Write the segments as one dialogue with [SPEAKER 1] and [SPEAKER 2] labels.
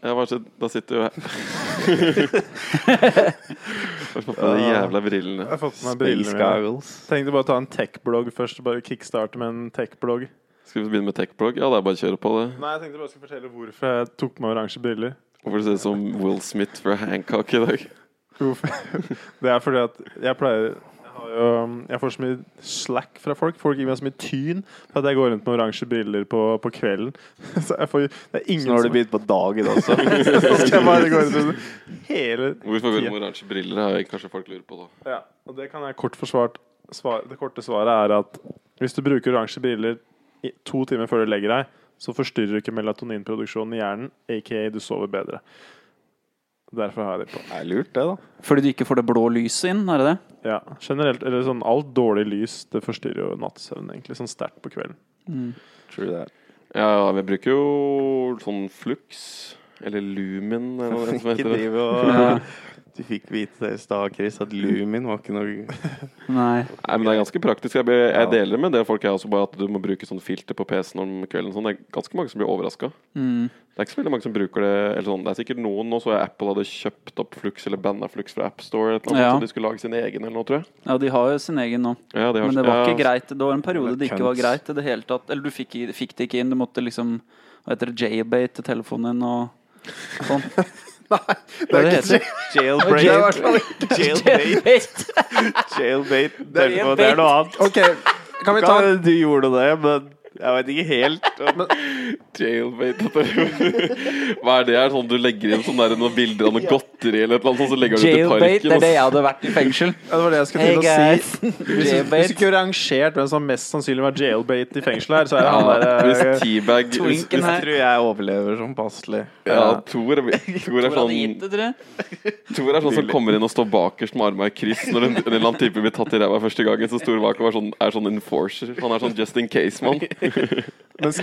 [SPEAKER 1] Ja, hva skjedde? Da sitter jo jeg Først på de jævla brillene.
[SPEAKER 2] Jeg har fått på meg
[SPEAKER 3] Space
[SPEAKER 2] brillene mine.
[SPEAKER 3] goggles.
[SPEAKER 2] Tenkte bare å ta en tech-blogg først. Bare kickstarte med en tech-blogg.
[SPEAKER 1] Skal vi begynne med techblog? Ja, det er bare å kjøre på, det.
[SPEAKER 2] Nei, jeg tenkte bare jeg skulle fortelle hvorfor jeg tok med oransje briller.
[SPEAKER 1] Hvorfor ser det ut som Will Smith fra Hancock i dag?
[SPEAKER 2] Hvorfor? Det er fordi at jeg pleier jeg, har jo, jeg får så mye slack fra folk. Folk gir meg så mye tyn for at jeg går rundt med oransje briller på, på kvelden. Så jeg får, det er ingen
[SPEAKER 3] Nå har du
[SPEAKER 2] som
[SPEAKER 3] begynt på dagen også.
[SPEAKER 2] Så skal jeg bare gå rundt med det hele
[SPEAKER 1] Hvorfor går det med oransje briller? har jeg kanskje folk lurer på, da.
[SPEAKER 2] ja, Og det kan jeg kort forsvart svar, Det korte svaret er at hvis du bruker oransje briller i to timer før du legger deg, så forstyrrer du ikke melatoninproduksjonen i hjernen, aka du sover bedre. Derfor har jeg det på.
[SPEAKER 3] Det er lurt, det, da.
[SPEAKER 4] Fordi du ikke får det blå lyset inn, er det det?
[SPEAKER 2] Ja, generelt, eller sånn alt dårlig lys, det forstyrrer jo nattsøvnen egentlig, sånn sterkt på kvelden.
[SPEAKER 3] True that.
[SPEAKER 1] Ja, ja, vi bruker jo sånn Flux. Eller Lumen, eller hva det
[SPEAKER 3] Ikke
[SPEAKER 1] heter.
[SPEAKER 3] driv og Du fikk vite det i stad, Chris, at Lumin var ikke noe
[SPEAKER 4] Nei.
[SPEAKER 1] Nei, men Det er ganske praktisk. Jeg, blir, jeg deler med det folk jeg også bare at du må bruke sånn filter på PC-en om kvelden. og Sånn. Det er ganske mange som blir overraska.
[SPEAKER 4] Mm.
[SPEAKER 1] Det er ikke så veldig mange som bruker det. Eller sånn. Det er sikkert noen nå så jeg Apple hadde kjøpt opp Flux eller banna Flux fra AppStore.
[SPEAKER 4] Ja.
[SPEAKER 1] Ja. Så de skulle lage sin egen eller noe, tror jeg.
[SPEAKER 4] Ja, de har jo sin egen nå.
[SPEAKER 1] Ja, de har-
[SPEAKER 4] Men det
[SPEAKER 1] ja,
[SPEAKER 4] var
[SPEAKER 2] altså,
[SPEAKER 4] ikke greit. Det var en periode det ikke var
[SPEAKER 3] Cunts.
[SPEAKER 4] greit i det hele tatt. Eller du fikk, i- fikk det ikke inn. Du måtte liksom Hva heter det? Jailbait til telefonen din og sånn. Nei, det, det
[SPEAKER 3] Jailbreak. Jailbait.
[SPEAKER 4] Jailbait!
[SPEAKER 3] Jailbait.
[SPEAKER 4] Det er
[SPEAKER 3] Telefonen, Det er noe annet.
[SPEAKER 2] Ok, kan
[SPEAKER 3] Kan hende du gjorde det, men jeg vet ikke helt. om-
[SPEAKER 1] Jailbait. Hva er det? Er det sånn du legger inn sånne, der, noen bilder av noe godteri eller et eller annet, sånn, så legger du det ut i
[SPEAKER 4] Jailbait,
[SPEAKER 1] parken?
[SPEAKER 4] det er
[SPEAKER 1] og
[SPEAKER 4] det jeg hadde vært i fengsel.
[SPEAKER 2] Ja, det var det jeg skulle
[SPEAKER 4] Hey
[SPEAKER 2] til å si.
[SPEAKER 4] guys!
[SPEAKER 2] Hvis vi- hvis vi
[SPEAKER 4] Jailbait.
[SPEAKER 2] ikke rangert hvem som mest sannsynlig var jailbait i fengselet her, så er det han
[SPEAKER 1] ja, hvis
[SPEAKER 2] der eh,
[SPEAKER 1] teabag hvis,
[SPEAKER 4] Twinken
[SPEAKER 3] Jeg
[SPEAKER 4] her.
[SPEAKER 3] tror jeg overlever som passelig.
[SPEAKER 1] Ja, Tor, er- Tor er
[SPEAKER 4] Hvor hadde gitt
[SPEAKER 1] sånn
[SPEAKER 4] det, tror jeg?
[SPEAKER 1] Tor er sånn som kommer inn og står bakerst med armene i kryss når en, en eller annen type blir tatt i ræva første gangen. Så Tor Waco er sånn, er sånn enforcer. Han er sånn just in case-mann.
[SPEAKER 2] mens,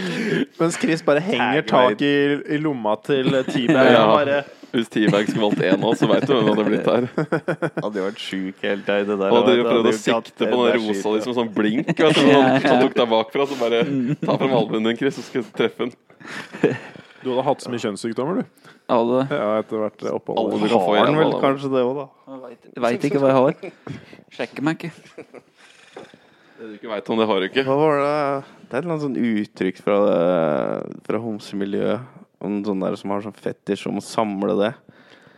[SPEAKER 2] mens Chris bare henger tak i, i lomma til eh, teamet.
[SPEAKER 1] Ja.
[SPEAKER 2] Han bare
[SPEAKER 1] Hvis T-Bag skulle valgt én av oss, så veit du hvem det hadde blitt her.
[SPEAKER 3] Hadde jo vært sjuk hele tiden. Det der.
[SPEAKER 1] Han hadde
[SPEAKER 3] Det
[SPEAKER 1] jo prøvd å
[SPEAKER 3] jo ikke hatt
[SPEAKER 1] sikte på den
[SPEAKER 3] energi
[SPEAKER 1] rosa
[SPEAKER 3] til
[SPEAKER 1] liksom, sånn blink. Vet du, sånn, han tok deg bakfra, så bare ta frem albuen din, Chris, så skal jeg treffe den.
[SPEAKER 2] Du hadde hatt så mye kjønnssykdommer, du.
[SPEAKER 4] Hadde
[SPEAKER 2] Ja, etter hvert eh,
[SPEAKER 1] Alle
[SPEAKER 2] opphold.
[SPEAKER 1] du kan få
[SPEAKER 3] Har den
[SPEAKER 1] igjen.
[SPEAKER 3] vel kanskje det òg, da.
[SPEAKER 4] Veit ikke hva jeg har. Sjekker meg ikke.
[SPEAKER 1] Det du ikke veit om, det har du ikke.
[SPEAKER 3] Hva var det Det er et eller annet sånn uttrykk fra, det- fra homsemiljøet om sånne der som har sånn fetisj om å samle det.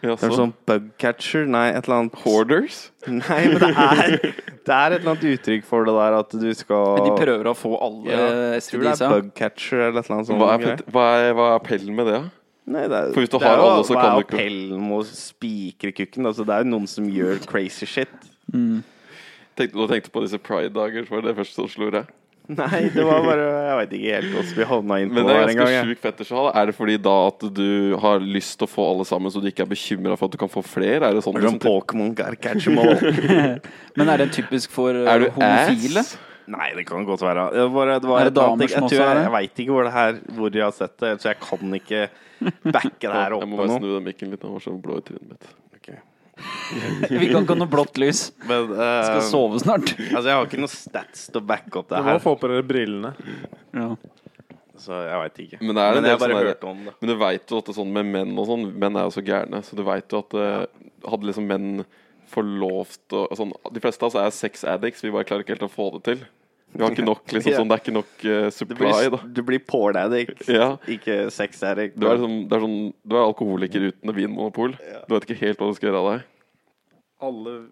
[SPEAKER 1] Ja,
[SPEAKER 3] Det er
[SPEAKER 1] så.
[SPEAKER 3] sånn bugcatcher, nei, et eller annet
[SPEAKER 1] Hoarders?
[SPEAKER 3] Nei, men det er, det er et eller annet uttrykk for det der at du skal
[SPEAKER 4] De prøver å få alle
[SPEAKER 3] Ja,
[SPEAKER 4] eh,
[SPEAKER 3] Jeg tror det er
[SPEAKER 4] STDs-a.
[SPEAKER 3] bugcatcher eller et eller annet sånt.
[SPEAKER 1] Hva er,
[SPEAKER 3] greier.
[SPEAKER 1] pet- hva er, hva er appellen med det? da?
[SPEAKER 3] Nei, det er,
[SPEAKER 1] For hvis du
[SPEAKER 3] det
[SPEAKER 1] har
[SPEAKER 3] er jo-
[SPEAKER 1] alle, så
[SPEAKER 3] hva er
[SPEAKER 1] kan du ikke-
[SPEAKER 3] appellen med å spikre kukken? Altså, det er jo noen som gjør crazy shit.
[SPEAKER 1] Tenkte, du tenkte på disse pride-dager, så var det det første som slo deg?
[SPEAKER 3] Nei, det var bare Jeg veit ikke helt hvordan vi havna inn på
[SPEAKER 1] Men
[SPEAKER 3] det
[SPEAKER 1] det er
[SPEAKER 3] her en gang.
[SPEAKER 1] ganske
[SPEAKER 3] jeg.
[SPEAKER 1] sjuk fetisj å ha. da. Er det fordi da at du har lyst til å få alle sammen, så du ikke er bekymra for at du kan få flere? Er det sånn
[SPEAKER 3] Det er Sånn
[SPEAKER 1] liksom,
[SPEAKER 3] Pokémon gotta catch 'em all.
[SPEAKER 4] Men er det typisk for eh,
[SPEAKER 1] Er du
[SPEAKER 4] homofile?
[SPEAKER 1] ass?
[SPEAKER 3] Nei, det kan godt være. Det var, bare- det var
[SPEAKER 4] Er det
[SPEAKER 3] et eller annet-
[SPEAKER 4] damer
[SPEAKER 3] jeg,
[SPEAKER 4] som også
[SPEAKER 3] tror
[SPEAKER 4] er
[SPEAKER 3] jeg,
[SPEAKER 4] det?
[SPEAKER 3] jeg veit ikke hvor, det her, hvor jeg har sett det, så jeg kan ikke backe det her opp
[SPEAKER 1] Jeg må bare
[SPEAKER 3] med noe.
[SPEAKER 1] snu den mikken litt, han var så blå i trynet mitt.
[SPEAKER 4] Vi kan ikke ha noe blått lys.
[SPEAKER 3] Men, eh,
[SPEAKER 4] Skal sove snart.
[SPEAKER 3] altså, jeg har ikke noen stats til å backe opp det
[SPEAKER 2] Du må
[SPEAKER 3] her,
[SPEAKER 2] få på dere brillene.
[SPEAKER 4] Ja.
[SPEAKER 3] så jeg veit ikke.
[SPEAKER 1] Men det er
[SPEAKER 3] jeg
[SPEAKER 1] en del
[SPEAKER 3] bare
[SPEAKER 1] sånne der-
[SPEAKER 3] hørte om det.
[SPEAKER 1] Men du veit jo at det er sånn med menn og sånn, menn er jo så gærne, så du veit jo at eh, hadde liksom menn får lov til å sånn, De fleste av oss er sex addicts, vi bare klarer ikke helt å få det til. Vi har ikke nok, liksom. Sånn, det er ikke nok eh,
[SPEAKER 3] Du
[SPEAKER 1] supply, da.
[SPEAKER 3] blir, du blir porn addict,
[SPEAKER 1] Ja.
[SPEAKER 3] ikke sex addict.
[SPEAKER 1] Du er, liksom, det er sånn, du er alkoholiker uten vinmonopol. Du vet ikke helt hva du skal gjøre av deg.
[SPEAKER 2] Alle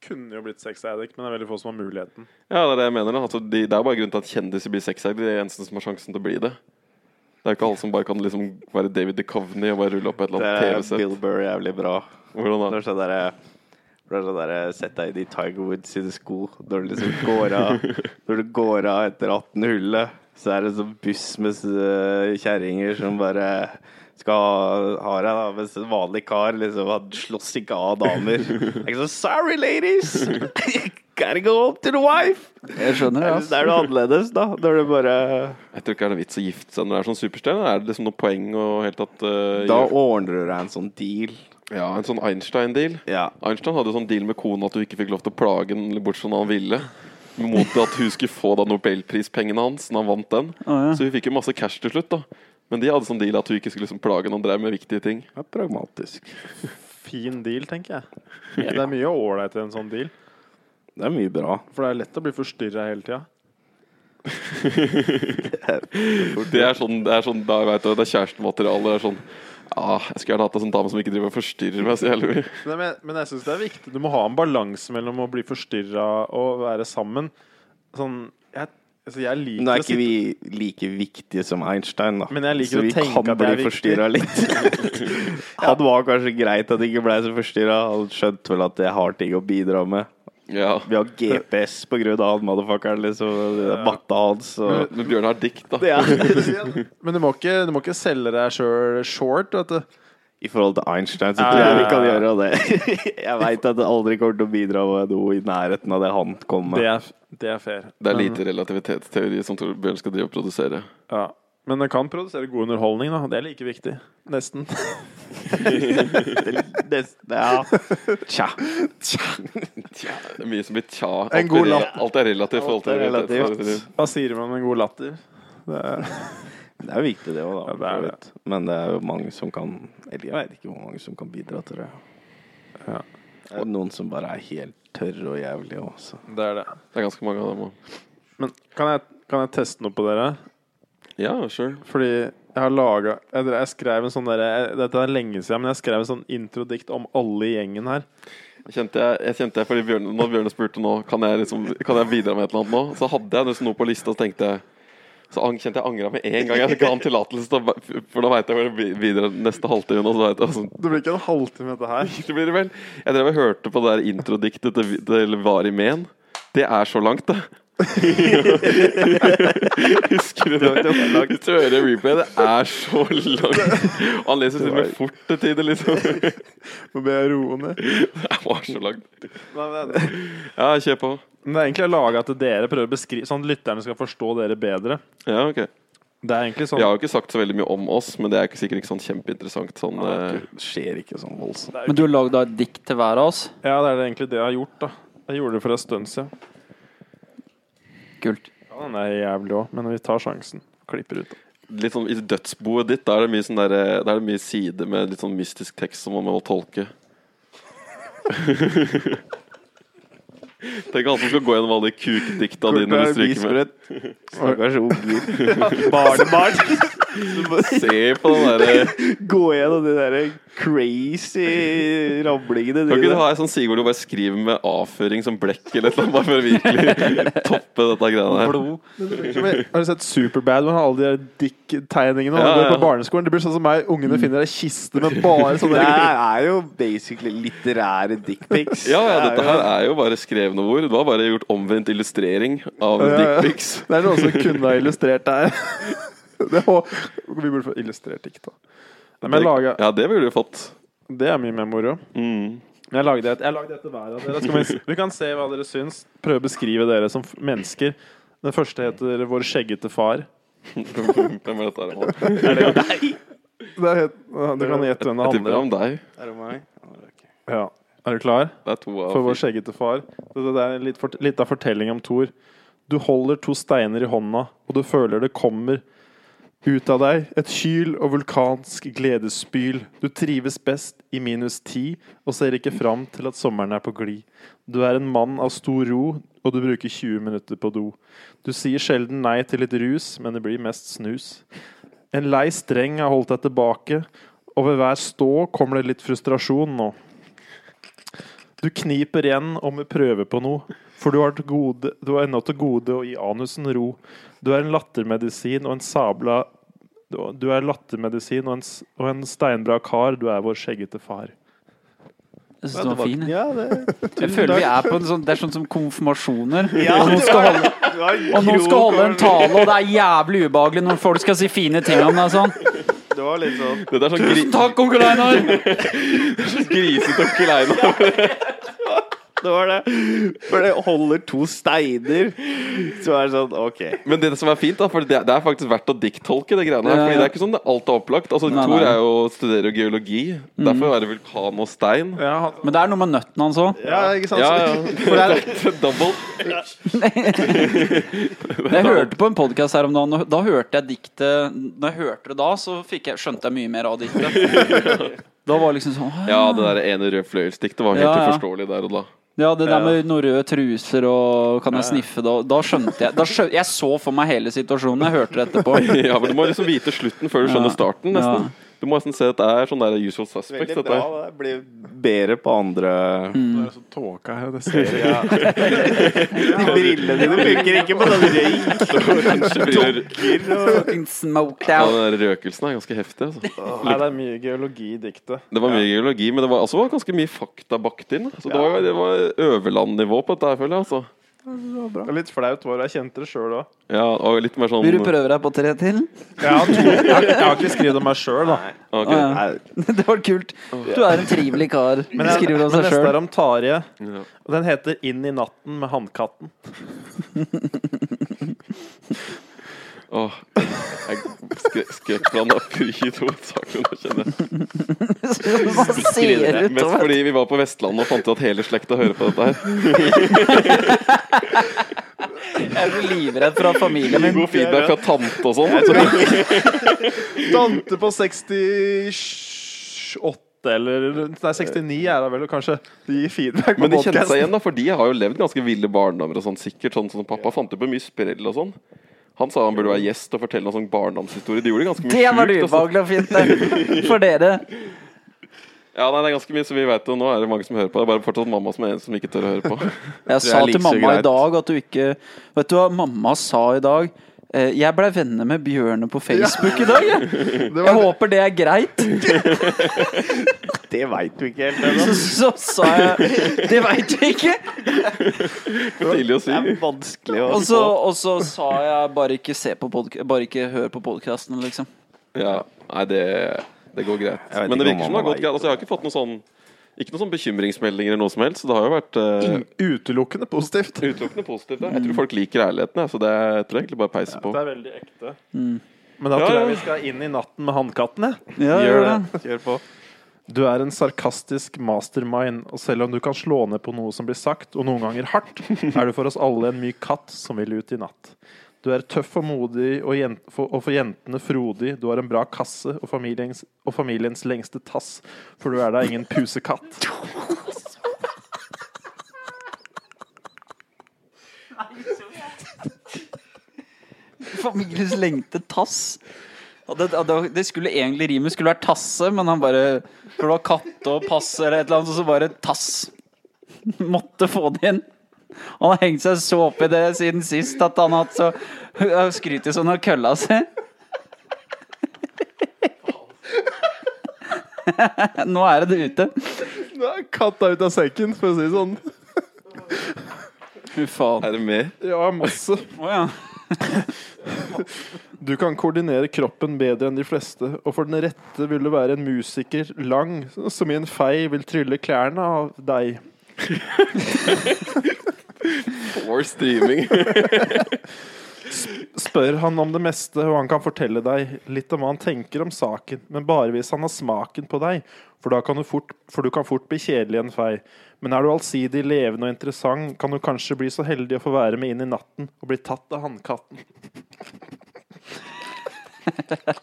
[SPEAKER 2] kunne jo blitt sex addict, men det er veldig få som har muligheten.
[SPEAKER 1] Ja, det er det jeg mener. da. Altså, de, det er bare grunnen til at kjendiser blir sexeiere. De er de eneste som har sjansen til å bli det. Det er jo ikke alle som bare kan liksom være David Duchovny og bare rulle opp et
[SPEAKER 3] det
[SPEAKER 1] eller
[SPEAKER 3] er
[SPEAKER 1] annet
[SPEAKER 3] Bill
[SPEAKER 1] TV-sett.
[SPEAKER 3] Burr jævlig bra.
[SPEAKER 1] Hvordan
[SPEAKER 3] Når
[SPEAKER 1] da?
[SPEAKER 3] sånn derre når sånn derre Sett deg i de Tiger Woods sine sko når du liksom går av Når du går av etter 18 hullet, så er det en sånn buss med eh, kjerringer som bare skal ha- ha deg, da. Mens en vanlig kar liksom han slåss ikke av damer. Det er ikke sånn Sorry, ladies! Gotta go home to the wife!
[SPEAKER 4] Jeg skjønner det.
[SPEAKER 3] Det
[SPEAKER 4] Altså.
[SPEAKER 3] er noe annerledes, da. Når du bare
[SPEAKER 1] Jeg tror ikke det er noe vits å gifte seg når du er sånn superstjerne. Er det liksom noe poeng å helt tatt eh,
[SPEAKER 3] Da
[SPEAKER 1] gjøre-
[SPEAKER 3] ordner du deg en sånn deal.
[SPEAKER 1] Ja, en sånn Einstein-deal.
[SPEAKER 3] Ja.
[SPEAKER 1] Einstein hadde jo sånn deal med kona at du ikke fikk lov til å plage den bort som han ville. Mot at hun skulle få da nobelprispengene hans når han vant den.
[SPEAKER 4] Å, ja.
[SPEAKER 1] Så hun fikk jo masse cash til slutt, da. Men de hadde sånn deal at hun ikke skulle liksom plage noen drev med viktige ting.
[SPEAKER 3] Det er pragmatisk.
[SPEAKER 2] Fin deal, tenker jeg. Det er mye ålreit i en sånn deal,
[SPEAKER 3] Det er mye bra.
[SPEAKER 2] for det er lett å bli forstyrra hele tida.
[SPEAKER 1] Det er sånn, det er sånn da jeg vet, du, det er kjærestemateriale. Det er sånn ah, Jeg skulle gjerne hatt en sånn dame som ikke driver og forstyrrer meg så jævlig mye.
[SPEAKER 2] Nei, men, men jeg syns det er viktig. Du må ha en balanse mellom å bli forstyrra og være sammen. Sånn Jeg, altså jeg liker
[SPEAKER 3] Nå er
[SPEAKER 2] å
[SPEAKER 3] ikke
[SPEAKER 2] sitte-
[SPEAKER 3] vi like viktige som Einstein, da.
[SPEAKER 2] Men jeg liker å
[SPEAKER 3] så vi
[SPEAKER 2] tenke
[SPEAKER 3] kan
[SPEAKER 2] at jeg er
[SPEAKER 3] bli
[SPEAKER 2] viktig.
[SPEAKER 3] forstyrra litt. Han var kanskje greit at jeg ikke blei så forstyrra. Han skjønte vel at jeg har ting å bidra med.
[SPEAKER 1] Ja.
[SPEAKER 3] Vi har GPS på grunn av han motherfuckeren, liksom. og det er Matta hans og
[SPEAKER 1] Men Bjørn har dikt, da.
[SPEAKER 3] det er.
[SPEAKER 2] Men du må ikke, du må ikke selge deg sjøl short. Vet du.
[SPEAKER 3] I forhold til Einstein så
[SPEAKER 2] Ja,
[SPEAKER 3] tror
[SPEAKER 2] ja,
[SPEAKER 3] jeg vi
[SPEAKER 2] ja.
[SPEAKER 3] kan gjøre det. Jeg veit at det aldri kommer til å bidra med noe i nærheten av det han kom
[SPEAKER 2] Det,
[SPEAKER 3] med.
[SPEAKER 2] er, det er fair.
[SPEAKER 1] Det er lite relativitetsteori som Tor Bjørn skal drive og produsere.
[SPEAKER 2] Ja. Men det kan produsere god underholdning, da. Det er like viktig. Nesten.
[SPEAKER 3] Det- Ja. Tja.
[SPEAKER 1] Det er mye som blir tja. Alt,
[SPEAKER 2] En
[SPEAKER 1] blir
[SPEAKER 2] god
[SPEAKER 1] re-
[SPEAKER 2] lapp.
[SPEAKER 1] alt er relativt. i forhold
[SPEAKER 3] Alt
[SPEAKER 1] til
[SPEAKER 3] er
[SPEAKER 1] realitet.
[SPEAKER 3] relativt.
[SPEAKER 2] Hva sier man om en god latter? Det er,
[SPEAKER 3] Det er viktig, det òg, da.
[SPEAKER 2] Ja, det er det.
[SPEAKER 3] Men det er jo mange som kan Eller jeg veit ikke hvor mange som kan bidra til det.
[SPEAKER 2] Ja.
[SPEAKER 3] Det er noen som bare er helt tørre og jævlige også.
[SPEAKER 2] det er det.
[SPEAKER 1] sånn. Det er ganske mange av dem òg.
[SPEAKER 2] Men kan jeg, kan jeg teste noe på dere?
[SPEAKER 1] Ja, sure.
[SPEAKER 2] Fordi jeg har laga jeg, dre- jeg skrev en sånn derre jeg- Dette er lenge siden, men jeg skrev en sånn introdikt om alle i gjengen her.
[SPEAKER 1] Kjente jeg, jeg kjente jeg fordi Bjørn, Når Bjørne spurte nå Kan jeg liksom Kan jeg bidra med et eller annet nå, så hadde jeg nesten noe på lista, så tenkte jeg så ang, kjente jeg angra med en gang. Jeg ga han tillatelse, da- for da veit jeg hvor det blir videre neste halvtime. Og så vet jeg, sånn,
[SPEAKER 2] Det blir ikke en halvtime, dette her.
[SPEAKER 1] Det blir det vel. Jeg drev og hørte på det der introdiktet til, til Vari Men. Det er så langt, det. Husker du det? Hvis du hører replay, det er så langt. Og han leser til og med fort til tider, liksom.
[SPEAKER 2] Nå ble jeg roende.
[SPEAKER 1] Det var så langt.
[SPEAKER 2] Nei, men det-
[SPEAKER 1] Ja, kjør på.
[SPEAKER 2] Men det er egentlig laga til dere prøver å beskrive sånn at lytterne skal forstå dere bedre.
[SPEAKER 1] Ja, ok.
[SPEAKER 2] Det er egentlig sånn
[SPEAKER 1] Jeg har jo ikke sagt så veldig mye om oss, men det er ikke sikkert ikke sånn kjempeinteressant. Sånn, eh,
[SPEAKER 3] Det skjer ikke sånn voldsomt.
[SPEAKER 4] Men du har lagd da et dikt til hver av oss?
[SPEAKER 2] Ja, det er det egentlig det jeg har gjort, da. Jeg gjorde det for en stund siden.
[SPEAKER 4] Kult.
[SPEAKER 2] Ja, den er jævlig òg, men vi tar sjansen. Klipper ut. da.
[SPEAKER 1] litt sånn I dødsboet ditt da er det mye, sånn der, eh, da er det mye side med litt sånn mystisk tekst som man må tolke. Tenk han som skal gå gjennom alle de kukdikta dine du stryker med.
[SPEAKER 3] Stakkars unger. Barnebarn. Som bare
[SPEAKER 1] Se på den eh, derre
[SPEAKER 3] Gå gjennom de der crazy rablingene
[SPEAKER 1] Kan ikke du
[SPEAKER 3] dine.
[SPEAKER 1] ha ei sånn Sigurd du bare skriver med avføring som blekk eller noe, bare for å virkelig toppe dette greiene her?
[SPEAKER 4] Blod.
[SPEAKER 2] Men Har du sett Superbad? Hvor han har alle de der dick-tegningene. og
[SPEAKER 1] Ja,
[SPEAKER 2] han går
[SPEAKER 1] ja. Mm.
[SPEAKER 2] På barneskolen Det blir sånn som meg. Ungene finner ei kiste med bare
[SPEAKER 3] Så
[SPEAKER 1] sånn
[SPEAKER 2] sånne
[SPEAKER 3] det her er jo basically litterære dickpics.
[SPEAKER 1] Ja, ja, dette her er jo bare skrevne ord. Det var bare gjort omvendt illustrering av
[SPEAKER 2] Ja, ja.
[SPEAKER 1] dickpics.
[SPEAKER 2] Det er noen som kunne ha illustrert det her. Det må, vi burde få illustrert dikta. Nei, Men jeg laga,
[SPEAKER 1] Ja, det burde du fått.
[SPEAKER 2] det er mye mer moro.
[SPEAKER 1] Mm.
[SPEAKER 2] Men Jeg lagde et, jeg lagde et til hver av dere. Skal vi, s- vi kan se hva dere syns. Prøve å beskrive dere som f- mennesker. Den første heter 'Vår skjeggete far'.
[SPEAKER 1] Hvem er dette her? nå?
[SPEAKER 2] Det er het, du kan gjette hvem det
[SPEAKER 1] Jeg tipper det
[SPEAKER 2] handler
[SPEAKER 1] er
[SPEAKER 2] om.
[SPEAKER 1] om deg.
[SPEAKER 3] Er det meg?
[SPEAKER 2] Ja. Er du klar?
[SPEAKER 1] Det er to av
[SPEAKER 2] For vår skjeggete far. Det det er litt, fort- litt av fortelling om Thor. Du holder to steiner i hånda, og du føler det kommer ut av deg et kyl og vulkansk gledesspyl. Du trives best i minus ti og ser ikke fram til at sommeren er på glid. Du er en mann av stor ro, og du bruker 20 minutter på do. Du sier sjelden nei til litt rus, men det blir mest snus. En lei streng har holdt deg tilbake, og ved hver stå kommer det litt frustrasjon nå. Du kniper igjen om vi prøver på noe, for du har, til gode, du har ennå til gode å gi anusen ro. Du er en lattermedisin og en sabla Du du er lattermedisin og en, s- og en steinbra kar, du er vår skjeggete far.
[SPEAKER 4] Jeg syns den var fin. jeg.
[SPEAKER 3] Ja, det
[SPEAKER 4] Jeg føler vi er på en sånn Det er sånn som konfirmasjoner.
[SPEAKER 3] Ja,
[SPEAKER 4] Og noen
[SPEAKER 3] du
[SPEAKER 4] skal
[SPEAKER 3] har-
[SPEAKER 4] holde,
[SPEAKER 3] du har
[SPEAKER 4] og noen skal holde en
[SPEAKER 3] krok-
[SPEAKER 4] tale, og det er jævlig ubehagelig når folk skal si fine ting om deg sånn.
[SPEAKER 3] Det var litt sånn
[SPEAKER 1] Dette er sånn gri
[SPEAKER 4] Takk, onkel Einar!
[SPEAKER 1] grisete onkel Einar.
[SPEAKER 3] Det var det. For det holder to steiner. Så er det sånn, OK.
[SPEAKER 1] Men det som er fint, da, for det, det er faktisk verdt å dikttolke det greiene her.
[SPEAKER 4] Ja, ja.
[SPEAKER 1] Fordi det er ikke sånn det alt er opplagt. Altså,
[SPEAKER 4] Nei,
[SPEAKER 1] Thor
[SPEAKER 4] nei. Mm.
[SPEAKER 1] er jo, studerer jo geologi. Derfor er det vulkan og stein.
[SPEAKER 2] Ja, han,
[SPEAKER 4] Men det er noe med nøtten hans òg.
[SPEAKER 3] Ja, ikke sant?
[SPEAKER 1] Ja,
[SPEAKER 3] For det
[SPEAKER 1] ja.
[SPEAKER 3] er,
[SPEAKER 1] Double.
[SPEAKER 4] Jeg hørte på en podkast her om dagen, og da hørte jeg diktet Når jeg hørte det da, så fikk jeg, skjønte jeg mye mer av diktet. Da var det liksom sånn «Å,
[SPEAKER 1] Ja, det der ene rødfløyelsdiktet var helt
[SPEAKER 4] Ja, ja.
[SPEAKER 1] uforståelig der og da.
[SPEAKER 4] Ja, det der med noen røde truser og kan jeg sniffe det og Da skjønte jeg da skjø- Jeg så for meg hele situasjonen. Jeg hørte det etterpå.
[SPEAKER 1] Ja, men Du må liksom vite slutten før du skjønner
[SPEAKER 4] Ja.
[SPEAKER 1] starten. nesten Du må nesten se at det er sånn der usual suspects.
[SPEAKER 3] veldig
[SPEAKER 1] Dette.
[SPEAKER 3] bra.
[SPEAKER 1] her.
[SPEAKER 3] Det blir bedre på andre
[SPEAKER 2] det er så tåka her. Det ser jeg.
[SPEAKER 3] ja. De brillene dine funker ikke på den røyk.
[SPEAKER 1] Kanskje blir-
[SPEAKER 4] Fucking smoked
[SPEAKER 1] Ja,
[SPEAKER 4] out.
[SPEAKER 1] den der røkelsen er ganske heftig. Altså.
[SPEAKER 2] Nei, det er mye geologi i diktet.
[SPEAKER 1] Det var mye geologi, men det var også ganske mye fakta bakt inn. Så det var, det var øverlandnivå på dette, her, føler jeg. Altså.
[SPEAKER 2] Det er litt flaut var jeg kjente det sjøl òg.
[SPEAKER 1] Ja, og litt mer sånn
[SPEAKER 4] Vil du prøve deg på tre til?
[SPEAKER 2] Jeg har to- jeg har- jeg har ikke skrevet om meg sjøl, da.
[SPEAKER 1] Ok.
[SPEAKER 4] Å, ja. Det var kult. Du er en trivelig kar.
[SPEAKER 2] Men
[SPEAKER 4] Du skriver om
[SPEAKER 2] men
[SPEAKER 4] seg
[SPEAKER 2] neste
[SPEAKER 4] sjøl.
[SPEAKER 2] er om Tarje.
[SPEAKER 1] Ja.
[SPEAKER 2] Og den heter 'Inn i natten med hannkatten'.
[SPEAKER 1] Åh, jeg skre- skrekkblanda i to saker nå, kjenner jeg.
[SPEAKER 4] Hva ser ut
[SPEAKER 1] Mest
[SPEAKER 4] over?
[SPEAKER 1] fordi vi var på Vestlandet og fant ut at hele slekta hører på dette her.
[SPEAKER 4] Jeg er så livredd fra familien min.
[SPEAKER 1] God feedback fra tante og sånn.
[SPEAKER 2] Tante på 68 eller Nei, 69 er det vel, og kanskje. De gir feedback på
[SPEAKER 1] Men de kjente seg
[SPEAKER 2] podcasten.
[SPEAKER 1] igjen, da, for de har jo levd ganske ville barndommer og sånn, sikkert. Sånn som pappa fant jo på mye sprell og sånn. Han sa han burde være gjest og fortelle noen sånn barndomshistorie. De gjorde ganske mye
[SPEAKER 4] Det var det
[SPEAKER 1] sjukt, altså.
[SPEAKER 4] ubehagelig og fint det. for dere.
[SPEAKER 1] Ja, nei, det er ganske mye som vi vet, og nå er det mange som hører på. Det er bare fortsatt mamma som er en som ikke tør å høre på.
[SPEAKER 4] Jeg
[SPEAKER 3] Det er
[SPEAKER 4] sa
[SPEAKER 3] like
[SPEAKER 4] til
[SPEAKER 3] så
[SPEAKER 4] mamma i
[SPEAKER 3] greit.
[SPEAKER 4] dag at du ikke Vet du hva mamma sa i dag? Eh, Jeg blei venner med Bjørne på Facebook i dag. Jeg, jeg håper det er greit.
[SPEAKER 3] Det veit du ikke helt ennå.
[SPEAKER 4] Så, så sa jeg Det veit jeg ikke.
[SPEAKER 1] Tidlig å
[SPEAKER 3] Det er
[SPEAKER 1] si.
[SPEAKER 3] vanskelig å
[SPEAKER 4] Og så, og så sa jeg bare ikke, se på podca- bare ikke hør på podkasten, liksom.
[SPEAKER 1] Ja, nei, det, det går greit.
[SPEAKER 3] Jeg vet
[SPEAKER 1] Men det
[SPEAKER 3] ikke om
[SPEAKER 1] virker som det har
[SPEAKER 3] mamma
[SPEAKER 1] gått greit. Altså, jeg har ikke fått noen sånn ikke noen sånn bekymringsmeldinger eller noe som helst. Så det har jo vært eh,
[SPEAKER 2] Utelukkende positivt.
[SPEAKER 1] utelukkende positivt. da. Jeg tror folk liker ærligheten, jeg, så det jeg tror jeg egentlig bare peiser på.
[SPEAKER 2] Det er veldig ekte.
[SPEAKER 1] Mm.
[SPEAKER 2] Men da
[SPEAKER 1] Ja, ja.
[SPEAKER 2] tror jeg vi skal inn i natten med hannkatten. jeg.
[SPEAKER 4] Ja,
[SPEAKER 1] Gjør det.
[SPEAKER 3] Kjør på.
[SPEAKER 2] Du er en sarkastisk mastermind, og selv om du kan slå ned på noe som blir sagt, og noen ganger hardt, er du for oss alle en myk katt som vil ut i natt. Du er tøff og modig, og, jen for, og for jentene frodig. Du har en bra kasse og familiens, og familiens lengste tass, for du er da ingen pusekatt.
[SPEAKER 4] Familiens lengte tass. Ja, det, ja, det, det skulle egentlig rimet skulle vært tasse, men han bare For det var katte og passe eller et eller annet, og så bare tass. Måtte få det inn. Han har hengt seg så opp i det siden sist at han har hatt så har skrytt sånn av kølla si. Nå er det det ute.
[SPEAKER 2] Nå er katta ut av sekken, for å si det sånn.
[SPEAKER 4] Fy faen.
[SPEAKER 1] Er det mer?
[SPEAKER 2] Ja, masse.
[SPEAKER 4] Å ja.
[SPEAKER 2] Du kan koordinere kroppen bedre enn de fleste, og for den rette vil du være en musiker lang, som i en fei vil trylle klærne av deg.
[SPEAKER 1] Or streaming.
[SPEAKER 2] Spør han om det meste, og han kan fortelle deg litt om hva han tenker om saken, men bare hvis han har smaken på deg, for, da kan du, fort, for du kan fort bli kjedelig i en fei. Men er du allsidig, levende og interessant, kan du kanskje bli så heldig å få være med inn i natten og bli tatt av hannkatten.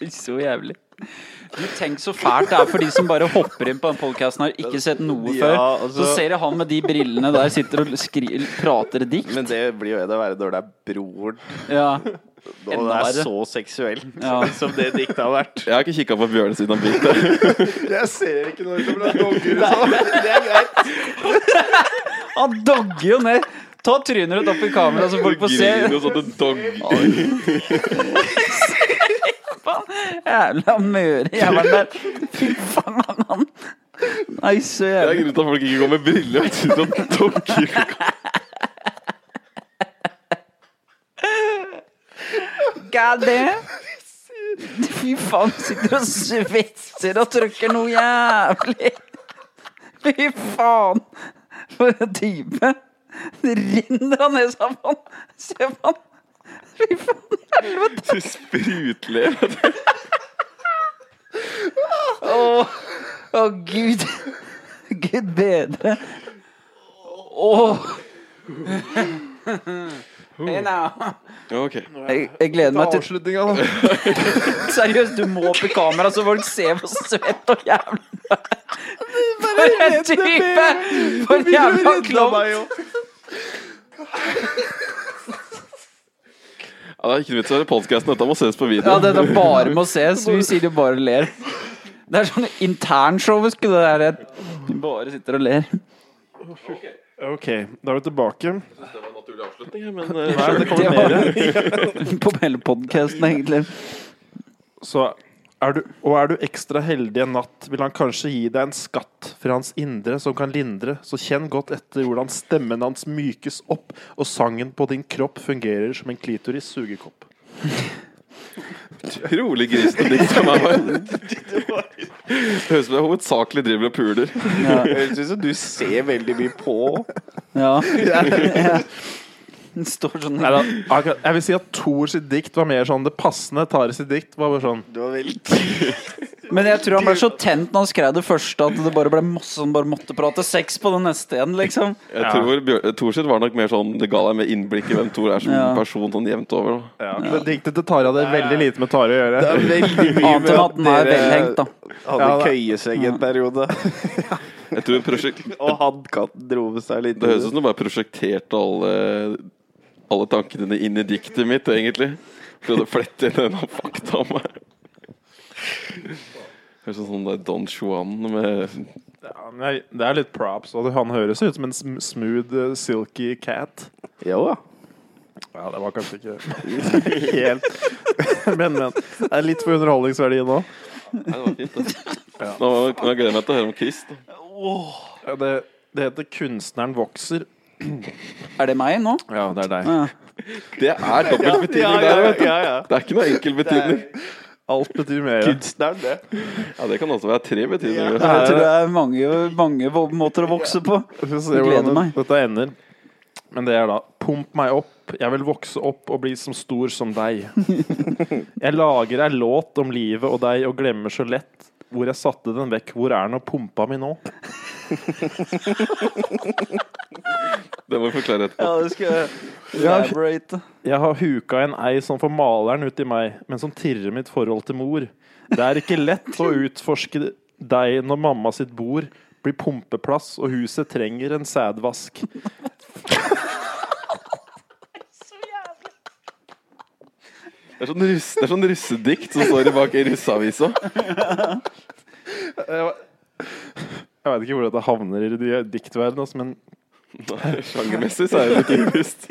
[SPEAKER 4] Så jævlig. Du, Tenk så fælt det er for de som bare hopper inn på den podkasten og har ikke sett noe
[SPEAKER 3] Ja,
[SPEAKER 4] før.
[SPEAKER 3] altså-
[SPEAKER 4] Så ser jeg han med de brillene der sitter og skri prater dikt.
[SPEAKER 3] Men det blir jo enda verre når det er broren.
[SPEAKER 4] Ja.
[SPEAKER 3] Og det er
[SPEAKER 4] Enda verre.
[SPEAKER 3] så seksuelt
[SPEAKER 4] Ja.
[SPEAKER 3] som det diktet har vært.
[SPEAKER 1] Jeg har ikke kikka på Bjørne siden han begynte.
[SPEAKER 2] Jeg ser ikke noe som blir
[SPEAKER 3] Det er greit.
[SPEAKER 4] Han dogger jo ned. Ta trynet ditt opp i kameraet, så folk får se.
[SPEAKER 1] Griner sånn en dog.
[SPEAKER 4] Jævla mørejævelen der. Fy faen, han- han. Nei, så
[SPEAKER 1] Det er
[SPEAKER 4] jævlig.
[SPEAKER 1] grunnen til at folk ikke går med briller. og synes at dokker
[SPEAKER 4] God damn. Fy faen, sitter og svetser og trykker noe jævlig. Fy faen. For en type! Det rinner av nesa på han! Se på han! Fy faen i helvete!
[SPEAKER 1] Du sprutler.
[SPEAKER 4] Å, å, gud! Gud bedre! Åh! Hey now.
[SPEAKER 1] Ok.
[SPEAKER 4] Jeg, jeg gleder meg til
[SPEAKER 3] Avslutninga, da.
[SPEAKER 4] Seriøst, du må opp i kamera så folk ser hvor søt og jævlig du er. For en type! For en jævla klovn!
[SPEAKER 1] Ja, det er ikke noe vits i å høre podcasten, dette må ses på video.
[SPEAKER 4] Ja, dette bare må ses. Vi sier det bare og ler. Det er sånn internshow, husker du det der? Vi bare sitter og ler.
[SPEAKER 2] Ok, da er vi tilbake.
[SPEAKER 1] Det var en naturlig avslutning, her, men eh, sure.
[SPEAKER 2] det kommer
[SPEAKER 4] var-
[SPEAKER 2] mer.
[SPEAKER 4] På hele podcasten egentlig.
[SPEAKER 2] Så er du, og er du ekstra heldig en natt, vil han kanskje gi deg en skatt fra hans indre som kan lindre, så kjenn godt etter hvordan stemmen hans mykes opp, og sangen på din kropp fungerer som en klitoris sugekopp.
[SPEAKER 1] Utrolig grisete dikt fra meg. bare. Høres ut som jeg hovedsakelig driver og puler.
[SPEAKER 4] Ja.
[SPEAKER 3] Høres ut som du ser veldig mye på.
[SPEAKER 4] ja. ja. Den står sånn
[SPEAKER 2] Neida, akkurat- Jeg vil si at Thor sitt dikt var mer sånn det passende. Tare sitt dikt var bare sånn
[SPEAKER 3] Du var veldig
[SPEAKER 4] Men jeg tror han ble så tent når han skrev det første, at det bare ble masse han bare måtte prate sex på den neste igjen, liksom.
[SPEAKER 1] Jeg tror Bjør- Thor sitt var nok mer sånn det ga deg med innblikk i hvem Thor er som
[SPEAKER 4] Ja.
[SPEAKER 1] person, sånn jevnt over. Da.
[SPEAKER 2] ja. Det diktet til Tare hadde veldig lite med Tare å gjøre.
[SPEAKER 3] Det er veldig mye
[SPEAKER 4] Annet enn at den er velhengt, da.
[SPEAKER 3] hadde
[SPEAKER 2] Ja, da.
[SPEAKER 3] køyeseng en periode.
[SPEAKER 1] Jeg tror prosjek
[SPEAKER 3] Og hannkatten dro med seg litt.
[SPEAKER 1] Det høres ut som du bare prosjekterte alle, alle tankene dine inn i diktet mitt, egentlig. Prøvde å flette inn en fakta om meg. Høres ut som sånn der Don Juan med
[SPEAKER 2] Ja, men jeg- det er litt props. Og det- han høres ut som en sm smooth, eh, silky cat.
[SPEAKER 3] Jo da.
[SPEAKER 2] Ja, det var kanskje ikke helt Men, men. Det er litt for underholdningsverdien òg.
[SPEAKER 1] Nei, det var fint, det. Nå, nå gleder jeg meg til å høre om Chris. Da.
[SPEAKER 2] Ja, det, det heter 'Kunstneren vokser'.
[SPEAKER 4] Er det meg nå?
[SPEAKER 2] Ja, det er deg.
[SPEAKER 4] Ja.
[SPEAKER 1] Det er dobbelt betydning
[SPEAKER 3] Ja, ja,
[SPEAKER 1] der, vet du.
[SPEAKER 3] ja, ja.
[SPEAKER 1] Det er ikke noe enkel betydning.
[SPEAKER 2] Alt betyr mer.
[SPEAKER 3] Kunstneren, det.
[SPEAKER 1] Ja, det kan også være tre betydninger.
[SPEAKER 2] Ja.
[SPEAKER 4] Jeg tror det er mange, mange vo- måter å vokse på.
[SPEAKER 2] Vi får se
[SPEAKER 4] Jeg gleder
[SPEAKER 2] hvordan
[SPEAKER 4] meg.
[SPEAKER 2] dette ender. Men det er da 'Pump meg opp, jeg vil vokse opp og bli som stor som deg'. Jeg lager ei låt om livet og deg og glemmer så lett hvor jeg satte den vekk. Hvor er den og pumpa mi nå?
[SPEAKER 1] Det må vi forklare etterpå.
[SPEAKER 4] Ja, det skal jeg
[SPEAKER 2] Ja.
[SPEAKER 4] elaborate.
[SPEAKER 2] Jeg har huka en ei som får maleren ut i meg, men som tirrer mitt forhold til mor. Det er ikke lett å utforske deg når mamma sitt bord blir pumpeplass og huset trenger en sædvask.
[SPEAKER 1] Det er sånn, russ, det er sånn russedikt som står i bak i russeavisa.
[SPEAKER 2] Jeg veit ikke hvor dette havner i de- diktverdenen, altså, men
[SPEAKER 1] Nei, Sjangermessig så er det ikke russt.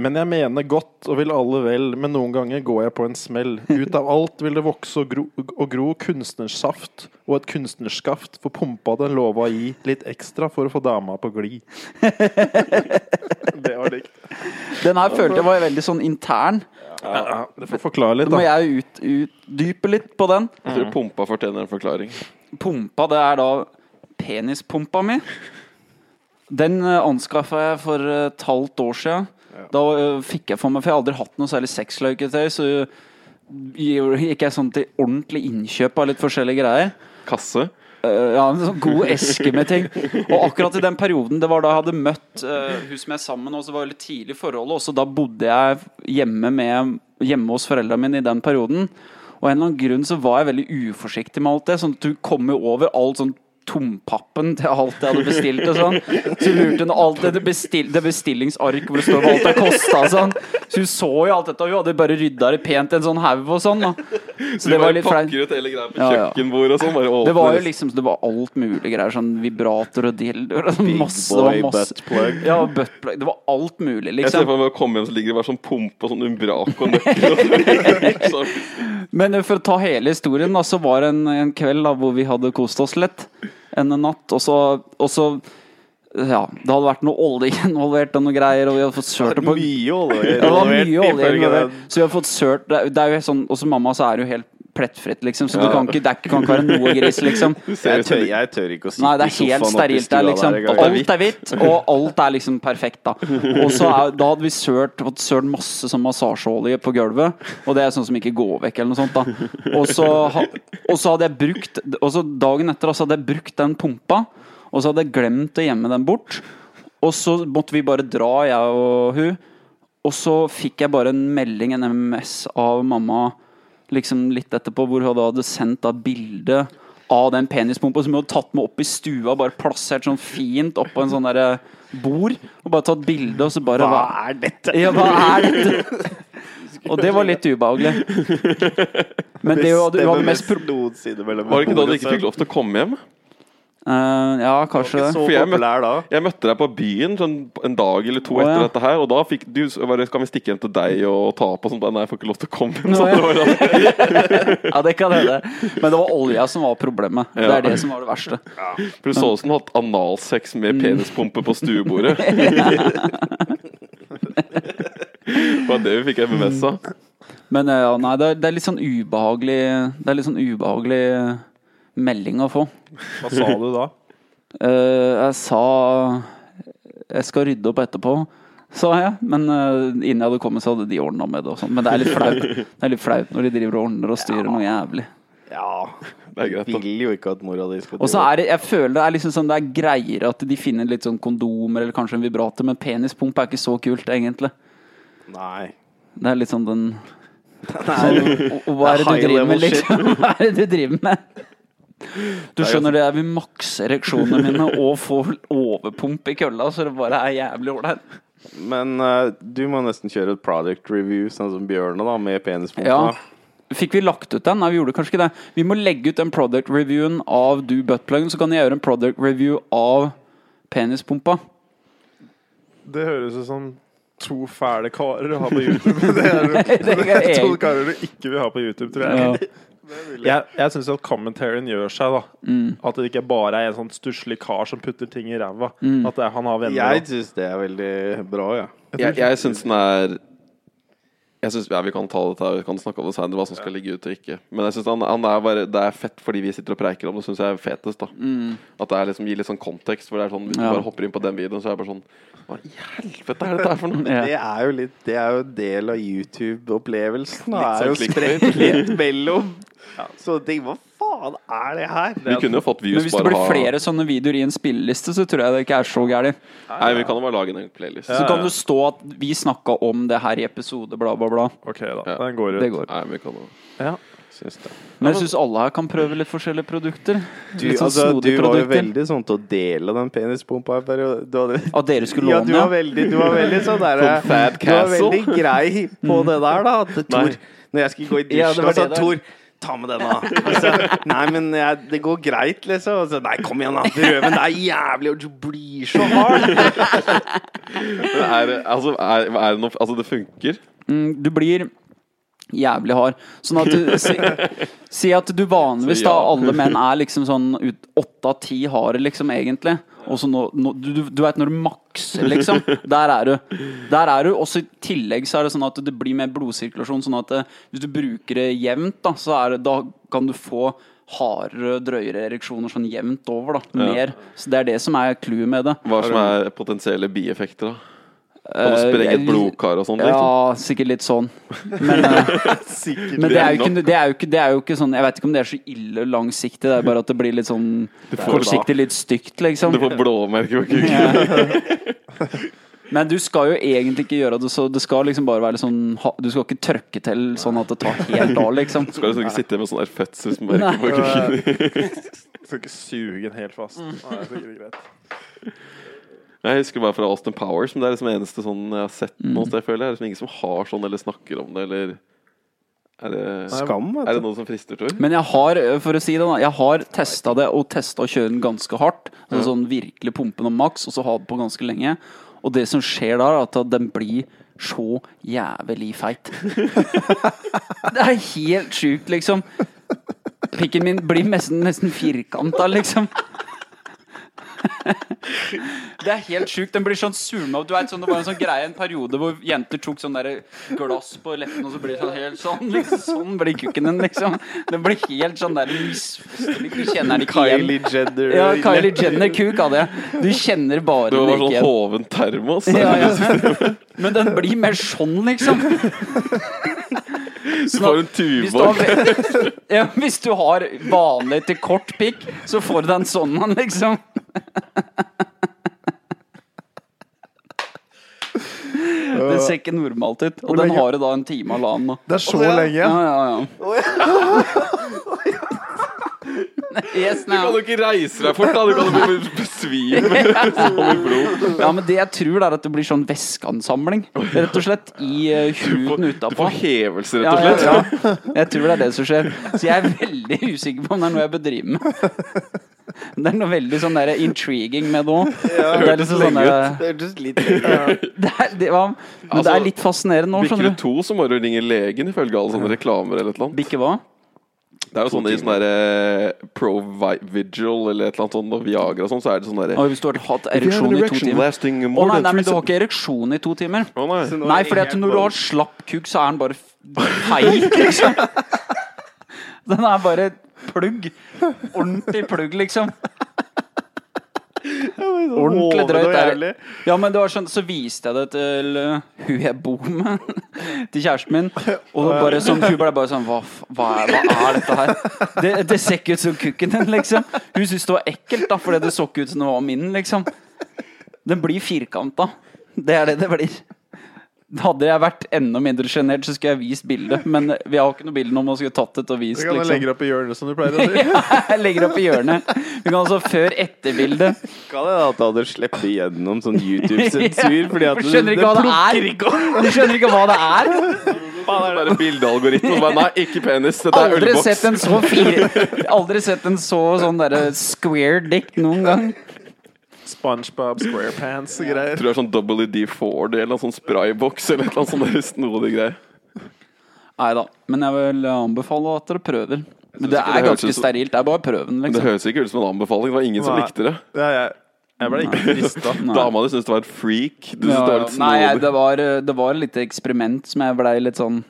[SPEAKER 2] Men jeg mener godt og vil alle vel, men noen ganger går jeg på en smell. Ut av alt vil det vokse og gro, og gro kunstnersaft og et kunstnerskaft, for pumpa den lova å gi litt ekstra for å få dama på glid. det var dikt.
[SPEAKER 4] Den her følte jeg var veldig sånn intern.
[SPEAKER 2] Ja, det får forklare litt,
[SPEAKER 4] Da må
[SPEAKER 2] da.
[SPEAKER 4] jeg ut, utdype litt på den.
[SPEAKER 1] Jeg tror pumpa fortjener en forklaring.
[SPEAKER 4] Pumpa, det er da penispumpa mi. Den anskaffa jeg for eh, et halvt år siden. Da eh, fikk jeg for meg, for jeg har aldri hatt noe særlig sexløketøy, så gikk jeg sånn til ordentlig innkjøp av litt forskjellige greier.
[SPEAKER 1] Kasse.
[SPEAKER 4] Eh, ja, en sånn god eske med ting. Og akkurat i den perioden, det var da jeg hadde møtt eh, hun som jeg er sammen med nå, så det var veldig tidlig i forholdet, og så da bodde jeg hjemme, med, hjemme hos foreldrene mine i den perioden. Og av en eller annen grunn så var jeg veldig uforsiktig med alt det, sånn at hun kom jo over alt sånn tompappen til alt jeg hadde bestilt og sånn. Så hun lurte henne alt det, det, bestill, det bestillingsark hvor det står hva alt det kosta og sånn. Så hun så jo alt dette, og hun hadde bare rydda det pent i en sånn haug og sånn, da. Så det var litt flaut.
[SPEAKER 1] Pakker ut hele greia på
[SPEAKER 4] Ja, ja.
[SPEAKER 1] kjøkkenbordet og sånn. Bare
[SPEAKER 4] Det
[SPEAKER 1] åpner
[SPEAKER 4] var jo
[SPEAKER 1] resten.
[SPEAKER 4] liksom Det var alt mulig greier. Sånn vibrator og dildoer. og Sånn masse, det var
[SPEAKER 3] boy
[SPEAKER 4] masse.
[SPEAKER 3] buttplug.
[SPEAKER 4] Ja, buttplug. Det var alt mulig,
[SPEAKER 1] Jeg ser
[SPEAKER 4] liksom.
[SPEAKER 1] for meg å komme hjem, så ligger det bare sånn pumpe og sånn umbraco og nøkkel. og sånn.
[SPEAKER 4] Men eh, for å ta hele historien, da, så var det en, en kveld da, hvor vi hadde kost oss litt. En natt. Og så, og så Ja, det hadde vært noe olje involvert og noe greier, og vi hadde fått sølt det på
[SPEAKER 3] Mye olje
[SPEAKER 4] Ja, det var mye olje
[SPEAKER 3] ifølge
[SPEAKER 4] involvert.
[SPEAKER 3] den.
[SPEAKER 4] Så vi har fått sørt det, er- det er jo helt sånn Og som mamma så er det jo helt plettfritt, liksom. Så du kan ikke, det er ikke- kan ikke være noe gris, liksom.
[SPEAKER 3] Jeg tør, jeg tør ikke å sitte
[SPEAKER 4] Nei, det
[SPEAKER 3] i
[SPEAKER 4] er
[SPEAKER 3] sofaen
[SPEAKER 4] helt
[SPEAKER 3] oppe i
[SPEAKER 4] sterilt
[SPEAKER 3] stua
[SPEAKER 4] der, liksom.
[SPEAKER 3] der engang.
[SPEAKER 1] Alt
[SPEAKER 4] Alt er hvitt, og alt er liksom perfekt, da. Og så er, da hadde vi sølt, fått sølt masse sånn massasjeolje på gulvet, og det er sånn som ikke går vekk, eller noe sånt, da. Og så, ha- og så hadde jeg brukt Og så dagen etter da, så hadde jeg brukt den pumpa, og så hadde jeg glemt å gjemme den bort. Og så måtte vi bare dra, jeg og hun. Og så fikk jeg bare en melding, en MMS, av mamma liksom litt etterpå, hvor hun da hadde sendt da bilde av den penispumpa som hun hadde tatt med opp i stua, bare plassert sånn fint oppå en sånn derre bord, og bare tatt bilde, og så bare
[SPEAKER 3] Hva er dette?
[SPEAKER 4] ja, hva er dette? Og det var litt ubehagelig. Men det var, det var det mest pro...
[SPEAKER 3] noensinne mellom
[SPEAKER 1] Var det ikke da du ikke fikk lov til å komme hjem?
[SPEAKER 4] Eh, ja, kanskje det.
[SPEAKER 3] Så
[SPEAKER 1] For jeg møtte-
[SPEAKER 3] populær da.
[SPEAKER 1] Jeg møtte deg på byen sånn en dag eller to
[SPEAKER 4] Å,
[SPEAKER 1] etter
[SPEAKER 4] ja.
[SPEAKER 1] dette her, og da fikk du bare, Skal vi stikke hjem til deg og ta på sånt? Nei, jeg får ikke lov til å komme.
[SPEAKER 4] Nå,
[SPEAKER 1] Så
[SPEAKER 4] ja.
[SPEAKER 1] det var da-
[SPEAKER 4] Ja, det kan hende. Men det var olja som var problemet. Det er det som var det verste.
[SPEAKER 1] For du så ut som du hadde hatt analsex med
[SPEAKER 4] Mm.
[SPEAKER 1] penispumpe på stuebordet. Det var det vi fikk MMS av.
[SPEAKER 4] Men eh, ja, nei, det er, det er litt sånn ubehagelig Det er litt sånn ubehagelig eh, melding å få.
[SPEAKER 2] Hva sa du da?
[SPEAKER 4] Eh, jeg sa Jeg skal rydde opp etterpå, sa jeg. Men eh, innen jeg hadde kommet, så hadde de ordna med det. Og sånt. Men det er litt flaut Det er litt flaut når de driver og ordner og styrer noe jævlig.
[SPEAKER 3] Ja.
[SPEAKER 1] Det er greit, da.
[SPEAKER 3] Vil jo ikke at mora di skal
[SPEAKER 4] Og så er det, jeg føler det er liksom sånn Det er greiere at de finner litt sånn kondomer eller kanskje en vibrator, men penispump er ikke så kult, egentlig.
[SPEAKER 3] Nei.
[SPEAKER 4] Det er litt sånn den sånn, og- og Hva er det du
[SPEAKER 3] high
[SPEAKER 4] driver med,
[SPEAKER 3] level shit.
[SPEAKER 4] liksom? Hva er det du driver med? Du skjønner det, jeg vil makse ereksjonene mine og få overpump i kølla, så det bare er jævlig ålreit.
[SPEAKER 3] Men eh, du må nesten kjøre et product review, sånn som Bjørne, da, med penispumpa.
[SPEAKER 4] Ja. Fikk vi lagt ut den? Nei, vi gjorde kanskje ikke det. Vi må legge ut den product reviewen av du buttpluggen, så kan jeg gjøre en product review av penispumpa.
[SPEAKER 2] Det høres ut som to fæle karer å ha på YouTube. men Det er,
[SPEAKER 4] Det er
[SPEAKER 2] to
[SPEAKER 4] jeg-
[SPEAKER 2] karer du ikke vil ha på YouTube, tror jeg.
[SPEAKER 4] Ja.
[SPEAKER 2] Jeg, jeg syns at commentaryen gjør seg, da. At det ikke bare er en sånn stusslig kar som putter ting i ræva. At det er, han har venner.
[SPEAKER 3] Jeg
[SPEAKER 2] da.
[SPEAKER 3] syns det er veldig bra, ja.
[SPEAKER 1] Jeg, jeg syns den er jeg synes, ja, Vi kan ta dette her, vi kan snakke om det senere, hva som skal ligge ute og ikke. Men jeg synes han, han er bare, det er fett fordi vi sitter og preiker om det, syns jeg er fetest. da At det er liksom, gir litt sånn kontekst. For det er sånn, Hvis du
[SPEAKER 4] Mm. Ja.
[SPEAKER 1] bare hopper inn på den videoen, så er det bare sånn Hva i helvete er dette her for noe?
[SPEAKER 4] Ja.
[SPEAKER 3] Det er jo litt Det er jo en del av YouTube-opplevelsen. Det
[SPEAKER 1] Litt
[SPEAKER 3] er jo
[SPEAKER 1] sånn
[SPEAKER 3] spredt litt mellom Så ting. Hva faen er det her?
[SPEAKER 1] Vi kunne jo fått views,
[SPEAKER 4] Men hvis det
[SPEAKER 1] bare
[SPEAKER 4] blir
[SPEAKER 1] ha-
[SPEAKER 4] flere sånne videoer i en spilleliste, så tror jeg det ikke er så gærent.
[SPEAKER 1] Nei, vi kan jo bare lage en egen playlist.
[SPEAKER 4] Så kan det stå at vi snakka om det her i episode bla, bla, bla.
[SPEAKER 2] Ok, da.
[SPEAKER 1] Ja.
[SPEAKER 2] Den går ut.
[SPEAKER 4] Det går.
[SPEAKER 1] Nei, vi kan jo
[SPEAKER 2] Ja.
[SPEAKER 1] synes det.
[SPEAKER 4] Men jeg syns alle her kan prøve litt forskjellige produkter.
[SPEAKER 3] Du,
[SPEAKER 4] Litt sånn
[SPEAKER 3] altså, du
[SPEAKER 4] snodige
[SPEAKER 3] var jo
[SPEAKER 4] produkter.
[SPEAKER 3] veldig sånn til å dele den penispumpa en periode. Du hadde
[SPEAKER 4] At dere skulle
[SPEAKER 3] Ja,
[SPEAKER 4] låne,
[SPEAKER 3] du var
[SPEAKER 4] ja.
[SPEAKER 3] veldig, du var veldig sånn der
[SPEAKER 1] Sånn Fab
[SPEAKER 3] Du var
[SPEAKER 1] Castle.
[SPEAKER 3] veldig grei på det der, da. At Tor,
[SPEAKER 1] Nei.
[SPEAKER 3] når jeg skulle gå i
[SPEAKER 4] Ja, det
[SPEAKER 3] dusjen,
[SPEAKER 4] var
[SPEAKER 3] og sa
[SPEAKER 4] det der.
[SPEAKER 3] Tor Ta med den, da. Og så, nei, men jeg, det går greit, liksom. Og så, nei, kom igjen, da. Røven, det er jævlig, og du blir så hard.
[SPEAKER 1] Men er, det- altså, er, er det noe Altså, det funker.
[SPEAKER 4] Mm, Du blir jævlig hard. Sånn at du Si, si at du vanligvis,
[SPEAKER 1] Så
[SPEAKER 4] da,
[SPEAKER 1] ja.
[SPEAKER 4] alle menn er liksom sånn ut- åtte av ti harde, liksom, egentlig. Og så nå, nå Du, du- du veit når du makser, liksom. Der er du. Der er du. Og så i tillegg så er det sånn at det blir mer blodsirkulasjon, sånn at eh, hvis du bruker det jevnt, da, så er det, da kan du få hardere, drøyere ereksjoner sånn jevnt over, da. Mer. Så det er det som er clouet med det.
[SPEAKER 1] Hva som er potensielle bieffekter, da? Kan du sprenge et
[SPEAKER 4] Eh,
[SPEAKER 1] blodkar og sånt? Liksom?
[SPEAKER 4] Ja, sikkert litt sånn. Men, eh, men det, er jo ikke, det, er jo ikke, det er jo ikke sånn Jeg vet ikke om det er så ille langsiktig, det er bare at det blir litt sånn kortsiktig, litt stygt, liksom.
[SPEAKER 1] Du får blåmerker på kuken.
[SPEAKER 4] Men du skal jo egentlig ikke gjøre det, så det skal liksom bare være litt sånn ha- Du skal ikke trøkke til sånn at det tar helt av, liksom.
[SPEAKER 1] Skal liksom ikke sitte med sånn der fødselsmerke på kuken.
[SPEAKER 2] Skal ikke suge den helt fast. Nei, det er greit.
[SPEAKER 1] Jeg husker bare fra Austin Powers, men det er liksom det eneste sånn jeg har sett
[SPEAKER 4] Mm.
[SPEAKER 1] noe sted, føler jeg. Det er liksom ingen som har sånn eller snakker om det, eller Er det,
[SPEAKER 3] Skam, vet du.
[SPEAKER 1] er det noe som frister, Tor?
[SPEAKER 4] Men jeg har, eh, for å si det da, jeg har testa det, og testa å kjøre den ganske hardt. Så sånn virkelig pumpe den maks, og så ha den på ganske lenge. Og det som skjer da, er at den blir så jævlig feit. det er helt sjukt, liksom. Pikken min blir nesten, nesten firkanta, liksom. Det er helt sjukt. Den blir sånn surna opp. Du vet, sånn, det var en sånn greie en periode hvor jenter tok sånn der glass på leppene, og så blir det sånn helt sånn. Liksom, sånn blir kukken din, liksom. Det blir helt sånn der misfosterlig. Du kjenner den ikke igjen.
[SPEAKER 3] Kylie Jenner.
[SPEAKER 4] Ja, Kylie Jenner-kuk hadde jeg. Du kjenner bare
[SPEAKER 1] Det
[SPEAKER 4] den
[SPEAKER 1] var
[SPEAKER 4] ikke
[SPEAKER 1] sånn
[SPEAKER 4] igjen.
[SPEAKER 1] hoven termos.
[SPEAKER 4] Ja, ja. Men den blir mer sånn, liksom.
[SPEAKER 1] Du får en
[SPEAKER 4] Hvis du, har,
[SPEAKER 1] tuborg.
[SPEAKER 4] ve- ja, hvis du har vanlig til kort pikk, så får du den sånn, han, liksom. Det ser ikke normalt ut. Og den
[SPEAKER 2] lenge-
[SPEAKER 4] har du da en time og halvannen nå.
[SPEAKER 2] Det er så lenge
[SPEAKER 4] Ja,
[SPEAKER 2] igjen.
[SPEAKER 4] ja, ja. Yes,
[SPEAKER 1] Du kan
[SPEAKER 4] now.
[SPEAKER 1] jo ikke reise deg fort, da. Du kan jo bli besvime. Sånn
[SPEAKER 4] Ja, men det jeg tror, det er at det blir sånn væskeansamling, rett og slett, i eh,
[SPEAKER 1] Du
[SPEAKER 4] huden utapå.
[SPEAKER 1] får hevelse, rett
[SPEAKER 4] Ja,
[SPEAKER 1] og
[SPEAKER 4] ja,
[SPEAKER 1] slett.
[SPEAKER 4] ja. Jeg tror det er det som skjer. Så jeg er veldig usikker på om det er noe jeg bedriver med. Men Det er noe veldig sånn der intriguing med det òg. Det er liksom sånn der-
[SPEAKER 3] Det hørtes litt lenger ut.
[SPEAKER 4] det er- det var- Men det er
[SPEAKER 1] Altså,
[SPEAKER 4] litt fascinerende nå,
[SPEAKER 1] Bikker
[SPEAKER 4] Sånn skjønner
[SPEAKER 1] du
[SPEAKER 4] du.
[SPEAKER 1] to, så må du ringe legen, ifølge alle sånne reklamer eller et eller annet.
[SPEAKER 4] Bikke hva?
[SPEAKER 1] Det er jo sånn i sånn der eh, Pro Vi- Vigil eller et eller annet sånt, og Viagra og sånn, så er det sånn derre
[SPEAKER 4] Å, Hvis du har hatt ereksjon i to timer Å nei, nei, men du har ikke ereksjon i to timer.
[SPEAKER 1] Å nei.
[SPEAKER 4] Nei, fordi at når du har slapp kuk, så er den bare feig, liksom. Den er bare plugg. Ordentlig plugg, liksom. Ordentlig drøyt er det. Ja, men det var sånn, så viste jeg det til uh, hun jeg bor med, til kjæresten min. Og det bare sånn, hun ble bare sånn Hva, f- hva, er, hva er dette her? Det, det ser ikke ut som kukken din, liksom. Hun syntes det var ekkelt, da, fordi det så ikke ut som det var min, liksom. Den blir firkanta. Det er det det blir. Hadde jeg vært enda mindre sjenert, så skulle jeg vist bildet. Men eh, vi har ikke noe bilde nå, man skulle tatt det og
[SPEAKER 2] Du
[SPEAKER 4] vist.
[SPEAKER 2] kan jo legge
[SPEAKER 4] Liksom.
[SPEAKER 2] det opp i hjørnet, som du pleier å si.
[SPEAKER 4] Ja, jeg legger opp i hjørnet. Vi kan altså før-etter-bilde.
[SPEAKER 3] Kan det da at du hadde sluppet igjennom sånn YouTube-sensur? Fordi at
[SPEAKER 4] Du skjønner ikke hva det er! Du skjønner ikke hva det er!
[SPEAKER 1] Bare bildealgoritmen. Bare, Nei, ikke penis. Dette er
[SPEAKER 4] Aldri
[SPEAKER 1] ølboks.
[SPEAKER 4] sett en så fire Aldri sett en så sånn derre square dick noen gang.
[SPEAKER 2] SpongeBob SquarePants og greier.
[SPEAKER 1] Tror det er sånn WD-40 eller en sånn sprayboks eller et eller annet sånn snodig greier.
[SPEAKER 4] Nei da. Men jeg vil anbefale at dere prøver.
[SPEAKER 1] ikke
[SPEAKER 4] Men det
[SPEAKER 1] det
[SPEAKER 4] er
[SPEAKER 1] høres ut
[SPEAKER 4] ganske
[SPEAKER 1] som-
[SPEAKER 4] sterilt. Det er bare prøven,
[SPEAKER 1] Det
[SPEAKER 4] liksom.
[SPEAKER 1] høres ikke ut som en anbefaling. Det var ingen som
[SPEAKER 2] Nei.
[SPEAKER 1] likte det.
[SPEAKER 2] Ja, jeg, jeg ble ikke sånn, frista.
[SPEAKER 4] Nei.
[SPEAKER 1] Dama di syntes det var et freak. Du syntes det
[SPEAKER 4] Ja,
[SPEAKER 1] var
[SPEAKER 4] ja.
[SPEAKER 1] litt
[SPEAKER 4] Nei,
[SPEAKER 1] snodig.
[SPEAKER 4] det var, eh, det var litt eksperiment som jeg blei litt sånn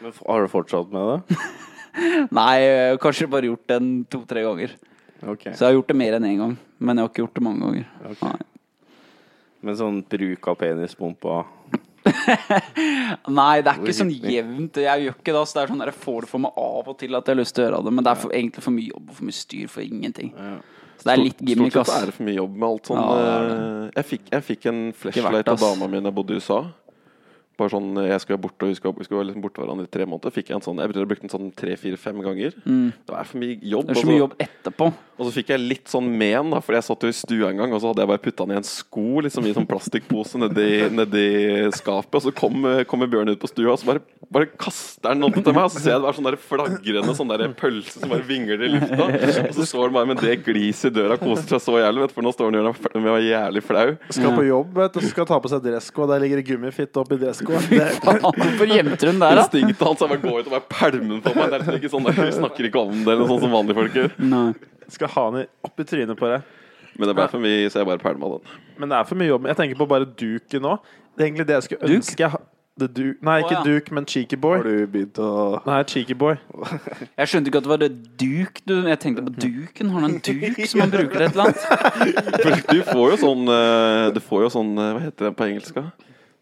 [SPEAKER 3] Men f- Har du fortsatt med det?
[SPEAKER 4] Nei, jeg har kanskje bare gjort den to-tre ganger.
[SPEAKER 3] Ok.
[SPEAKER 4] Så jeg har gjort det mer enn én gang. Men jeg har ikke gjort det mange ganger. Nei.
[SPEAKER 3] Men sånn bruk av penispumpa
[SPEAKER 4] Nei, det er ikke
[SPEAKER 3] Hvor
[SPEAKER 4] sånn
[SPEAKER 3] hyppig?
[SPEAKER 4] jevnt. Jeg gjør ikke det. ass. Det er sånn der, jeg får det for meg av og til at jeg har lyst til å gjøre det. Men det er for, egentlig for mye jobb og for mye styr for ingenting. Så det er litt gimmick,
[SPEAKER 1] Stort
[SPEAKER 4] ass.
[SPEAKER 1] sett er det for mye jobb med alt sånn.
[SPEAKER 4] Ja, det er
[SPEAKER 1] eh, jeg, fikk, jeg fikk en
[SPEAKER 4] verdt,
[SPEAKER 1] flashlight av
[SPEAKER 4] ass.
[SPEAKER 1] dama mi da jeg bodde i USA. Bare sånn, eh, jeg skulle være borte, og vi skulle, vi skulle være liksom borte hverandre i tre måneder. Fikk Jeg en sånn, jeg tror jeg brukte den sånn tre-fire-fem ganger. Det var for mye jobb.
[SPEAKER 4] Mm.
[SPEAKER 1] altså.
[SPEAKER 4] Det er så
[SPEAKER 1] og
[SPEAKER 4] mye
[SPEAKER 1] så-
[SPEAKER 4] jobb etterpå.
[SPEAKER 1] Og så fikk jeg litt sånn men, da, fordi jeg satt jo i stua en gang, og så hadde jeg bare putta den i en sko liksom i sånn plastikkpose nedi, nedi skapet. Og så kom, eh, kommer Bjørn ut på stua, og så bare, bare kaster han noe til meg. Og så ser jeg det var sånn der flagrende sånn der pølse som bare vingler i lufta. Og så står han bare med det gliset i døra og koser seg så jævlig, vet du, for nå står han og gjør meg fl- meg jævlig flau.
[SPEAKER 2] Skal på jobb, vet du, så skal ta på seg dressko, og der ligger det gummifitte oppi dresskoa. Det-
[SPEAKER 4] Hvorfor gjemte hun der, da?
[SPEAKER 1] Instinktet hans er bare å gå ut og bare pælme den på meg. Det er liksom ikke sånn der, Vi snakker ikke om det eller noe sånt som vanlige folk gjør.
[SPEAKER 4] Nei.
[SPEAKER 2] Skal ha den i- opp i trynet på deg.
[SPEAKER 1] Men det ble for mye, så jeg bare pælma den.
[SPEAKER 2] Men det er for mye jobb. Jeg tenker på bare duken nå. Det er egentlig det jeg skulle
[SPEAKER 4] Duk?
[SPEAKER 2] ønske jeg ha- det du, Nei, ikke
[SPEAKER 4] Å, ja.
[SPEAKER 2] duk, men cheeky
[SPEAKER 3] Har
[SPEAKER 2] boy.
[SPEAKER 3] du begynt å
[SPEAKER 2] Nei, cheeky boy.
[SPEAKER 4] Jeg skjønte ikke at det var det duk du Jeg tenkte på duken. Har han en duk som han bruker et eller annet?
[SPEAKER 1] For du får jo sånn eh, Du får jo sånn eh, Hva heter det på engelsk? da?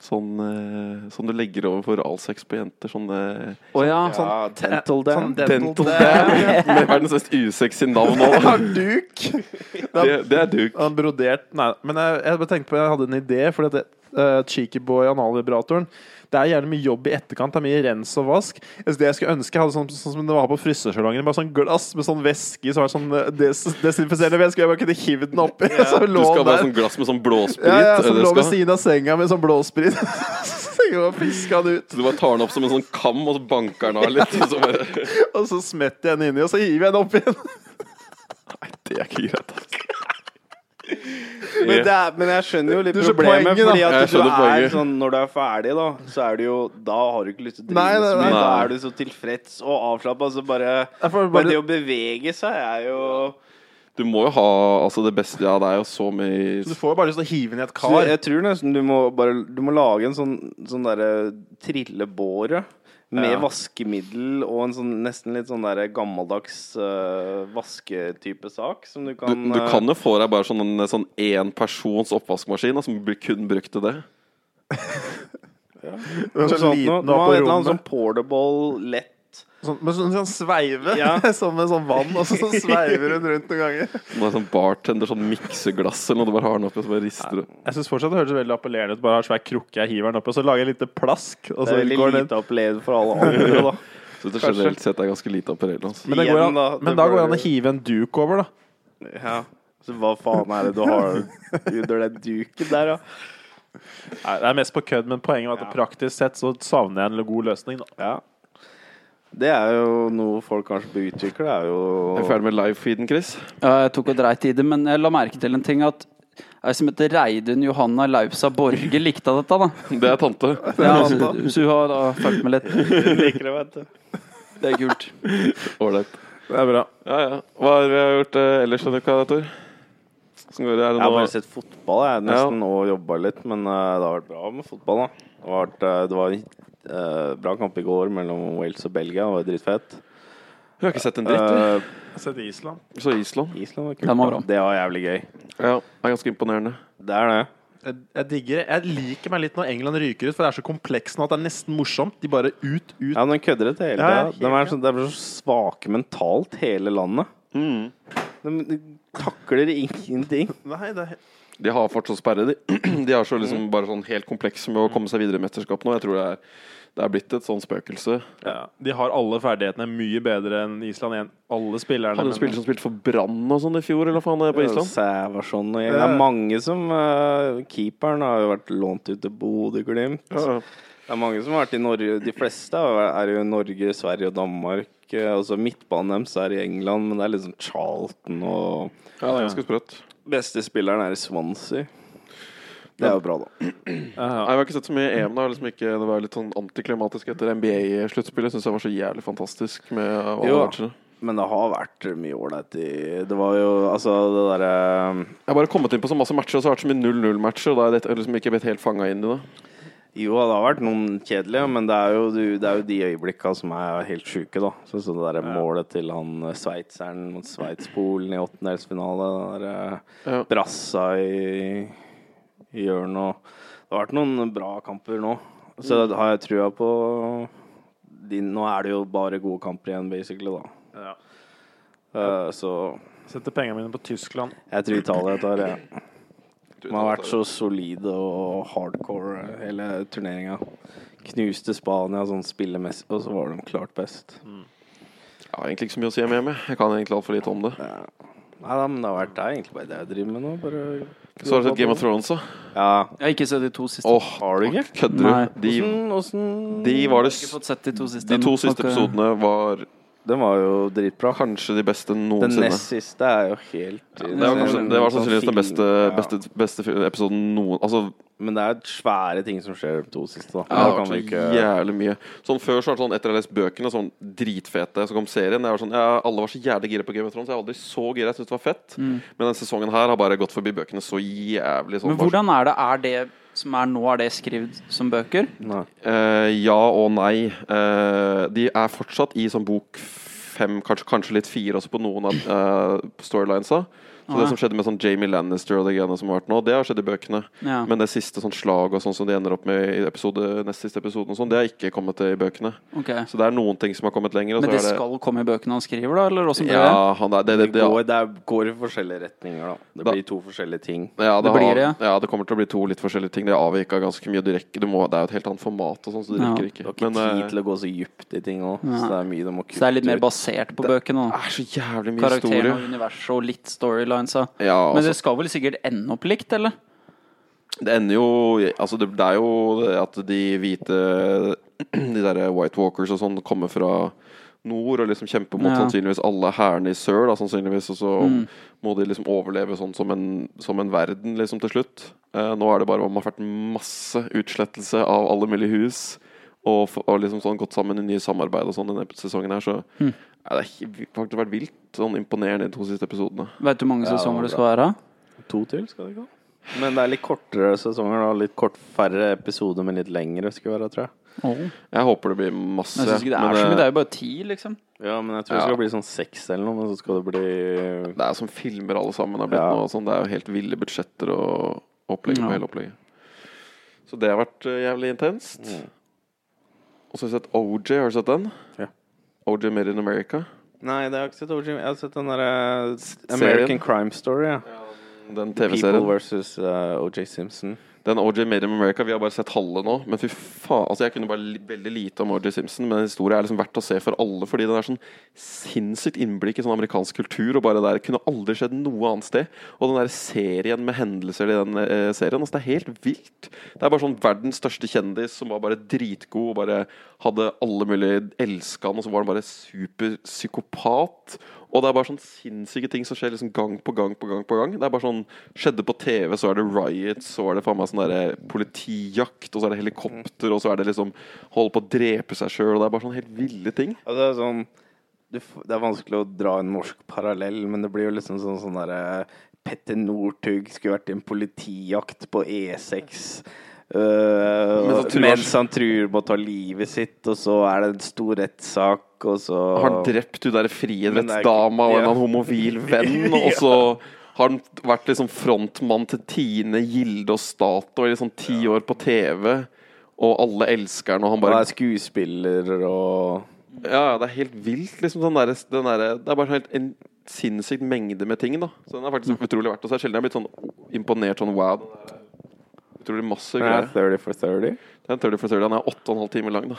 [SPEAKER 1] Sånn eh, som du legger over for oralsex på jenter. Sånn eh,
[SPEAKER 4] Å ja. sånn.
[SPEAKER 3] Ja,
[SPEAKER 2] Sånn
[SPEAKER 3] dental dam.
[SPEAKER 1] dental dam. Med verdens mest usexy navn nå. da.
[SPEAKER 2] Har duk!
[SPEAKER 1] Det, det er duk.
[SPEAKER 2] Han brodert Nei, men jeg, jeg bare tenkte på Jeg hadde en idé. Fordi at det, eh, Cheeky Boy analvibratoren Det er gjerne mye jobb i etterkant. Det er mye rens og vask. Jeg synes Det jeg skulle ønske jeg hadde sånn, sånn som det var på frisørsalongen. Bare sånn glass med sånn væske som var sånn eh, des desinfiserende væske. Jeg bare kunne hivd den oppi. Så
[SPEAKER 1] Du
[SPEAKER 2] lå
[SPEAKER 1] skal bare
[SPEAKER 2] den
[SPEAKER 1] ha
[SPEAKER 2] der.
[SPEAKER 1] sånn glass med sånn blåsprit.
[SPEAKER 2] Ja, ja,
[SPEAKER 1] eh,
[SPEAKER 2] som
[SPEAKER 1] det
[SPEAKER 2] lå ved
[SPEAKER 1] skal.
[SPEAKER 2] siden av senga med sånn blåsprit. Så jeg bare fiska den ut.
[SPEAKER 1] Så du bare tar den opp som en sånn kam, og så banker den av litt. Og så bare
[SPEAKER 2] Og så smetter jeg den inni, og så hiver jeg den opp igjen.
[SPEAKER 1] Nei, det er ikke greit, altså.
[SPEAKER 3] Men, det er, men jeg skjønner jo litt
[SPEAKER 2] Du skjønner
[SPEAKER 3] problemet.
[SPEAKER 2] poenget, da.
[SPEAKER 3] fordi at
[SPEAKER 1] Jeg
[SPEAKER 3] du
[SPEAKER 1] skjønner
[SPEAKER 3] er
[SPEAKER 1] poenget.
[SPEAKER 3] sånn, Når du er ferdig, da, så er du jo Da har du ikke lyst til å drive
[SPEAKER 2] Nei, nei,
[SPEAKER 3] så
[SPEAKER 2] nei.
[SPEAKER 3] mye. Da
[SPEAKER 1] Nei.
[SPEAKER 3] er du så tilfreds og avslappa. Altså bare,
[SPEAKER 2] Jeg får
[SPEAKER 3] bare
[SPEAKER 2] bare-
[SPEAKER 3] det å bevege seg er jo
[SPEAKER 1] Du må jo ha altså det beste Ja, det er jo så mye
[SPEAKER 2] Så du får jo bare lyst til å hive ned et
[SPEAKER 3] Så
[SPEAKER 2] kar.
[SPEAKER 3] jeg tror nesten du må, bare, du må lage en sånn, sånn derre trillebåre. Med
[SPEAKER 2] Ja.
[SPEAKER 3] vaskemiddel og en sånn, nesten litt sånn der gammeldags øh, vasketype sak som du kan eh,
[SPEAKER 1] du, du kan jo få deg bare sånn en sånn én persons oppvaskmaskin da, som blir kun brukt til det.
[SPEAKER 2] Sånn
[SPEAKER 3] sånn, sånn, noe,
[SPEAKER 2] liten opp
[SPEAKER 3] noe,
[SPEAKER 2] på
[SPEAKER 3] et eller annet
[SPEAKER 2] rommet.
[SPEAKER 3] sånn portable, lett
[SPEAKER 2] Sånn, men sånn, sånn sveive,
[SPEAKER 3] Ja.
[SPEAKER 2] som med sånn vann, og så, så sveiver hun rundt noen ganger.
[SPEAKER 1] Som er sånn bartender, sånn mikseglass eller noe. Du bare har den oppi og så bare rister du.
[SPEAKER 2] Jeg syns fortsatt det høres veldig appellerende ut. Bare har en svær krukke jeg hiver den oppi, og så lager jeg et lite plask. Og
[SPEAKER 3] Det
[SPEAKER 2] så
[SPEAKER 3] er veldig
[SPEAKER 2] går den,
[SPEAKER 3] lite opplevd for alle andre, da.
[SPEAKER 1] Så det
[SPEAKER 2] Kanskje.
[SPEAKER 1] generelt sett er ganske lite altså. apparell hans.
[SPEAKER 2] men, det går
[SPEAKER 3] Igjen,
[SPEAKER 2] an,
[SPEAKER 3] da, det
[SPEAKER 2] men da går det an
[SPEAKER 3] burde-
[SPEAKER 2] å hive en duk over, da.
[SPEAKER 3] Ja. Så hva faen er det du har under den duken der, da?
[SPEAKER 2] Nei, det er mest på kødd, men poenget var at praktisk sett så savner jeg en god løsning. Da.
[SPEAKER 3] Ja. Det er jo noe folk kanskje bør utvikle. Det er
[SPEAKER 1] Er vi
[SPEAKER 3] jo
[SPEAKER 1] ferdig med live-feeden, Chris?
[SPEAKER 4] Ja, jeg tok og dreit i det, men jeg la merke til en ting at ei som heter Reidun Johanna Lausa Borge likte dette, da.
[SPEAKER 1] Det er tante.
[SPEAKER 4] Ja, så, så hun har da fulgt med litt.
[SPEAKER 3] Hun liker det, vet du.
[SPEAKER 4] Det er kult.
[SPEAKER 1] Ålreit.
[SPEAKER 2] Det er bra.
[SPEAKER 1] Ja, ja. Hva har vi gjort eh, ellers denne uka, Tor? Åssen går det? Er
[SPEAKER 3] Jeg har
[SPEAKER 1] det
[SPEAKER 3] bare
[SPEAKER 1] nå?
[SPEAKER 3] sett fotball jeg nesten og jobba litt, men eh, det har vært bra med fotball. da Det, har vært, eh, det var en eh, bra kamp i går mellom Wales og Belgia. Det var dritfett.
[SPEAKER 1] Vi har ikke sett en dritt. vi.
[SPEAKER 3] Eh,
[SPEAKER 2] Jeg har sett Island.
[SPEAKER 1] Så Island.
[SPEAKER 3] Island var kult.
[SPEAKER 4] Den
[SPEAKER 3] da.
[SPEAKER 4] var bra.
[SPEAKER 3] Det var jævlig gøy.
[SPEAKER 1] Ja, er ganske imponerende.
[SPEAKER 3] Det er det.
[SPEAKER 2] Jeg, jeg digger det. Jeg liker meg litt når England ryker ut, for det er så komplekst nå at det er nesten morsomt. De bare ut, ut.
[SPEAKER 3] Ja, men de kødder det hele
[SPEAKER 2] Ja, ja,
[SPEAKER 3] tida.
[SPEAKER 2] helt
[SPEAKER 3] De er så, de er så svake mentalt, hele landet.
[SPEAKER 2] Mm.
[SPEAKER 3] De, de takler ingenting.
[SPEAKER 2] Nei, det er
[SPEAKER 1] De har fortsatt sperre, de. De har så liksom bare sånn helt kompleks med å komme seg videre i mesterskap nå. Jeg tror det er, det er blitt et sånn spøkelse.
[SPEAKER 2] Ja. De har alle ferdighetene mye bedre enn Island 1. Alle spillerne.
[SPEAKER 1] Hadde
[SPEAKER 2] men-
[SPEAKER 1] en spiller som spilte for Brann og sånn i fjor, eller hva faen det er på Island?
[SPEAKER 3] Sævarsson sånn, og gjeng.
[SPEAKER 2] Ja.
[SPEAKER 3] Det er mange som eh, Keeperen har jo vært lånt ut til Bodø-Glimt.
[SPEAKER 1] Ja, ja.
[SPEAKER 3] Det er mange som har vært i Norge. De fleste er er jo i Norge, Sverige og Danmark. eh, Altså Midtbanen deres er i England, men det er liksom Charlton og
[SPEAKER 1] Ja, det er ganske sprøtt.
[SPEAKER 3] Beste spilleren er i Swansea. Det er jo bra, da.
[SPEAKER 1] Nei, jeg har ikke sett så mye i EM. da. Jeg har Liksom ikke, det var litt sånn antiklimatisk etter NBA-sluttspillet. Syns jeg var så jævlig fantastisk med alle
[SPEAKER 3] Jo.
[SPEAKER 1] matchene.
[SPEAKER 3] Men det har vært mye ålreit i Det var jo altså det eh, derre
[SPEAKER 1] Jeg har bare kommet inn på så masse matcher, og så har det vært så mye 0-0-matcher. Og da er jeg liksom ikke blitt helt fanget inn i det.
[SPEAKER 3] Jo, det har vært noen kjedelige, men det er jo, du- det er jo de øyeblikka som er helt sjuke, da. Sånn som det derre målet til han eh, sveitseren mot Sveits-Polen i åttendelsfinale. Det eh, derre
[SPEAKER 1] Ja.
[SPEAKER 3] brassa i, i hjørnet. og Det har vært noen bra kamper nå.
[SPEAKER 1] Mm.
[SPEAKER 3] Så har jeg trua på de, Nå er det jo bare gode kamper igjen, basically, da.
[SPEAKER 2] Ja.
[SPEAKER 3] Eh, så
[SPEAKER 2] Setter pengene mine på Tyskland.
[SPEAKER 3] jeg tror Italia tar det. De har vært så solide og hardcore hele turneringa. Knuste Spania sånn spillemessig, og så var de klart best.
[SPEAKER 1] Mm. Jeg har egentlig ikke så mye å si om EM. jeg. Jeg kan egentlig altfor lite om det.
[SPEAKER 3] Nei da, men det har vært det er egentlig bare det jeg driver med nå. Bare
[SPEAKER 1] Så har du sett Game of Thrones, da?
[SPEAKER 3] Ja.
[SPEAKER 4] Jeg har ikke sett de to siste.
[SPEAKER 1] Åh,
[SPEAKER 3] Har du ikke?
[SPEAKER 1] kødder
[SPEAKER 4] Nei.
[SPEAKER 1] du? De,
[SPEAKER 3] Åssen- åssen-
[SPEAKER 1] de, var det,
[SPEAKER 4] Jeg har ikke
[SPEAKER 1] s-
[SPEAKER 4] fått sett de to siste.
[SPEAKER 1] de to siste
[SPEAKER 4] Har ikke-
[SPEAKER 1] episodene var
[SPEAKER 3] Den var jo dritbra.
[SPEAKER 1] kanskje de beste
[SPEAKER 3] Den
[SPEAKER 1] noensinne.
[SPEAKER 3] nest siste er jo helt sånn
[SPEAKER 1] Det var, kanskje, det var sannsynligvis den beste,
[SPEAKER 3] Ja.
[SPEAKER 1] beste, beste fi- episoden noen Altså,
[SPEAKER 3] Men det er svære ting som skjer de to siste, da.
[SPEAKER 1] det
[SPEAKER 3] Da
[SPEAKER 1] har
[SPEAKER 3] kan vi
[SPEAKER 1] vært så
[SPEAKER 3] ikke
[SPEAKER 1] jævlig mye. Sånn Før så var det sånn, etter jeg leste bøkene, sånn dritfete, så kom serien. Jeg var sånn, ja, alle var så jævlig gira på Game of Thrones. Jeg var aldri så gira. Jeg syntes det var fett.
[SPEAKER 4] Mm.
[SPEAKER 1] Men den sesongen her har bare gått forbi bøkene så jævlig sånn.
[SPEAKER 4] Men hvordan er det? Er det som er nå, er det skrevet som bøker?
[SPEAKER 3] Nei.
[SPEAKER 1] Eh, ja og nei. Eh, de er fortsatt i sånn bok fem, kanskje, kanskje litt fire også på noen av eh, storylinesa. Så
[SPEAKER 4] Ah, ja.
[SPEAKER 1] det som skjedde med sånn Jamie Lannister og de greiene som har vært nå, det har skjedd i bøkene.
[SPEAKER 4] Ja.
[SPEAKER 1] Men det siste sånn slag og sånn som de ender opp med i episode, nest siste episoden, og sånn, det har ikke kommet til i bøkene.
[SPEAKER 4] Ok.
[SPEAKER 1] Så det er noen ting som har kommet lenger. Og
[SPEAKER 4] Men
[SPEAKER 1] så
[SPEAKER 4] det
[SPEAKER 1] er det
[SPEAKER 4] skal komme i bøkene han skriver, da? Eller åssen blir det?
[SPEAKER 1] ja, han, er- det, det,
[SPEAKER 3] Det
[SPEAKER 1] det,
[SPEAKER 3] går, det er- går i forskjellige retninger, da. Det
[SPEAKER 1] Da-
[SPEAKER 3] blir to forskjellige ting.
[SPEAKER 1] ja, det,
[SPEAKER 4] det blir
[SPEAKER 1] har,
[SPEAKER 4] det,
[SPEAKER 1] ja, det kommer til å bli to litt forskjellige ting. Det avvika ganske mye. Du rekker, du må, det er jo et helt annet format, og sånn, så du
[SPEAKER 4] Ja.
[SPEAKER 3] Du
[SPEAKER 1] rekker
[SPEAKER 3] har
[SPEAKER 1] ikke.
[SPEAKER 3] ikke
[SPEAKER 1] Men eh,
[SPEAKER 3] tid til å gå så djupt i ting òg, så det er mye du må kutte
[SPEAKER 4] Så det er litt mer
[SPEAKER 3] ut.
[SPEAKER 4] basert på
[SPEAKER 1] det
[SPEAKER 4] bøkene? da.
[SPEAKER 1] er så jævlig mye
[SPEAKER 4] Karakteren
[SPEAKER 1] historie.
[SPEAKER 4] og universet og litt storylines. da.
[SPEAKER 1] Ja,
[SPEAKER 4] Men
[SPEAKER 1] altså.
[SPEAKER 4] det skal vel sikkert ende opp likt, eller?
[SPEAKER 1] Det ender jo Altså, det, det er jo det at de hvite De derre White Walkers og sånn kommer fra nord og liksom kjemper mot
[SPEAKER 4] Ja. Mm.
[SPEAKER 1] sannsynligvis alle hærene i sør, da, sannsynligvis. Og så må de liksom overleve sånn som en, som en verden, liksom, til slutt. Eh, nå er det bare om det har vært masse utslettelse av alle mulige hus. og, f- og liksom sånn gått sammen i nye samarbeid og sånn denne sesongen her, så
[SPEAKER 4] Mm.
[SPEAKER 1] ja, Det har ikke- faktisk vært vilt sånn imponerende de to siste episodene.
[SPEAKER 4] Vet du hvor mange
[SPEAKER 3] Ja, det var
[SPEAKER 4] sesonger det
[SPEAKER 3] bra.
[SPEAKER 4] skal være?
[SPEAKER 2] To til, skal det ikke?
[SPEAKER 3] Men det er litt kortere sesonger da. Litt kort færre episoder, men litt lengre skulle være, tror jeg.
[SPEAKER 1] Jeg håper det blir masse.
[SPEAKER 4] Jeg synes ikke det
[SPEAKER 1] men
[SPEAKER 4] er så mye, det er jo bare ti, liksom.
[SPEAKER 3] Ja, men jeg tror det
[SPEAKER 1] Ja.
[SPEAKER 3] skal bli sånn seks eller noe, men så skal det bli
[SPEAKER 1] det er som filmer alle sammen har
[SPEAKER 3] Ja.
[SPEAKER 1] blitt nå. og Sånn. Det er jo helt ville budsjetter og opplegget
[SPEAKER 4] Ja.
[SPEAKER 1] på hele opplegget. Så det har vært eh, jævlig intenst.
[SPEAKER 3] Mm.
[SPEAKER 1] Og så har jeg sett OJ. Har du sett den?
[SPEAKER 2] Ja.
[SPEAKER 1] OJ Made in America.
[SPEAKER 3] Nei, det har jeg ikke sett over Jimmy. Jeg har sett den derre American Crime Story. Ja.
[SPEAKER 1] Den
[SPEAKER 3] People
[SPEAKER 1] TV-serien.
[SPEAKER 3] versus eh, OJ Simpson.
[SPEAKER 1] Den OJ Made in America Vi har bare sett halve nå. Men fy faen. Altså, jeg kunne bare li veldig lite om OJ Simpson, men historien er liksom verdt å se for alle, fordi den er sånn sinnssykt innblikk i sånn amerikansk kultur, og bare det der kunne aldri skjedd noe annet sted. Og den der serien med hendelser i den eh, serien, altså det er helt vilt. Det er bare sånn verdens største kjendis som var bare dritgod og bare hadde alle mulige elska han, og så var han bare superpsykopat. Og det er bare sånn sinnssyke ting som skjer liksom gang på gang på gang. på gang Det er bare sånn Skjedde på TV, så er det riot, så er det faen meg sånn derre politijakt, og så er det helikopter, og så er det liksom holde på å drepe seg sjøl, og det er bare sånn helt ville ting.
[SPEAKER 3] Altså, det er sånn du, f- Det er vanskelig å dra en norsk parallell, men det blir jo liksom sånn sånn derre Petter Northug skulle vært i en politijakt på E6. øh,
[SPEAKER 1] Mens han truer-
[SPEAKER 3] mens han truer med å ta livet sitt, og så er det en stor rettssak, og så
[SPEAKER 1] har han drept hun
[SPEAKER 3] Men
[SPEAKER 1] der
[SPEAKER 3] det er
[SPEAKER 1] frihetsdama og
[SPEAKER 3] ikke-
[SPEAKER 1] en
[SPEAKER 3] ja.
[SPEAKER 1] annen homofil venn, og så har han vært liksom frontmann til Tine, Gilde og Statoil i sånn ti år på TV, og alle elsker han, og han
[SPEAKER 3] Og
[SPEAKER 1] bare
[SPEAKER 3] er skuespiller og
[SPEAKER 1] Ja, ja, det er helt vilt, liksom. Den der, den der, det er bare helt en sinnssykt mengde med ting, da. Så den er
[SPEAKER 3] Mm.
[SPEAKER 1] faktisk utrolig verdt å se. Sjelden jeg har blitt sånn imponert sånn wow. den er Utrolig masse
[SPEAKER 3] Men er
[SPEAKER 1] greier.
[SPEAKER 3] 30 for 30?
[SPEAKER 1] Den 30 for 30, den er åtte og en halv time lang, da.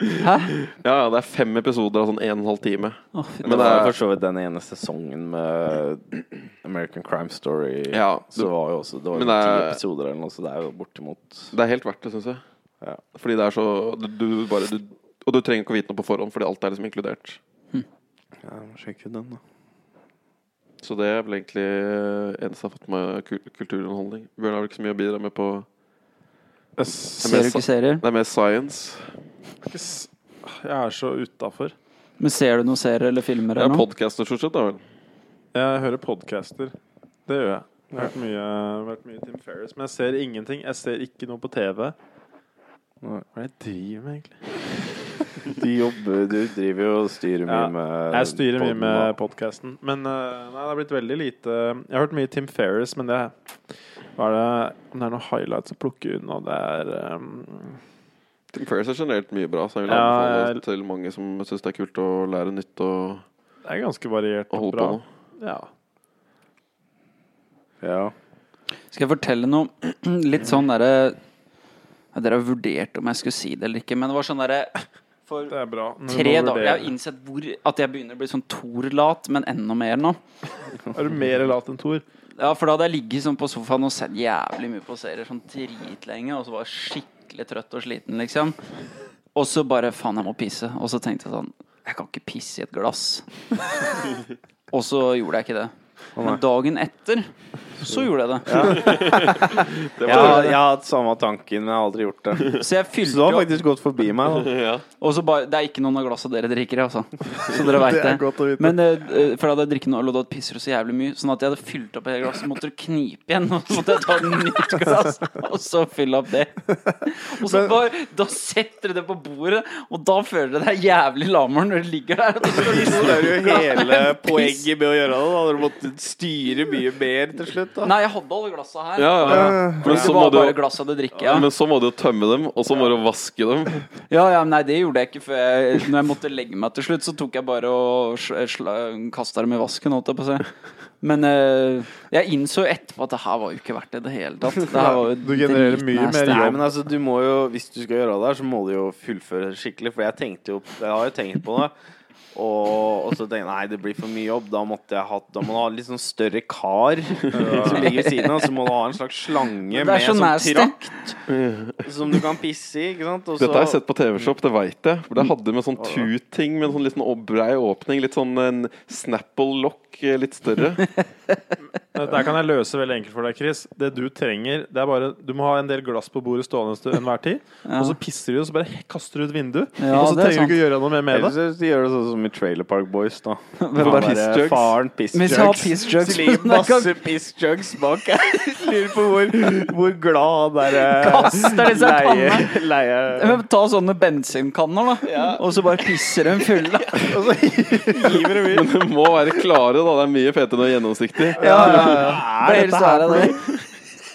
[SPEAKER 4] Hæ?
[SPEAKER 1] Ja, ja, det er fem episoder av sånn en og en halv time.
[SPEAKER 4] Å, fy-
[SPEAKER 1] Men
[SPEAKER 3] det
[SPEAKER 1] det
[SPEAKER 3] var for
[SPEAKER 1] er-
[SPEAKER 3] så vidt den ene sesongen med American Crime Story.
[SPEAKER 1] Ja,
[SPEAKER 3] så var jo også, det var jo
[SPEAKER 1] Men det
[SPEAKER 3] ti
[SPEAKER 1] er-
[SPEAKER 3] episoder eller noe, så det er jo bortimot
[SPEAKER 1] Det er helt verdt det, syns jeg.
[SPEAKER 3] Ja.
[SPEAKER 1] Fordi det er så du, du bare, du, Og du trenger ikke å vite noe på forhånd, fordi alt er liksom inkludert.
[SPEAKER 3] Ja, jeg må sjekke den, da.
[SPEAKER 1] Så det er vel egentlig eh, eneste jeg har fått med kul kulturunderholdning. Bjørn har vel ikke så mye å bidra med på
[SPEAKER 2] Jeg
[SPEAKER 4] Ser du ikke serier?
[SPEAKER 1] Det er mer science.
[SPEAKER 2] er så utafor.
[SPEAKER 4] Men ser du noen serier eller filmer
[SPEAKER 1] Det er
[SPEAKER 4] eller noe?
[SPEAKER 1] podcaster stort sett, da vel.
[SPEAKER 2] Jeg hører podcaster. Det gjør jeg. Det har vært mye, vært mye Tim Ferris. Men jeg ser ingenting. Jeg ser ikke noe på TV. Hva er det jeg driver med, egentlig?
[SPEAKER 3] Du jobber, du driver jo og styrer mye
[SPEAKER 2] Ja,
[SPEAKER 3] med
[SPEAKER 2] Jeg styrer mye
[SPEAKER 3] podden,
[SPEAKER 2] med
[SPEAKER 3] da.
[SPEAKER 2] podkasten. Men eh, nei, det har blitt veldig lite Jeg har hørt mye Tim Ferris, men det hva er det, Om det er noen highlights å plukke unna, det er eh,
[SPEAKER 1] Tim Ferriss er generelt mye bra, så jeg vil
[SPEAKER 2] Ja,
[SPEAKER 1] anbefale
[SPEAKER 2] jeg-
[SPEAKER 1] til mange som syns det er kult å lære nytt og,
[SPEAKER 2] Det er ganske variert
[SPEAKER 1] og
[SPEAKER 2] og
[SPEAKER 1] holde
[SPEAKER 2] bra.
[SPEAKER 1] på med.
[SPEAKER 2] Ja.
[SPEAKER 3] Ja.
[SPEAKER 4] Skal jeg fortelle noe litt sånn derre ja, Dere har vurdert om jeg skulle si det eller ikke, men det var sånn derre For
[SPEAKER 2] Det er bra. Men du
[SPEAKER 4] tre
[SPEAKER 2] må
[SPEAKER 4] dager Jeg har
[SPEAKER 2] vurdere.
[SPEAKER 4] innsett hvor, at jeg begynner å bli sånn Thor-lat, men enda mer nå.
[SPEAKER 2] Er du mer lat enn Thor?
[SPEAKER 4] Ja, for da hadde jeg ligget sånn på sofaen og sett jævlig mye på serier sånn dritlenge, og så var jeg skikkelig trøtt og sliten, liksom. Og så bare faen, jeg må pisse. Og så tenkte jeg sånn Jeg kan ikke pisse i et glass. og så gjorde jeg ikke det. Men dagen etter så gjorde jeg det.
[SPEAKER 3] Jeg, har, jeg har hatt samme tanken, men jeg har aldri gjort det.
[SPEAKER 4] Så jeg
[SPEAKER 3] Så
[SPEAKER 4] fylte
[SPEAKER 3] du har
[SPEAKER 4] jo
[SPEAKER 3] faktisk gått forbi meg, da.
[SPEAKER 4] Og så bare Det er ikke noen av glassene dere drikker, altså. Så dere veit
[SPEAKER 2] Det
[SPEAKER 4] det.
[SPEAKER 2] er godt å vite.
[SPEAKER 4] Men eh, eh, for da hadde jeg drikket noe øl, og da pisser du så jævlig mye. Sånn at jeg hadde fylt opp hele glasset, måtte du knipe igjen. Og så måtte jeg ta et nytt glass, og så fylle opp det. Og så bare Da setter du det på bordet, og da føler du deg jævlig lameren når du ligger der. Og så skal du liksom-
[SPEAKER 3] Så det er jo hele
[SPEAKER 4] Piss.
[SPEAKER 3] poenget med å gjøre det. da Du måtte styre mye mer til slutt. da
[SPEAKER 4] Nei, jeg hadde alle glassa her.
[SPEAKER 1] Ja, ja, ja.
[SPEAKER 4] Men
[SPEAKER 1] Men
[SPEAKER 4] det
[SPEAKER 1] så må
[SPEAKER 4] var
[SPEAKER 1] du
[SPEAKER 4] bare glass jeg hadde drikket. Ja.
[SPEAKER 1] men så må du jo tømme dem, og så må du vaske dem.
[SPEAKER 4] Ja, ja, men nei, det gjorde jeg ikke før jeg Når jeg måtte legge meg til slutt, så tok jeg bare og sl- sla- kasta dem i vasken, holdt jeg på å si. Men eh, jeg innså jo etterpå at det her var jo ikke verdt det i det hele tatt. Det her var jo
[SPEAKER 2] Du genererer
[SPEAKER 4] dritnasty.
[SPEAKER 2] mye mer
[SPEAKER 3] Nei,
[SPEAKER 2] jobb.
[SPEAKER 3] men altså, du må jo, hvis du skal gjøre det her, så må du jo fullføre skikkelig. For jeg tenkte jo Jeg har jo tenkt på det. Og, og så tenkte jeg nei, det blir for mye jobb. Da måtte jeg hatt Da må du ha en litt sånn større kar som ligger ved siden av. Så må du ha en slags slange
[SPEAKER 4] Det
[SPEAKER 3] med
[SPEAKER 4] er så
[SPEAKER 3] sånn
[SPEAKER 4] nasty.
[SPEAKER 3] trakt som du kan pisse i. Ikke sant? Og
[SPEAKER 1] Dette
[SPEAKER 3] så-
[SPEAKER 1] har jeg sett på TV-Shop, det veit jeg. For det hadde med sånn tut-ting, med en sånn litt sånn brei åpning. Litt sånn en Snapple-lokk, eh, litt eh, større.
[SPEAKER 2] Eh, Dette kan jeg løse veldig enkelt for deg, Chris. Det du trenger, det er bare Du må ha en del glass på bordet stående til enhver tid. Og så pisser du, og så bare he- kaster du ut vinduet.
[SPEAKER 4] Ja,
[SPEAKER 2] og så
[SPEAKER 4] det er
[SPEAKER 2] trenger du ikke gjøre noe mer med det.
[SPEAKER 3] Ellers så gjør det sånn som i Trailer Park Boys, da.
[SPEAKER 4] Bare
[SPEAKER 3] Han der,
[SPEAKER 1] piss jugs.
[SPEAKER 3] Faren piss
[SPEAKER 4] Men vi
[SPEAKER 3] jugs.
[SPEAKER 4] skal ha piss jugs.
[SPEAKER 3] Sliv masse piss jugs bak her. Lurer på hvor, hvor glad han der eh,
[SPEAKER 4] Kaster disse
[SPEAKER 3] leie,
[SPEAKER 4] kannene.
[SPEAKER 3] leie
[SPEAKER 4] Men Ta sånne bensinkanner, da. Og så bare pisser dem fulle.
[SPEAKER 3] Og så hiver de ut.
[SPEAKER 1] Men det må være klare, da. Det er mye fetere enn gjennomsiktig.
[SPEAKER 4] Ja, ja, ja.
[SPEAKER 3] Er
[SPEAKER 4] Det er
[SPEAKER 3] dette
[SPEAKER 4] så
[SPEAKER 3] her
[SPEAKER 4] er det det.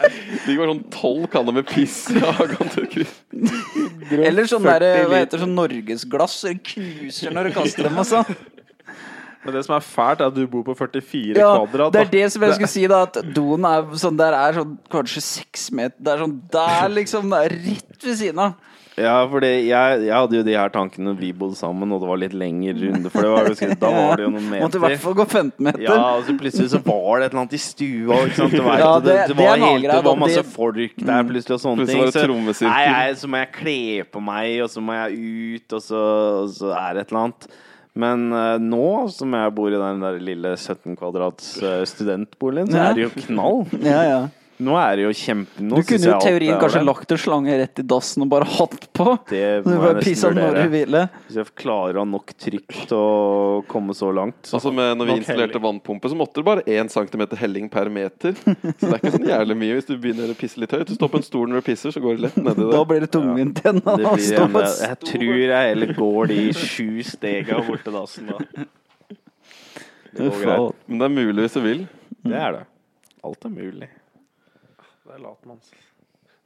[SPEAKER 1] Det ligger bare sånn tolv kanner med piss i hagen til Chris.
[SPEAKER 4] Eller sånn der,
[SPEAKER 3] 40
[SPEAKER 4] hva heter det, sånn norgesglass. Det knuser når du kaster dem, altså.
[SPEAKER 2] Men det som er fælt, er at du bor på 44
[SPEAKER 4] Ja,
[SPEAKER 2] kvadrat.
[SPEAKER 4] det er
[SPEAKER 2] da.
[SPEAKER 4] det som jeg skulle si, da. At doen er sånn der er sånn kanskje seks meter Det er sånn der, liksom. Det er rett ved siden av.
[SPEAKER 3] Ja, fordi jeg, jeg hadde jo de her tankene når vi bodde sammen, og det var litt lengre runde. For det var, jo ganske- da var det jo noen
[SPEAKER 4] Måtte i hvert
[SPEAKER 3] meter.
[SPEAKER 4] fall gå 15 meter.
[SPEAKER 3] Ja, og så plutselig så var det et eller annet i stua. Ikke sant? Du vet,
[SPEAKER 4] Ja,
[SPEAKER 3] at det,
[SPEAKER 4] det-
[SPEAKER 3] det,
[SPEAKER 4] det er
[SPEAKER 3] var
[SPEAKER 4] en annen
[SPEAKER 3] helt,
[SPEAKER 4] greie,
[SPEAKER 3] det var
[SPEAKER 4] da.
[SPEAKER 3] masse
[SPEAKER 4] Det- Mm.
[SPEAKER 3] folk der plutselig og sånne
[SPEAKER 1] Plutselig var
[SPEAKER 3] ting.
[SPEAKER 1] det trommesirkel.
[SPEAKER 3] nei, nei, så må jeg kle på meg, og så må jeg ut, og så, og så er det et eller annet. Men eh, nå som jeg bor i den der lille 17 kvadrats eh, studentboligen, så
[SPEAKER 4] Ja.
[SPEAKER 3] er det jo knall.
[SPEAKER 4] Ja, ja.
[SPEAKER 3] Nå er det jo kjempe... Nå
[SPEAKER 4] Du kunne
[SPEAKER 3] synes
[SPEAKER 4] jo
[SPEAKER 3] jeg
[SPEAKER 4] i
[SPEAKER 3] alt
[SPEAKER 4] teorien
[SPEAKER 3] er
[SPEAKER 4] kanskje
[SPEAKER 3] ålreit.
[SPEAKER 4] lagt en slange rett i dassen og bare hatt på.
[SPEAKER 3] Det
[SPEAKER 4] Du
[SPEAKER 3] må jeg
[SPEAKER 4] bare pissa
[SPEAKER 3] nesten
[SPEAKER 4] når du
[SPEAKER 3] vurdere.
[SPEAKER 4] ville.
[SPEAKER 3] Hvis jeg klarer å ha nok trykk til å komme så langt, så
[SPEAKER 1] Altså med, når vi
[SPEAKER 2] Nok
[SPEAKER 1] installerte vannpumpe, så måtte det bare 1 cm helling per meter. Så det er ikke sånn jævlig mye hvis du begynner å pisse litt høyt. Du står på en stol når du pisser, så går det lett nedi
[SPEAKER 4] Da
[SPEAKER 1] der.
[SPEAKER 4] blir det tungvint igjen.
[SPEAKER 3] Det
[SPEAKER 4] og
[SPEAKER 3] blir, en-
[SPEAKER 4] stå
[SPEAKER 3] eh,
[SPEAKER 4] på
[SPEAKER 3] jeg,
[SPEAKER 4] s-
[SPEAKER 3] jeg tror jeg heller går de sju stega bort til dassen da. Det går greit.
[SPEAKER 4] Faen.
[SPEAKER 1] Men det er mulig hvis du vil.
[SPEAKER 3] Det er det. Alt er mulig.
[SPEAKER 2] Det er latmanns.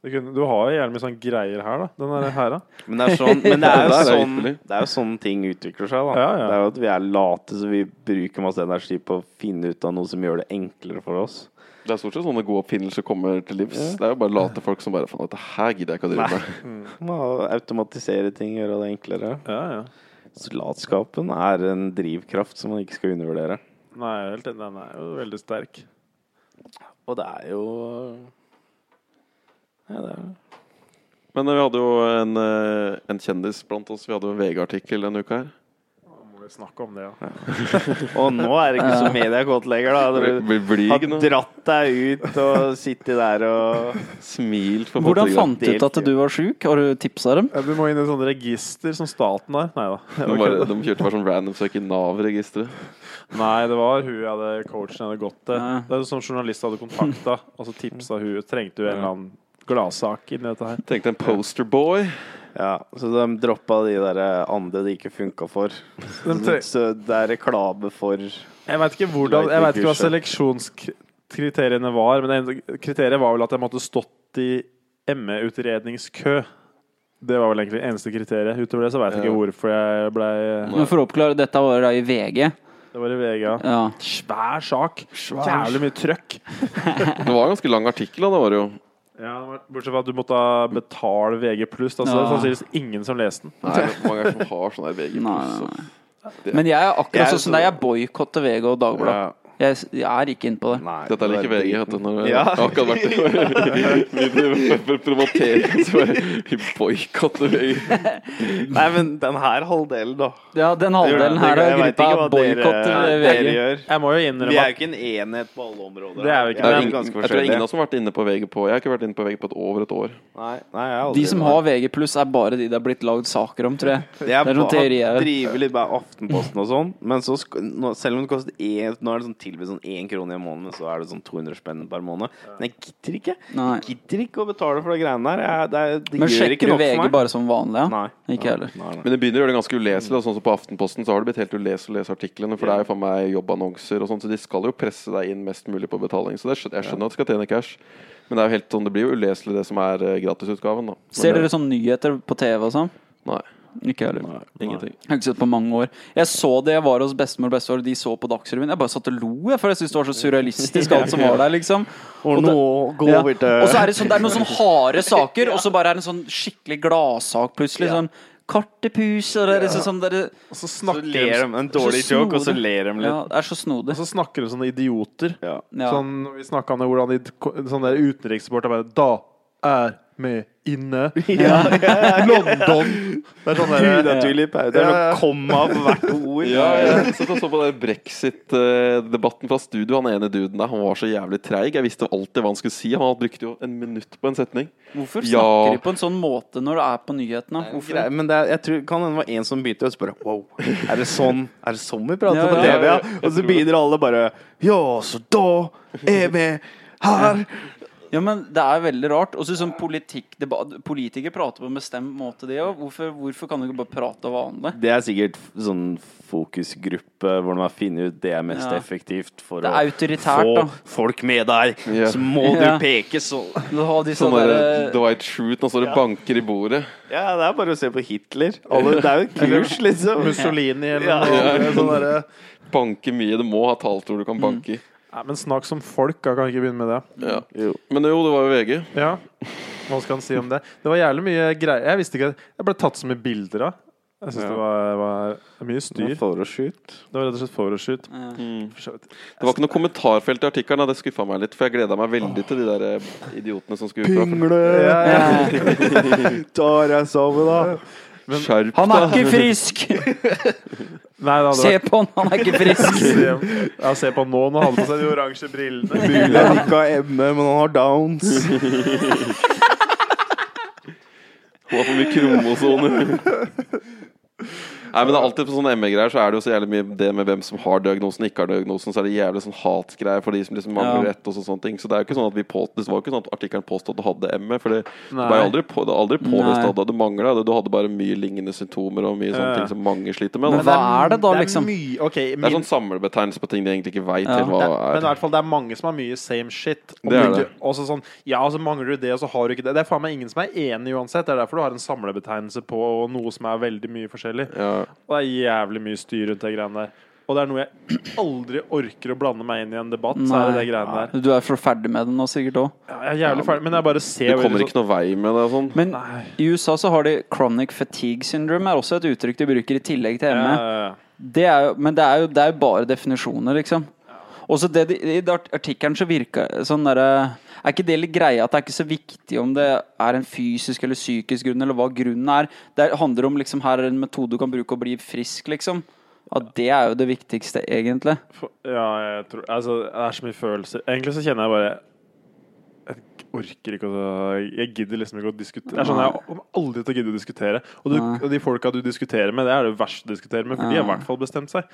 [SPEAKER 2] Du, kunne, du har jo jævlig mye sånne greier her, da. Den der her, da.
[SPEAKER 3] Men det er, sånn, men det er, jo,
[SPEAKER 1] Ja, det er
[SPEAKER 3] sånn,
[SPEAKER 1] ypperlig.
[SPEAKER 3] det er jo sånn ting utvikler seg, da.
[SPEAKER 2] Ja, ja.
[SPEAKER 3] Det er jo at vi er late, så vi bruker masse energi på å finne ut av noe som gjør det enklere for oss.
[SPEAKER 1] Det er stort sett sånne gode oppfinnelser kommer til livs. Det er jo bare late folk som bare Faen, dette her gidder jeg ikke å drive med.
[SPEAKER 3] Må automatisere ting, gjøre det enklere.
[SPEAKER 2] Ja, ja.
[SPEAKER 3] Så latskapen er en drivkraft som man ikke skal undervurdere.
[SPEAKER 2] Nei, jeg er helt enig. Den er jo veldig sterk.
[SPEAKER 3] Og det er jo ja, det er
[SPEAKER 1] Men eh, vi hadde jo en, eh, en kjendis blant oss. Vi hadde jo en VG-artikkel denne uka her.
[SPEAKER 2] Nå må vi snakke om det, ja.
[SPEAKER 3] Og nå er det ikke så mediekåt lenger, da.
[SPEAKER 1] Blir-
[SPEAKER 3] Du
[SPEAKER 1] Blir blyg
[SPEAKER 3] har
[SPEAKER 1] nå.
[SPEAKER 3] dratt deg ut og sittet der og
[SPEAKER 1] Smilt på
[SPEAKER 4] Hvordan
[SPEAKER 1] fotografen.
[SPEAKER 4] fant du ut at du var sjuk? Har du tipsa dem?
[SPEAKER 2] Du må inn i sånne register som staten har. Nei da.
[SPEAKER 1] De, bare, de kjørte bare sånn random søk i Nav-registeret.
[SPEAKER 2] Nei, det var hun jeg hadde coachen jeg hadde gått til.
[SPEAKER 4] Ja.
[SPEAKER 2] Det er jo sånn journalist hadde kontakta, og så tipsa hun. Trengte hun en eller annen gladsak inni dette her?
[SPEAKER 1] Tenkte en posterboy.
[SPEAKER 3] Ja, så de droppa de der andre det ikke funka for. Så,
[SPEAKER 2] tre-
[SPEAKER 3] så det er reklame for
[SPEAKER 2] Jeg veit ikke hvordan Jeg vet ikke hva seleksjonskriteriene var, men det ene kriteriet var vel at jeg måtte stått i ME-utredningskø. Det var vel egentlig eneste kriteriet. Utover det så veit jeg
[SPEAKER 1] Ja.
[SPEAKER 2] ikke hvorfor jeg blei
[SPEAKER 4] Men For å oppklare, dette var da i VG.
[SPEAKER 2] Det var i VG. ja.
[SPEAKER 4] Ja.
[SPEAKER 2] Svær sak. Jævlig mye trøkk.
[SPEAKER 1] Det var en ganske lang artikkel, da. Det var det jo.
[SPEAKER 2] Ja, det var- Bortsett fra at du måtte betale VG pluss. Altså, Det er
[SPEAKER 4] Ja.
[SPEAKER 2] sannsynligvis ingen som leste den.
[SPEAKER 1] Nei, det er mange som har sånn der VG+.
[SPEAKER 4] Nei,
[SPEAKER 1] så-
[SPEAKER 4] nei, Men jeg er
[SPEAKER 3] Jeg
[SPEAKER 4] akkurat
[SPEAKER 3] er
[SPEAKER 4] sånn som deg. Jeg boikotter VG og Dagbladet.
[SPEAKER 3] ja,
[SPEAKER 4] Jeg, s- jeg er ikke inne på det.
[SPEAKER 3] Nei.
[SPEAKER 1] Dette er like VG, vet du. Når det
[SPEAKER 3] Ja.
[SPEAKER 1] akkurat vært det. Provotering, så bare vi boikotter VG.
[SPEAKER 3] Nei, men den her halvdelen, da.
[SPEAKER 4] Ja, den halvdelen
[SPEAKER 3] Jeg
[SPEAKER 4] her av
[SPEAKER 3] vet
[SPEAKER 4] gruppa
[SPEAKER 3] ikke hva
[SPEAKER 4] boikotter
[SPEAKER 3] dere- dere
[SPEAKER 4] VG.
[SPEAKER 3] gjør.
[SPEAKER 2] Jeg må jo
[SPEAKER 3] Vi
[SPEAKER 2] innrømme
[SPEAKER 3] er
[SPEAKER 2] at
[SPEAKER 3] jo ikke en enhet på alle områder.
[SPEAKER 2] Det er vi
[SPEAKER 1] Jeg,
[SPEAKER 2] ikke.
[SPEAKER 3] Vi
[SPEAKER 1] har
[SPEAKER 3] er
[SPEAKER 1] ingen, jeg
[SPEAKER 3] ganske
[SPEAKER 1] tror det er ingen av
[SPEAKER 3] forskjellige.
[SPEAKER 1] oss som har vært inne på VG på Jeg har ikke vært inne på VG på et over et år.
[SPEAKER 3] Nei, nei, jeg aldri
[SPEAKER 4] De som har VG pluss, er bare de det er blitt lagd saker om, tror jeg.
[SPEAKER 3] Det er,
[SPEAKER 4] Det er noen
[SPEAKER 3] bare-
[SPEAKER 4] teorier.
[SPEAKER 3] driver litt med Aftenposten og sånn. Men så, sk- nå, selv om det koster én, nå er det sånn tilbud sånn én krone i måneden, men så er det sånn 200 spenn per måned. Men jeg gidder ikke.
[SPEAKER 4] Nei.
[SPEAKER 3] Jeg gidder ikke å betale for de greiene der. Jeg, det, er- det
[SPEAKER 4] Men
[SPEAKER 3] gjør ikke
[SPEAKER 4] sjekker du
[SPEAKER 3] nok for
[SPEAKER 4] VG
[SPEAKER 3] meg.
[SPEAKER 4] bare som vanlig? Ja?
[SPEAKER 3] Nei.
[SPEAKER 4] Ikke jeg heller.
[SPEAKER 3] Nei, nei.
[SPEAKER 1] Men det begynner å gjøre det ganske uleselig. Og sånn som på Aftenposten så har det blitt helt uleselig å lese artiklene, for det er jo faen meg jobbannonser og sånn, så de skal jo presse deg inn mest mulig på betaling. Så det skjønner, jeg skjønner at du skal tjene cash, men det er jo helt sånn, det blir jo uleselig det som er eh, gratisutgaven, da. Men
[SPEAKER 4] Ser
[SPEAKER 1] det-
[SPEAKER 4] dere sånn nyheter på TV og sånn?
[SPEAKER 1] Nei.
[SPEAKER 4] Ikke jeg heller.
[SPEAKER 1] Ingenting.
[SPEAKER 4] Jeg har ikke sett på mange år. Jeg så det jeg var hos bestemor og bestefar, de så på Dagsrevyen. Jeg bare satt og lo, jeg, for jeg syntes det var så surrealistisk, alt som var der, liksom.
[SPEAKER 3] Og nå går
[SPEAKER 4] Ja.
[SPEAKER 3] vi
[SPEAKER 4] Og så
[SPEAKER 3] til
[SPEAKER 4] er det, sånn, det er noen sånn harde saker, og så bare er det en sånn skikkelig gladsak plutselig. Sånn kartepus og det er liksom sånn der,
[SPEAKER 2] Og så
[SPEAKER 3] Så
[SPEAKER 2] snakker
[SPEAKER 3] ler
[SPEAKER 2] de
[SPEAKER 3] de en dårlig
[SPEAKER 4] Så
[SPEAKER 3] joke, og så
[SPEAKER 4] snodig.
[SPEAKER 3] ler de
[SPEAKER 4] Ja,
[SPEAKER 3] litt.
[SPEAKER 4] det er så snodig.
[SPEAKER 2] Og så sånn- snakker de sånne idioter.
[SPEAKER 3] Ja.
[SPEAKER 4] Ja.
[SPEAKER 2] Sånn, vi snakka om det, hvordan de, sånn der utenriksreporter bare Da er med inne.
[SPEAKER 3] Ja, ja, ja.
[SPEAKER 2] London. Det er sånn der-
[SPEAKER 3] Unaturlig pause. Det er
[SPEAKER 2] Ja, ja.
[SPEAKER 3] noe komma på hvert ord.
[SPEAKER 1] Ja, jeg satt og så på den brexit-debatten fra studio. Han ene duden der han var så jævlig treig. Jeg visste alltid hva han skulle si. Han brukte jo en minutt på en setning.
[SPEAKER 4] Hvorfor
[SPEAKER 1] Ja.
[SPEAKER 4] snakker de på en sånn måte når det er på nyhetene? Hvorfor?
[SPEAKER 3] Grei, men det er, jeg tror, kan hende det var en som begynte å spørre Wow, er det sånn Er det sånn vi prater
[SPEAKER 4] Ja,
[SPEAKER 3] på
[SPEAKER 4] ja,
[SPEAKER 3] TV?
[SPEAKER 1] ja,
[SPEAKER 3] Ja?
[SPEAKER 1] ja, jeg
[SPEAKER 3] Og så
[SPEAKER 1] tror
[SPEAKER 3] begynner alle bare Ja, så da er vi her!
[SPEAKER 4] Ja, men Det er veldig rart. Også sånn politikk, deba- Politikere prater på en bestemt måte, de òg. Hvorfor, hvorfor kan du ikke bare prate vanlig?
[SPEAKER 3] Det er sikkert f- sånn fokusgruppe hvor man finner ut det er mest
[SPEAKER 4] Ja.
[SPEAKER 3] effektivt for
[SPEAKER 4] Det
[SPEAKER 3] å
[SPEAKER 4] er autoritært,
[SPEAKER 3] få
[SPEAKER 4] da.
[SPEAKER 3] folk med deg.
[SPEAKER 1] Ja.
[SPEAKER 3] Så må du
[SPEAKER 4] Ja.
[SPEAKER 3] peke sånn.
[SPEAKER 4] Du har disse
[SPEAKER 1] Sånn
[SPEAKER 4] der,
[SPEAKER 1] der
[SPEAKER 4] eh,
[SPEAKER 1] Dwight Schrute, nå står det banker i bordet.
[SPEAKER 3] Ja, det er bare å se på Hitler. Alle, det er jo et kurs, liksom.
[SPEAKER 2] eh, Mussolini eller
[SPEAKER 3] Ja.
[SPEAKER 2] noe.
[SPEAKER 1] Ja.
[SPEAKER 2] Sånn derre-
[SPEAKER 1] Banke mye. Det må ha tallord du kan banke i.
[SPEAKER 2] Nei, men snakk som folk, da. Kan vi ikke begynne med det.
[SPEAKER 4] mm,
[SPEAKER 1] Ja.
[SPEAKER 3] Jo.
[SPEAKER 1] Men jo, det var jo VG.
[SPEAKER 2] Ja, hva skal han si om det? Det var jævlig mye greier. Jeg visste ikke Jeg ble tatt så mye bilder av. Jeg syns
[SPEAKER 3] Ja.
[SPEAKER 2] det var, var mye styr. Det
[SPEAKER 3] Forhåndsskyt.
[SPEAKER 2] var rett og slett photoshoot.
[SPEAKER 4] Ja.
[SPEAKER 2] For så vidt.
[SPEAKER 1] Det var ikke noe kommentarfelt i artikkelen. da. Det skuffa meg litt, for jeg gleda meg veldig til de der eh, idiotene som skulle ut.
[SPEAKER 3] Pingle!
[SPEAKER 4] Eh,
[SPEAKER 3] Tar jeg sammen, da?
[SPEAKER 1] fra- Skjerp
[SPEAKER 4] Han er
[SPEAKER 1] deg!
[SPEAKER 4] ikke frisk!
[SPEAKER 2] Nei, det hadde
[SPEAKER 4] Se på han, han er ikke frisk!
[SPEAKER 2] vært se, ja, se på han nå, når han har på seg de oransje brillene.
[SPEAKER 3] Mulig han ikke har ME, men han har downs.
[SPEAKER 1] Han har for mye kromosoner. Nei, men det er alltid på sånne ME-greier så er det jo så jævlig mye det med hvem som har diagnosen, ikke har diagnosen. Så er det jævlig sånn hatgreier for de som liksom mangler
[SPEAKER 4] Ja.
[SPEAKER 1] rett og så- sånne ting. Så det er jo ikke sånn at vi på, det var jo ikke sånn at artikkelen påstod at du hadde ME. For det det
[SPEAKER 2] Nei.
[SPEAKER 1] var jo aldri, på, det var aldri påvist
[SPEAKER 4] Nei.
[SPEAKER 1] at du hadde mangla det. Du hadde bare mye lignende symptomer og mye sånne
[SPEAKER 2] Ja.
[SPEAKER 1] ting som mange sliter med.
[SPEAKER 4] Men
[SPEAKER 1] Da.
[SPEAKER 4] hva er det da, liksom?
[SPEAKER 2] Det er mye, ok,
[SPEAKER 1] Det er
[SPEAKER 2] min,
[SPEAKER 1] sånn samlebetegnelse på ting de egentlig ikke veit
[SPEAKER 4] Ja.
[SPEAKER 1] helt
[SPEAKER 2] det
[SPEAKER 1] hva
[SPEAKER 2] er, men i
[SPEAKER 1] er.
[SPEAKER 2] hvert fall det er mange som har mye same shit. Og
[SPEAKER 1] Det er
[SPEAKER 2] bruker-
[SPEAKER 1] det.
[SPEAKER 2] Også sånn Ja, så mangler du det, og så har du ikke det. Det er faen meg ingen som er enig uansett. Det er derfor du har en samlebetegnelse på noe som er veldig mye forskjellig.
[SPEAKER 1] Ja.
[SPEAKER 2] Og det er jævlig mye styr rundt de greiene der. Og det er noe jeg aldri orker å blande meg inn i en debatt. Så er det de greiene der.
[SPEAKER 4] Du er for ferdig med det nå, sikkert òg.
[SPEAKER 2] Ja, Jeg er jævlig ferdig, men jeg bare ser
[SPEAKER 1] Du
[SPEAKER 2] veldig
[SPEAKER 1] kommer
[SPEAKER 2] sånn-
[SPEAKER 1] ikke noe vei med det og sånn.
[SPEAKER 4] Men
[SPEAKER 2] Nei.
[SPEAKER 4] i USA så har de chronic fatigue syndrome, er også et uttrykk de bruker i tillegg til E. ME.
[SPEAKER 2] Ja,
[SPEAKER 4] Det er jo, men det er jo, det er jo bare definisjoner, liksom. Også det, de- I den artikkelen så virka sånn derre Er ikke det litt greia at det er ikke så viktig om det er en fysisk eller psykisk grunn, eller hva grunnen er? Det handler om liksom her er en metode du kan bruke og bli frisk, liksom. Ja, det er jo det viktigste, egentlig.
[SPEAKER 2] for- ja, jeg tror Altså, det er så mye følelser. Egentlig så kjenner jeg bare Jeg orker ikke å Jeg gidder liksom ikke å diskutere. Det er sånn Jeg kommer aldri til å gidde å diskutere. Og, du,
[SPEAKER 4] Nei.
[SPEAKER 2] og de folka du diskuterer med, det er det verste å diskutere med, for de har i hvert fall bestemt seg.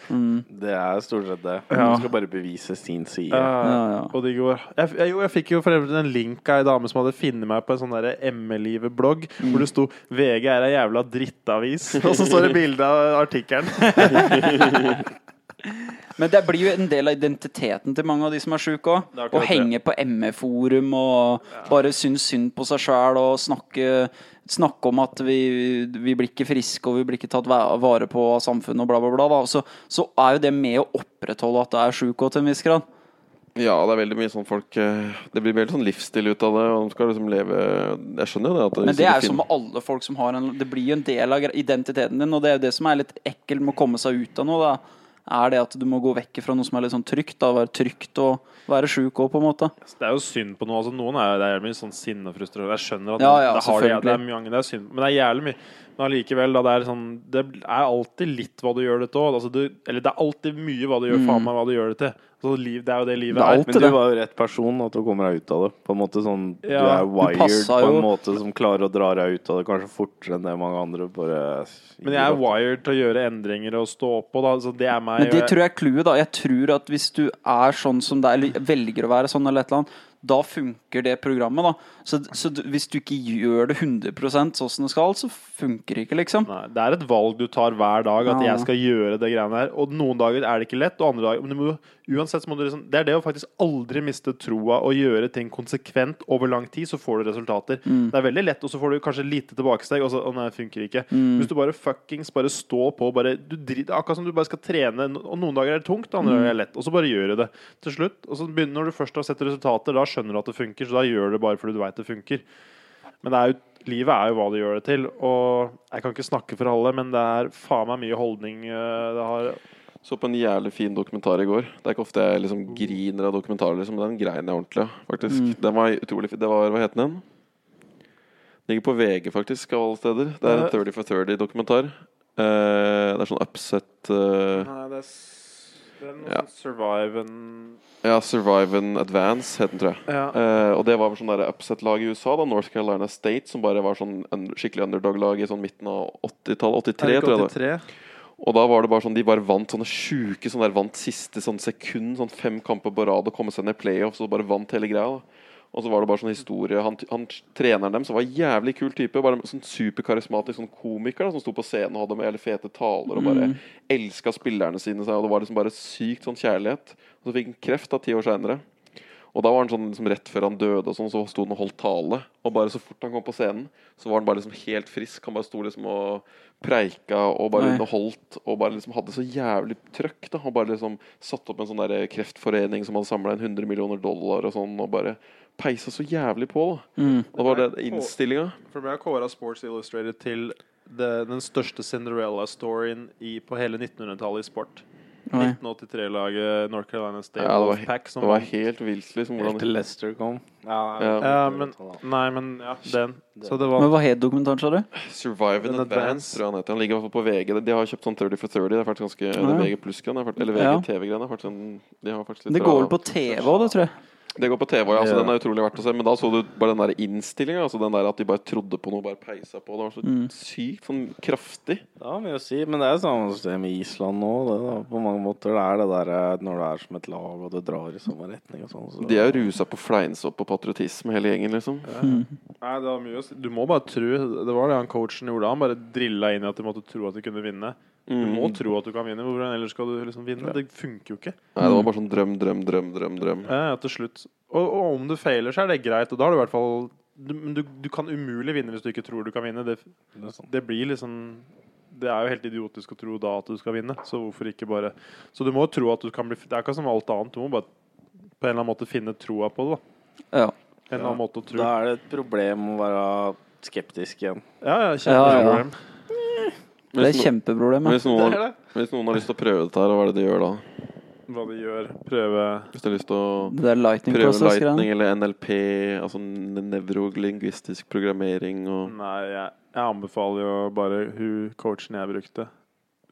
[SPEAKER 3] Det er stort sett det.
[SPEAKER 2] Ja.
[SPEAKER 3] Du skal bare bevise sin side.
[SPEAKER 2] Ja,
[SPEAKER 4] ja.
[SPEAKER 2] Eh, Og de går jeg, jeg, Jo, jeg fikk jo for øvrig en link av ei dame som hadde funnet meg på en sånn derre ME-livet-blogg, hvor det sto 'VG er ei jævla drittavis', og så står det bilde av artikkelen.
[SPEAKER 4] Men det blir jo en del av identiteten til mange av de som er sjuke òg.
[SPEAKER 2] Det er akkurat
[SPEAKER 4] Å henge på ME-forum og bare synes synd på seg sjæl og snakke, snakke om at vi, vi blir ikke friske og vi blir ikke tatt væ- vare på av samfunnet og bla, bla, bla. da. Så, så er jo det med å opprettholde at du er sjuk òg, til en viss grad.
[SPEAKER 1] Ja, det er veldig mye sånn folk eh, Det blir veldig sånn livsstil ut av det, og de skal liksom leve Jeg skjønner jo det. At
[SPEAKER 4] Men det er jo som
[SPEAKER 1] finner-
[SPEAKER 4] med alle folk som har en Det blir jo en del av gre- identiteten din, og det er jo det som er litt ekkelt med å komme seg ut av noe. da er det at du må gå vekk fra noe som er litt sånn trygt. da, Være trygt og være sjuk òg, på en måte.
[SPEAKER 2] Så Det er jo synd på noe. Altså, noen er, det er mye sånn sinne og frustrasjon. Jeg skjønner at
[SPEAKER 4] Ja, ja,
[SPEAKER 2] det, har det,
[SPEAKER 4] selvfølgelig.
[SPEAKER 2] det er mange det er synd på, men det er jævlig mye. Men allikevel, da, det er sånn Det er alltid litt hva du gjør det til. Altså, du- eller det er alltid mye hva du gjør, faen meg hva du gjør det til. Altså, liv, det er jo det livet
[SPEAKER 4] Mm. Det er
[SPEAKER 2] er.
[SPEAKER 4] alt-
[SPEAKER 3] Men du
[SPEAKER 4] det.
[SPEAKER 3] var jo rett person at du kommer deg ut av det. På en måte sånn, Du
[SPEAKER 2] Ja,
[SPEAKER 3] er
[SPEAKER 2] du
[SPEAKER 3] wired
[SPEAKER 4] passa
[SPEAKER 3] på en
[SPEAKER 4] jo.
[SPEAKER 3] måte som klarer å dra deg ut av det kanskje fortere enn det mange andre. Bare
[SPEAKER 2] Men jeg er wired til å gjøre endringer og stå oppå, da. Så det er meg.
[SPEAKER 4] Men det
[SPEAKER 2] og jeg-
[SPEAKER 4] tror jeg er clouet, da. Jeg tror at hvis du er sånn som deg, eller velger å være sånn eller et eller annet, da funker det programmet, da. Så, så du- hvis du ikke gjør det 100 sånn som det skal, så funker det ikke, liksom.
[SPEAKER 2] Nei, det er et valg du tar hver dag, at
[SPEAKER 4] Ja.
[SPEAKER 2] jeg skal gjøre det greiene her. Og noen dager er det ikke lett, og andre dager Men du må, uansett så må du liksom Det er det å faktisk aldri miste troa og gjøre ting konsekvent over lang tid, så får du resultater. Det er veldig lett, og så får du kanskje lite tilbakesteg, og så Å nei, funker ikke. Hvis du bare fuckings bare stå på, bare du driter Akkurat som du bare skal trene, og noen dager er det tungt, andre dager er det lett, og så bare gjør du det til slutt. Og så begynner når du først har sett resultater, da skjønner du at det funker, så da gjør du det bare fordi du veit det funker. Men det er jo, livet er jo hva du gjør det til. Og jeg kan ikke snakke for alle, men det er faen meg mye holdning eh, det har.
[SPEAKER 1] Så på en jævlig fin dokumentar i går. Det er ikke ofte jeg liksom griner
[SPEAKER 4] Mm.
[SPEAKER 1] av dokumentarer, liksom, men den grein jeg ordentlig av, faktisk. Den var utrolig fin. Det var Hva het den? Ligger på VG, faktisk, av alle steder. Det er en 30 for 30-dokumentar. det er sånn upset eh,
[SPEAKER 2] Nei, det er, s- det er noe
[SPEAKER 1] Ja.
[SPEAKER 2] sånn survive and
[SPEAKER 1] Ja, Survive and Advance het den, tror jeg.
[SPEAKER 2] Ja.
[SPEAKER 1] Eh, og det var vel sånn der upset-lag i USA, da North Carolina State, som bare var sånn un skikkelig underdog-lag i sånn midten av 80-tallet. 83, tror jeg. det var. Og da var det bare sånn de bare vant sånne sjuke sånn der vant siste sånn sekund, sånn fem kamper på rad og komme seg ned i playoffs og bare vant hele greia. da. Og så var det bare sånn historie Han, han treneren dem, som var en jævlig kul type, bare en sånn superkarismatisk sånn komiker da, som sto på scenen og hadde med jævlig fete taler og bare elska spillerne sine, sa jeg, og det var liksom bare sykt sånn kjærlighet. Og så fikk han kreft da ti år seinere. Og da var han sånn liksom rett før han døde, og sånn, så sto han og holdt tale. Og bare så fort han kom på scenen, så var han bare liksom helt frisk. Han bare sto liksom og preika og bare
[SPEAKER 4] Nei.
[SPEAKER 1] underholdt og bare liksom hadde så jævlig trøkk. da Han bare liksom satte opp en sånn der kreftforening som hadde samla inn 100 millioner dollar og sånn, og bare peisa så jævlig på. da
[SPEAKER 4] Mm.
[SPEAKER 1] Og da var det innstillinga.
[SPEAKER 2] For det ble kåra Sports Illustrated til det, den største Cinderella-storyen i- på hele 1900-tallet i sport.
[SPEAKER 4] Oi.
[SPEAKER 2] 1983-laget North Carolina State
[SPEAKER 1] Ja, det var,
[SPEAKER 2] Wolfpack som
[SPEAKER 1] det var
[SPEAKER 2] vant.
[SPEAKER 1] helt vilt, liksom.
[SPEAKER 3] Helt
[SPEAKER 1] Hvordan,
[SPEAKER 3] til Leicester kom.
[SPEAKER 1] Ja.
[SPEAKER 2] Ja, men, nei, men ja, den. Så det
[SPEAKER 4] Men
[SPEAKER 2] var
[SPEAKER 4] hva het dokumentaren, sa du?
[SPEAKER 1] Survive in
[SPEAKER 2] In
[SPEAKER 1] Advance,
[SPEAKER 2] Advance.
[SPEAKER 1] tror jeg han heter. Han ligger i hvert fall på VG. De har kjøpt sånn 30 for 30. Det er faktisk ganske det
[SPEAKER 4] Ja.
[SPEAKER 1] er VG pluss-greiene. er faktisk- Eller
[SPEAKER 4] Ja.
[SPEAKER 1] VGTV-greiene. er faktisk en- De har faktisk litt
[SPEAKER 4] Det
[SPEAKER 1] bra-
[SPEAKER 4] går vel på TV òg, det tror jeg.
[SPEAKER 1] Det går på TV, ja. Så
[SPEAKER 2] Ja.
[SPEAKER 1] den er utrolig verdt å se. Men da så du bare den der innstillinga. Altså den der at de bare trodde på noe, bare peisa på. Det var så
[SPEAKER 4] Mm.
[SPEAKER 1] sykt sånn kraftig.
[SPEAKER 3] Det har mye å si, men det er samme sted med Island nå. Det, da. På mange måter det er det der eh, når det er som et lag, og det drar i samme retning og sånn. Så.
[SPEAKER 1] De er rusa på fleinsopp og patriotisme, hele gjengen, liksom.
[SPEAKER 2] Nei, det var mye å si. Du må bare tro Det var det han coachen gjorde. Han bare drilla inn i at du måtte tro at du kunne vinne. Du
[SPEAKER 3] Mm.
[SPEAKER 2] må tro at du kan vinne. Hvordan ellers skal du liksom vinne? Det funker jo ikke.
[SPEAKER 1] Nei, det var bare sånn drøm, drøm, drøm, drøm. drøm
[SPEAKER 2] Ja, ja, til slutt. Og, og om du feiler, så er det greit. Og da har du i hvert fall du, Men du, du kan umulig vinne hvis du ikke tror du kan vinne. Det,
[SPEAKER 3] Det er sant.
[SPEAKER 2] det blir liksom Det er jo helt idiotisk å tro da at du skal vinne, så hvorfor ikke bare Så du må jo tro at du kan bli Det er ikke som alt annet. Du må bare på en eller annen måte finne troa på det. da
[SPEAKER 4] Ja.
[SPEAKER 2] En eller annen måte å tro.
[SPEAKER 3] Da er det et problem å være skeptisk igjen.
[SPEAKER 2] Ja, ja,
[SPEAKER 4] Ja, ja.
[SPEAKER 2] kjempeproblem.
[SPEAKER 4] Det er
[SPEAKER 1] Hvis no-
[SPEAKER 4] kjempeproblemet.
[SPEAKER 1] Hvis noen, har, hvis noen har lyst til å prøve dette her, hva er det de gjør da?
[SPEAKER 2] Hva de gjør. Prøve
[SPEAKER 1] Hvis de har lyst til å
[SPEAKER 4] Det der lightning
[SPEAKER 1] prøve
[SPEAKER 4] process-greiene.
[SPEAKER 1] lightning eller NLP, altså n- nevrolingvistisk programmering og
[SPEAKER 2] Nei, jeg, jeg anbefaler jo bare hun coachen jeg brukte.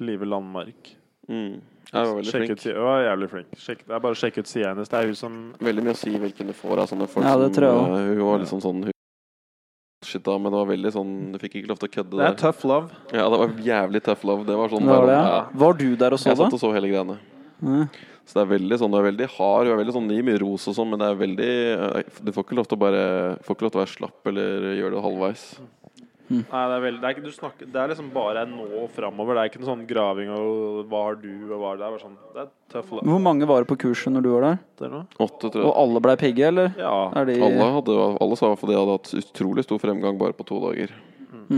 [SPEAKER 2] Live Landmark.
[SPEAKER 1] mm. Jeg var veldig
[SPEAKER 2] Sjekk ut
[SPEAKER 1] flink.
[SPEAKER 2] sida. Hun er jævlig flink. Sjekk, det er bare å sjekke ut sida hennes. Det er hun som
[SPEAKER 1] Veldig mye å si hvilken du får av sånne folk.
[SPEAKER 4] Ja,
[SPEAKER 1] som,
[SPEAKER 4] det tror jeg
[SPEAKER 1] eh, Hun var liksom sånn hun, Shit da, men det var veldig sånn Du fikk ikke lov til å kødde
[SPEAKER 2] Det
[SPEAKER 1] der.
[SPEAKER 2] er tough love.
[SPEAKER 1] Ja, det var jævlig tough love. Det var sånn
[SPEAKER 4] Det var
[SPEAKER 1] bare,
[SPEAKER 4] det. ja.
[SPEAKER 1] ja.
[SPEAKER 4] Var du der og så
[SPEAKER 1] Jeg
[SPEAKER 4] det?
[SPEAKER 1] satt og så hele greiene.
[SPEAKER 4] Ja.
[SPEAKER 1] Så det er veldig sånn, du er veldig hard, du er veldig sånn, det gir mye ros og sånn, men det er veldig eh, Du får ikke lov til å bare Får ikke lov til å være slapp eller gjøre det halvveis.
[SPEAKER 2] Nei, det er veldig Det er, ikke, du snakker, det er liksom bare nå og framover. Det er ikke noe sånn graving og hva har du, og hva er det Det er bare sånn Det er tough love.
[SPEAKER 4] Hvor mange var det på kurset når du var der?
[SPEAKER 2] Eller noe.
[SPEAKER 1] Åtte, tror
[SPEAKER 4] Og
[SPEAKER 1] jeg.
[SPEAKER 4] alle blei pigge, eller?
[SPEAKER 2] Ja.
[SPEAKER 4] Er de
[SPEAKER 1] Alle, hadde, alle sa i hvert fall de hadde hatt utrolig stor fremgang bare på to dager.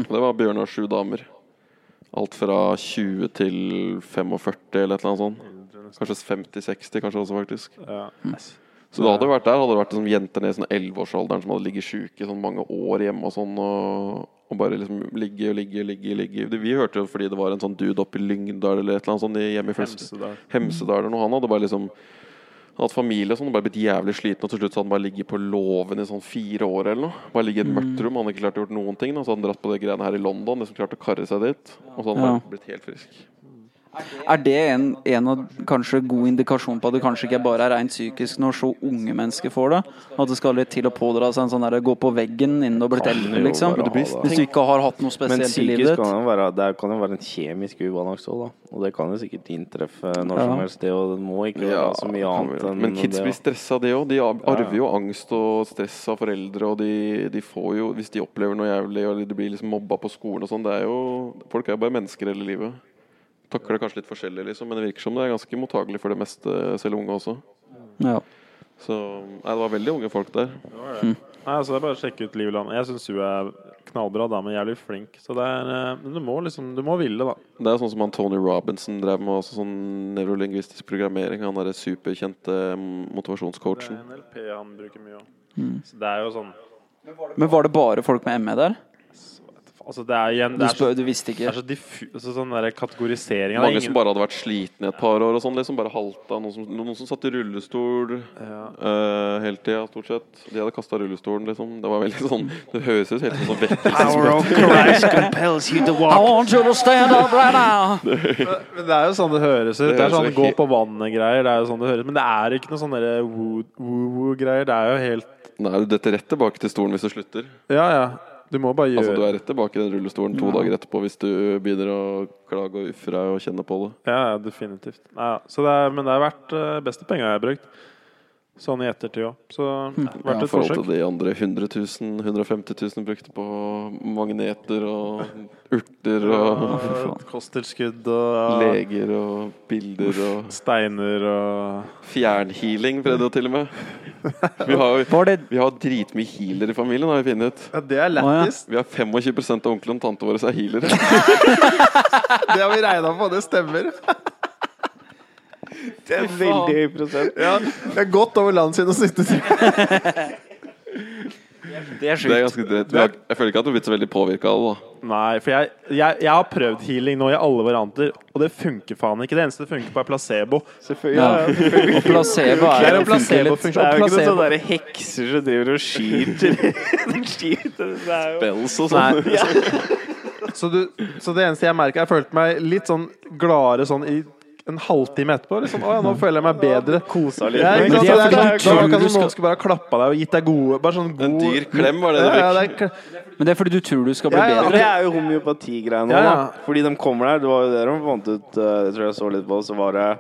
[SPEAKER 1] Og det var Bjørnar sju damer. Alt fra 20 til 45 eller et eller annet sånt. Kanskje 50-60, kanskje også, faktisk.
[SPEAKER 2] ja.
[SPEAKER 1] Så da hadde det vært der hadde det vært liksom jenter ned i sånn 11-årsalderen som hadde ligget sjuke i sånn mange år hjemme og sånn. Og, og bare liksom ligge og ligge og ligge. og ligge. Det- Vi hørte jo fordi det var en sånn dude oppe i Lyngdal eller et eller annet sånt i- hjemme i Flest-
[SPEAKER 2] Hemsedal.
[SPEAKER 1] Hemsedal eller noe. Han hadde bare liksom han hadde hatt familie og sånn, og bare blitt jævlig sliten, og til slutt så hadde han bare ligget på låven i sånn fire år eller noe. Bare ligget i et mørkt rom, han hadde ikke klart å gjort noen ting. Da. Så hadde han dratt på de greiene her i London, liksom klart å karre seg dit. Og så hadde han
[SPEAKER 4] Ja.
[SPEAKER 1] bare blitt helt frisk.
[SPEAKER 4] Er det en, en av kanskje god indikasjon på at det kanskje ikke bare er rent psykisk når så unge mennesker får det? At det skal litt til å pådra seg en sånn derre gå på veggen innen du har blitt
[SPEAKER 3] Kan
[SPEAKER 4] eldre,
[SPEAKER 3] jo
[SPEAKER 4] liksom?
[SPEAKER 3] bare ha det.
[SPEAKER 4] Hvis du ikke har hatt noe
[SPEAKER 3] Men
[SPEAKER 4] spesielt i
[SPEAKER 3] psykisk
[SPEAKER 4] livet
[SPEAKER 3] kan
[SPEAKER 4] ditt?
[SPEAKER 3] jo være, det kan jo være en kjemisk ubalanse òg, da. Og det kan jo sikkert inntreffe når
[SPEAKER 4] Ja.
[SPEAKER 3] som helst, det. Og det må ikke være
[SPEAKER 1] Ja,
[SPEAKER 3] så mye
[SPEAKER 1] kan
[SPEAKER 3] annet
[SPEAKER 1] vi-
[SPEAKER 3] enn
[SPEAKER 1] Men kids
[SPEAKER 3] det,
[SPEAKER 1] blir
[SPEAKER 3] da.
[SPEAKER 1] stressa, av det òg. De ar- arver jo angst og stress av foreldre. Og de, de får jo, hvis de opplever noe jævlig, og de blir liksom mobba på skolen og sånn det er jo, Folk er jo bare mennesker hele livet. Takler det kanskje litt forskjellig, liksom, men det virker som det er ganske mottagelig for det meste, selv unge også.
[SPEAKER 4] Ja.
[SPEAKER 1] Så nei, det var veldig unge folk der.
[SPEAKER 2] Nei, altså det er bare å sjekke ut Liv Land. Jeg syns hun er knallbra dame. Jævlig flink. Så det er eh, Men du må liksom Du må ville, da.
[SPEAKER 1] Det er sånn som han Tony Robinson drev med, også sånn nevrolingvistisk programmering. Han derre superkjente
[SPEAKER 2] Det er
[SPEAKER 1] motivasjonscoachen.
[SPEAKER 2] NLP han Mm. bruker mye òg. Så det er jo sånn
[SPEAKER 4] Men var det bare folk med ME der?
[SPEAKER 2] Altså, det er igjen
[SPEAKER 4] Du,
[SPEAKER 2] det er, så,
[SPEAKER 4] E spør, du visste
[SPEAKER 2] det
[SPEAKER 4] ikke.
[SPEAKER 2] er så diffu... Altså, sånn derre kategorisering
[SPEAKER 1] Mange som bare hadde vært slitne i et par år og sånn, liksom bare halta. Noen som, noen som satt i rullestol
[SPEAKER 2] ja.
[SPEAKER 1] eh, hele tida, stort sett. De hadde kasta rullestolen, liksom. Det var veldig sånn Det høres ut helt sånn vekkelse.
[SPEAKER 3] Power of Christ compels you to
[SPEAKER 4] I
[SPEAKER 3] walk.
[SPEAKER 4] want you to stand up right now!
[SPEAKER 2] Men det er jo sånn det høres ut. Det er
[SPEAKER 1] høres
[SPEAKER 2] sånn
[SPEAKER 1] jo
[SPEAKER 2] gå
[SPEAKER 1] helt-
[SPEAKER 2] på vannet-greier. Det er jo sånn det høres Men det er ikke noe sånn derre woo- woo-woo-greier. Det er jo helt
[SPEAKER 1] Nei, du detter rett tilbake til stolen hvis du slutter.
[SPEAKER 2] Ja, ja. Du må bare gjøre
[SPEAKER 1] Altså, du er rett tilbake i den rullestolen to dager etterpå hvis du begynner å klage og uffe deg og kjenne på det.
[SPEAKER 2] Ja, ja, definitivt. Nei, ja. Så det er, men det har vært eh, beste penga jeg har brukt. Sånn i ettertid òg. Så det har vært
[SPEAKER 1] I
[SPEAKER 2] et
[SPEAKER 1] forhold til
[SPEAKER 2] forsøk.
[SPEAKER 1] de andre 100 000, 150 000 brukte på magneter og urter og
[SPEAKER 2] Og Kosttilskudd og
[SPEAKER 1] leger og bilder og
[SPEAKER 2] steiner og
[SPEAKER 1] Fjernhealing prøvde jo til og med. Vi har jo
[SPEAKER 4] Var det
[SPEAKER 1] vi har dritmye healer i familien, har vi funnet ut.
[SPEAKER 3] Ja, det er lættis.
[SPEAKER 1] Vi har 25 av onklene og tantene våre som er healere.
[SPEAKER 3] Det har vi regna på, det stemmer. Det er veldig høy prosent. Ja, det er godt over landsinnsnittet.
[SPEAKER 4] Det er
[SPEAKER 1] Det er
[SPEAKER 4] sjukt.
[SPEAKER 1] ganske drøyt. Vi har- Jeg føler ikke at du har blitt så veldig påvirka av det. da
[SPEAKER 2] Nei, for jeg, jeg, jeg har prøvd healing nå i alle varianter, og det funker faen ikke. Det eneste det funker på, er placebo.
[SPEAKER 3] Selvfølgelig.
[SPEAKER 4] Ja.
[SPEAKER 3] Ja, ja.
[SPEAKER 4] Og placebo
[SPEAKER 2] Det er
[SPEAKER 4] er sånn
[SPEAKER 2] jo placebofunksjon.
[SPEAKER 3] Det er jo ikke sånn noen
[SPEAKER 4] Placebo.
[SPEAKER 3] sånne der hekser som driver og skyter. De skyter. Det er jo
[SPEAKER 1] Bells og sånn.
[SPEAKER 2] Nei. Så, du, så det eneste jeg merka Jeg følte meg litt sånn gladere sånn i en halvtime etterpå. Liksom. Å,
[SPEAKER 3] Mm.
[SPEAKER 2] ja, nå føler jeg meg bedre.
[SPEAKER 3] kosa litt.
[SPEAKER 2] Ja, ikke sant?
[SPEAKER 4] Men det er
[SPEAKER 2] Så det er sånn-
[SPEAKER 4] fordi
[SPEAKER 2] det var
[SPEAKER 4] du
[SPEAKER 2] akkurat som
[SPEAKER 4] skal-
[SPEAKER 2] noen skulle bare klappa deg og gitt deg gode Bare sånn god
[SPEAKER 1] En dyr klem var det du
[SPEAKER 2] ja, ja,
[SPEAKER 1] fikk.
[SPEAKER 2] det er kle-
[SPEAKER 4] Men det er fordi du tror du skal bli
[SPEAKER 2] Ja, ja,
[SPEAKER 3] Ja,
[SPEAKER 4] bedre.
[SPEAKER 3] det er jo homeopatigreiene
[SPEAKER 2] Ja,
[SPEAKER 3] òg,
[SPEAKER 2] ja.
[SPEAKER 3] da. Fordi de kommer der. Det var jo det de fant ut, eh, det tror jeg jeg så litt på, så var det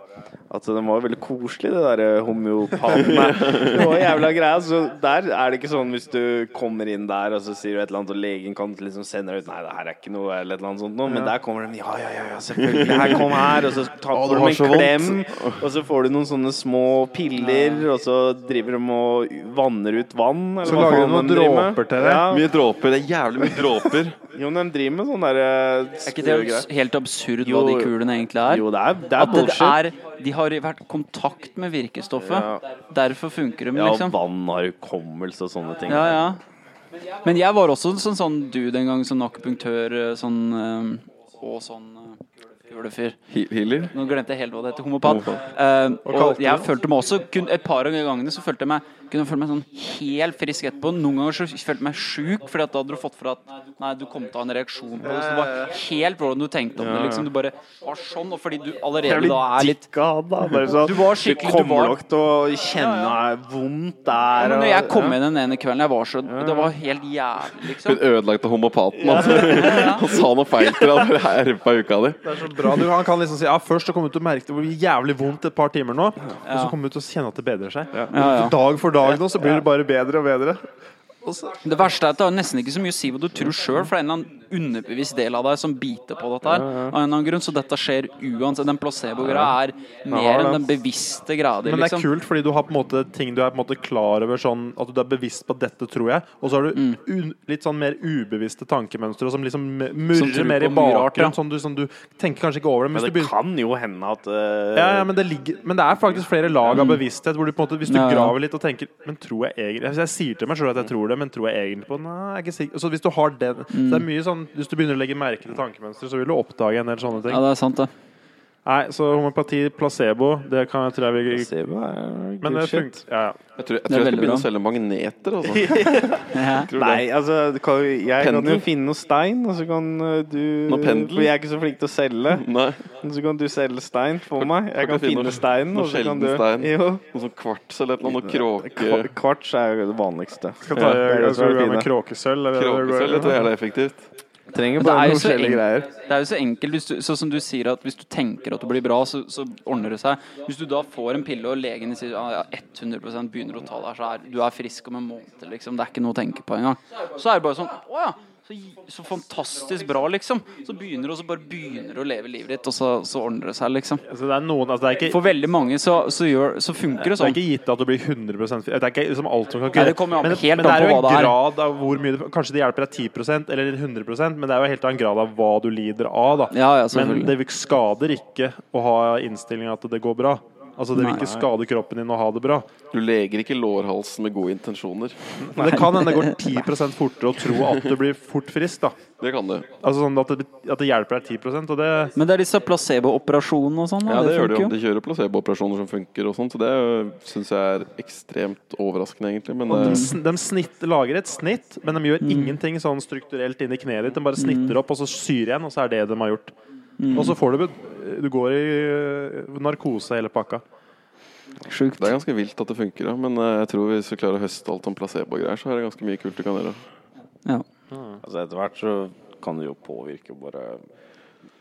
[SPEAKER 3] at de var jo veldig koselige, de der eh, homeopatene. Det var jævla greia. Så der er det ikke sånn hvis du kommer inn der, og så sier du et eller annet, og legen kan liksom sende deg ut Nei, det her er ikke noe, eller et eller annet sånt noe. Men der kommer de. Ja, ja, ja, ja selvfølgelig. Her, kom her. Og så tar
[SPEAKER 1] du
[SPEAKER 3] får
[SPEAKER 1] har
[SPEAKER 3] de
[SPEAKER 1] så
[SPEAKER 3] en
[SPEAKER 1] vondt.
[SPEAKER 3] klem, og så får du noen sånne små piller, og så driver de og vanner ut vann, eller
[SPEAKER 2] Så
[SPEAKER 3] hva
[SPEAKER 2] lager de
[SPEAKER 3] faen
[SPEAKER 2] noen
[SPEAKER 3] driver med.
[SPEAKER 2] dråper til deg.
[SPEAKER 3] Ja.
[SPEAKER 1] Mye dråper. Det er jævlig mye dråper.
[SPEAKER 3] Jo, men de driver med sånn derre
[SPEAKER 4] Er ikke det abs- helt absurd hva
[SPEAKER 3] Jo.
[SPEAKER 4] de kulene egentlig er?
[SPEAKER 3] Jo, det er, det er
[SPEAKER 4] At det
[SPEAKER 3] bullshit.
[SPEAKER 4] er, de har vært i kontakt med virkestoffet. Derfor funker de,
[SPEAKER 3] ja,
[SPEAKER 4] liksom.
[SPEAKER 3] vann har hukommelse og sånne ting.
[SPEAKER 4] Ja, ja. Men jeg var også en sånn, sånn dude en gang, sånn akupunktør eh, sånn, eh, og sånn eh, kulefyr.
[SPEAKER 1] He- Healer?
[SPEAKER 4] Nå glemte jeg helt hva det heter. Homopat.
[SPEAKER 1] Homopat.
[SPEAKER 4] Eh,
[SPEAKER 2] kalte
[SPEAKER 4] og jeg følte meg også kun, Et par av gangene så følte jeg meg kunne jeg føle meg sånn helt frisk etterpå. Noen ganger så følte jeg meg sjuk, Fordi at da hadde du fått for at Nei, du kom til å ha en reaksjon på det. Så det var helt hvordan du tenkte om det. Liksom, du bare var sånn, og fordi du allerede da er litt
[SPEAKER 2] sånn,
[SPEAKER 4] Du var skikkelig-
[SPEAKER 3] Du
[SPEAKER 4] du
[SPEAKER 3] kommer
[SPEAKER 4] var-
[SPEAKER 3] nok til å kjenne vondt
[SPEAKER 4] ja,
[SPEAKER 3] der.
[SPEAKER 4] men når jeg kom
[SPEAKER 3] ja.
[SPEAKER 4] inn den ene kvelden, jeg var så Det var helt jævlig,
[SPEAKER 1] Hun
[SPEAKER 4] liksom.
[SPEAKER 1] ødelagte homopaten. Altså. Han sa noe feil til deg. Bare herpa uka di.
[SPEAKER 2] Det er så bra. Du, han kan liksom si ja, først så kommer du til å merke det blir jævlig vondt et par timer nå, og så kommer du til å kjenne at det bedrer seg.
[SPEAKER 4] Ja, ja.
[SPEAKER 2] Dag for dag nå så blir det bare bedre og bedre.
[SPEAKER 4] Det verste er at det har nesten ikke så mye å si hva du tror sjøl, for det er en eller annen underbevisst del av deg som biter på dette her. Av en eller annen grunn, Så dette skjer uansett. Den placebo-greia er mer enn den bevisste greia di,
[SPEAKER 2] Men det er
[SPEAKER 4] liksom.
[SPEAKER 2] kult, fordi du har på en måte ting du er på en måte klar over sånn at du er bevisst på at dette, tror jeg, og så har du
[SPEAKER 4] Mm.
[SPEAKER 2] un, litt sånn mer ubevisste tankemønstre som liksom m-
[SPEAKER 4] tror
[SPEAKER 2] murrer mer i
[SPEAKER 4] på mye rart, ja.
[SPEAKER 2] bakgrunnen, sånn du, sånn du tenker kanskje ikke over det, men
[SPEAKER 3] Men det
[SPEAKER 2] hvis du begynner
[SPEAKER 3] kan jo hende at eh,
[SPEAKER 2] ja, ja, men, det ligger, men det er faktisk flere lag av bevissthet hvor du på en måte, hvis du
[SPEAKER 4] Mm. Ja, ja.
[SPEAKER 2] graver litt og tenker Men tror jeg egentlig Hvis jeg sier til meg selv at jeg tror det, men tror jeg egentlig på det? Nei, jeg er ikke sikker. Så hvis du har den så det
[SPEAKER 4] Mm.
[SPEAKER 2] er mye sånn, Hvis du begynner å legge merke til tankemønstre, så vil du oppdage en del sånne ting.
[SPEAKER 4] Ja, det er sant, det.
[SPEAKER 2] Nei, så homopati, placebo, det kan jeg tror jeg vi
[SPEAKER 3] Placebo er
[SPEAKER 2] Men det
[SPEAKER 3] good shit.
[SPEAKER 2] funker. Ja, ja.
[SPEAKER 1] Jeg tror jeg,
[SPEAKER 4] Det
[SPEAKER 1] tror jeg
[SPEAKER 4] er
[SPEAKER 1] skal
[SPEAKER 4] veldig
[SPEAKER 1] begynne å
[SPEAKER 4] bra.
[SPEAKER 1] selge magneter. Altså. Tror du
[SPEAKER 3] Nei,
[SPEAKER 1] det?
[SPEAKER 3] altså det kan, jo- Jeg kan jo
[SPEAKER 1] Pendel?
[SPEAKER 3] finne noe stein, og så kan eh, du
[SPEAKER 1] Noe pendel?
[SPEAKER 3] For jeg er ikke så flink til å selge.
[SPEAKER 1] Nei.
[SPEAKER 3] Men Så kan du selge stein for
[SPEAKER 1] Kan-
[SPEAKER 3] meg. Jeg
[SPEAKER 1] kan
[SPEAKER 3] kan
[SPEAKER 1] du finne
[SPEAKER 3] finne
[SPEAKER 1] noe-
[SPEAKER 3] steinen.
[SPEAKER 1] noe
[SPEAKER 3] og så kan
[SPEAKER 1] sjelden
[SPEAKER 3] du-
[SPEAKER 1] stein?
[SPEAKER 3] Jo.
[SPEAKER 1] Noe sånn kvarts eller et eller annet. Noe
[SPEAKER 3] Kva-
[SPEAKER 1] kråke.
[SPEAKER 3] Kvarts er jo det vanligste.
[SPEAKER 2] Skal ta,
[SPEAKER 3] det er det som
[SPEAKER 2] skal
[SPEAKER 3] er
[SPEAKER 2] vi gå med
[SPEAKER 3] fine.
[SPEAKER 2] kråkesølv? eller-
[SPEAKER 1] Kråkesølv. Det tror jeg er effektivt.
[SPEAKER 3] Trenger
[SPEAKER 4] Men det
[SPEAKER 3] bare
[SPEAKER 4] er
[SPEAKER 3] noen
[SPEAKER 4] jo så
[SPEAKER 3] forskjellige
[SPEAKER 4] en-
[SPEAKER 3] greier.
[SPEAKER 4] Det er jo så enkelt, hvis du, sånn som du sier at hvis du tenker at det blir bra, så, så ordner det seg. Hvis du da får en pille og legen sier ah, ja, 100 begynner å ta deg, så er du er frisk om en måned, liksom. Det er ikke noe å tenke på engang. Så er det bare sånn Å ja. Så, så fantastisk bra, liksom. Så begynner du og så bare begynner du å leve livet ditt, og så, så ordner det seg, liksom.
[SPEAKER 2] Altså, det er noen altså, det, er ikke,
[SPEAKER 4] For veldig mange så, så, gjør, så funker
[SPEAKER 2] det
[SPEAKER 4] det
[SPEAKER 2] er
[SPEAKER 4] sånn.
[SPEAKER 2] ikke gitt at du blir 100 fi- Det er ikke liksom alt som kan
[SPEAKER 4] Nei, det kommer jo an-
[SPEAKER 2] men,
[SPEAKER 4] helt
[SPEAKER 2] men det
[SPEAKER 4] an
[SPEAKER 2] er
[SPEAKER 4] på
[SPEAKER 2] jo en
[SPEAKER 4] hva det er.
[SPEAKER 2] grad av hvor mye det, Kanskje det hjelper deg 10 eller 100 men det er jo helt av en grad av hva du lider av. Da.
[SPEAKER 4] Ja,
[SPEAKER 2] men
[SPEAKER 4] ja, selvfølgelig.
[SPEAKER 2] det skader ikke å ha innstilling at det går bra. Altså, det vil
[SPEAKER 4] Nei.
[SPEAKER 2] ikke skade kroppen din å ha det bra.
[SPEAKER 1] Du leger ikke lårhalsen med gode intensjoner.
[SPEAKER 2] Men det kan hende det går 10 fortere å tro at du blir fort frisk. da
[SPEAKER 1] Det kan du.
[SPEAKER 2] Altså sånn at det, at det hjelper deg 10 og det
[SPEAKER 4] Men det er disse placebooperasjonene og sånn.
[SPEAKER 1] Ja,
[SPEAKER 4] da,
[SPEAKER 1] det, gjør de jo.
[SPEAKER 4] funker
[SPEAKER 1] De kjører placebooperasjoner som funker, og sånt, så det syns jeg er ekstremt overraskende, egentlig. Men
[SPEAKER 2] de,
[SPEAKER 1] eh, Mm.
[SPEAKER 2] sn- de snitt, lager et snitt, men de gjør ingenting sånn strukturelt inn i kneet ditt. De bare snitter opp, og så syr igjen, og så er det de har gjort.
[SPEAKER 1] Mm.
[SPEAKER 2] Og så får du bud- Du går i øh, narkose hele pakka.
[SPEAKER 4] Sjukt.
[SPEAKER 1] det er ganske vilt at det funker, ja. Men eh, jeg tror hvis du klarer å høste alt om placebo-greier, så er det ganske mye kult du kan gjøre.
[SPEAKER 4] Ja.
[SPEAKER 3] Altså Etter hvert så kan du jo påvirke bare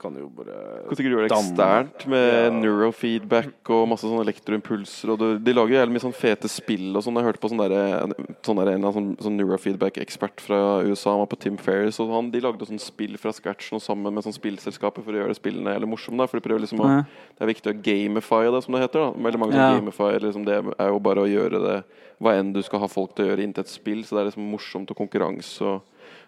[SPEAKER 3] Kan du jo bare
[SPEAKER 1] Kan sikkert gjøre det
[SPEAKER 3] danne-
[SPEAKER 1] eksternt med
[SPEAKER 3] Ja.
[SPEAKER 1] neurofeedback og masse sånne elektroimpulser. Og du, de lager jo jævlig mye sånn fete spill og sånn. Jeg hørte på sånn derre- sånn derre- en eller annen sånn, sånn neurofeedback-ekspert fra USA, han var på Tim Ferris, og han, de lagde sånn spill fra scratchen og sammen med sånn spillselskaper for å gjøre spillene jævlig morsomme. da, For de prøver liksom å
[SPEAKER 4] Ja.
[SPEAKER 1] Det er viktig å gamify det, som det heter. da Veldig mange som
[SPEAKER 4] Ja.
[SPEAKER 1] gamifier liksom, Det er jo bare å gjøre det hva enn du skal ha folk til å gjøre inntil et spill. Så det er liksom morsomt og konkurranse og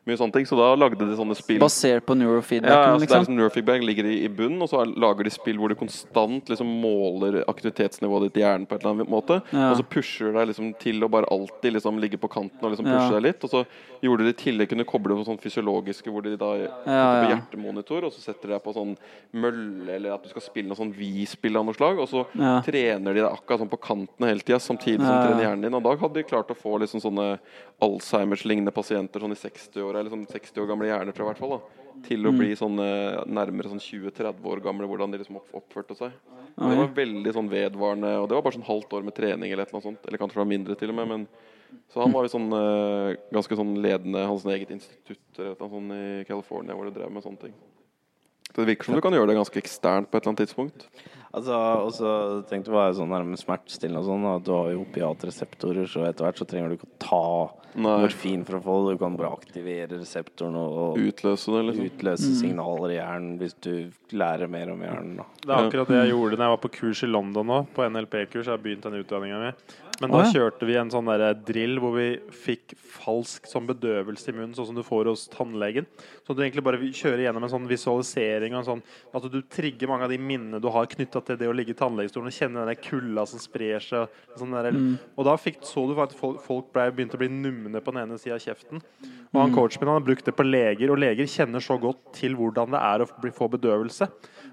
[SPEAKER 1] mye sånne ting. Så da lagde de sånne spill
[SPEAKER 4] Basert på
[SPEAKER 1] ja, ja,
[SPEAKER 4] neurofeedbacken,
[SPEAKER 1] så det er
[SPEAKER 4] liksom.
[SPEAKER 1] liksom Neurofeedback ligger i, i bunnen, og så er, lager de spill hvor du konstant liksom måler aktivitetsnivået ditt i hjernen på et eller annet måte.
[SPEAKER 4] Ja.
[SPEAKER 1] Og så pusher deg liksom til å bare alltid liksom ligge på kanten og liksom
[SPEAKER 4] Ja.
[SPEAKER 1] pushe deg litt. Og så gjorde de i tillegg kunne koble på sånn fysiologiske hvor de da setter på
[SPEAKER 4] ja.
[SPEAKER 1] hjertemonitor, og så setter de deg på sånn mølle, eller at du skal spille noe sånn vi-spill av noe slag, og så
[SPEAKER 4] Ja.
[SPEAKER 1] trener de deg akkurat sånn på kanten hele tida, samtidig som de
[SPEAKER 4] Ja, ja.
[SPEAKER 1] trener hjernen din. Og da hadde de klart å få liksom sånne Alzheimers-lignende pasienter sånn i 60-åra, eller sånn 60 år gamle hjerner, tror jeg i hvert fall. da til å bli sånn eh, nærmere sånn 20-30 år gamle, hvordan de liksom opp, oppførte seg. Og det var veldig sånn vedvarende, og det var bare sånn halvt år med trening eller et eller annet sånt. Eller kanskje det var mindre til og med, men Så han var jo sånn eh, ganske sånn ledende, hans eget institutt eller et eller annet sånt i California hvor de drev med sånne ting. Så det virker som du kan gjøre det ganske eksternt på et eller annet tidspunkt.
[SPEAKER 3] Altså, og så tenkte jeg bare sånn her med smertestillende og sånn, at du har jo opiatreseptorer, så etter hvert så trenger du ikke å ta
[SPEAKER 1] Nei.
[SPEAKER 3] morfin for å få det. Du kan bare aktivere reseptoren og
[SPEAKER 1] Utløse det, liksom.
[SPEAKER 3] utløse signaler i hjernen hvis du lærer mer om hjernen. Da.
[SPEAKER 2] Det er akkurat det jeg gjorde når jeg var på kurs i London nå, på NLP-kurs. Jeg har begynt den utdanninga mi. Men da
[SPEAKER 4] Å, ja.
[SPEAKER 2] kjørte vi en sånn der drill hvor vi fikk falsk sånn bedøvelse i munnen, sånn som du får hos tannlegen. Så du egentlig bare kjører gjennom en sånn visualisering og en sånn At du trigger mange av de minnene du har knytta til det å ligge i tannlegestolen og kjenne den der kulda som sprer seg. og Sånn der,
[SPEAKER 4] Mm.
[SPEAKER 2] Og da fikk, så du at folk, folk ble, begynte å bli numne på den ene sida av kjeften. Og han coachen min han har brukt det på leger, og leger kjenner så godt til hvordan det er å bli, få bedøvelse.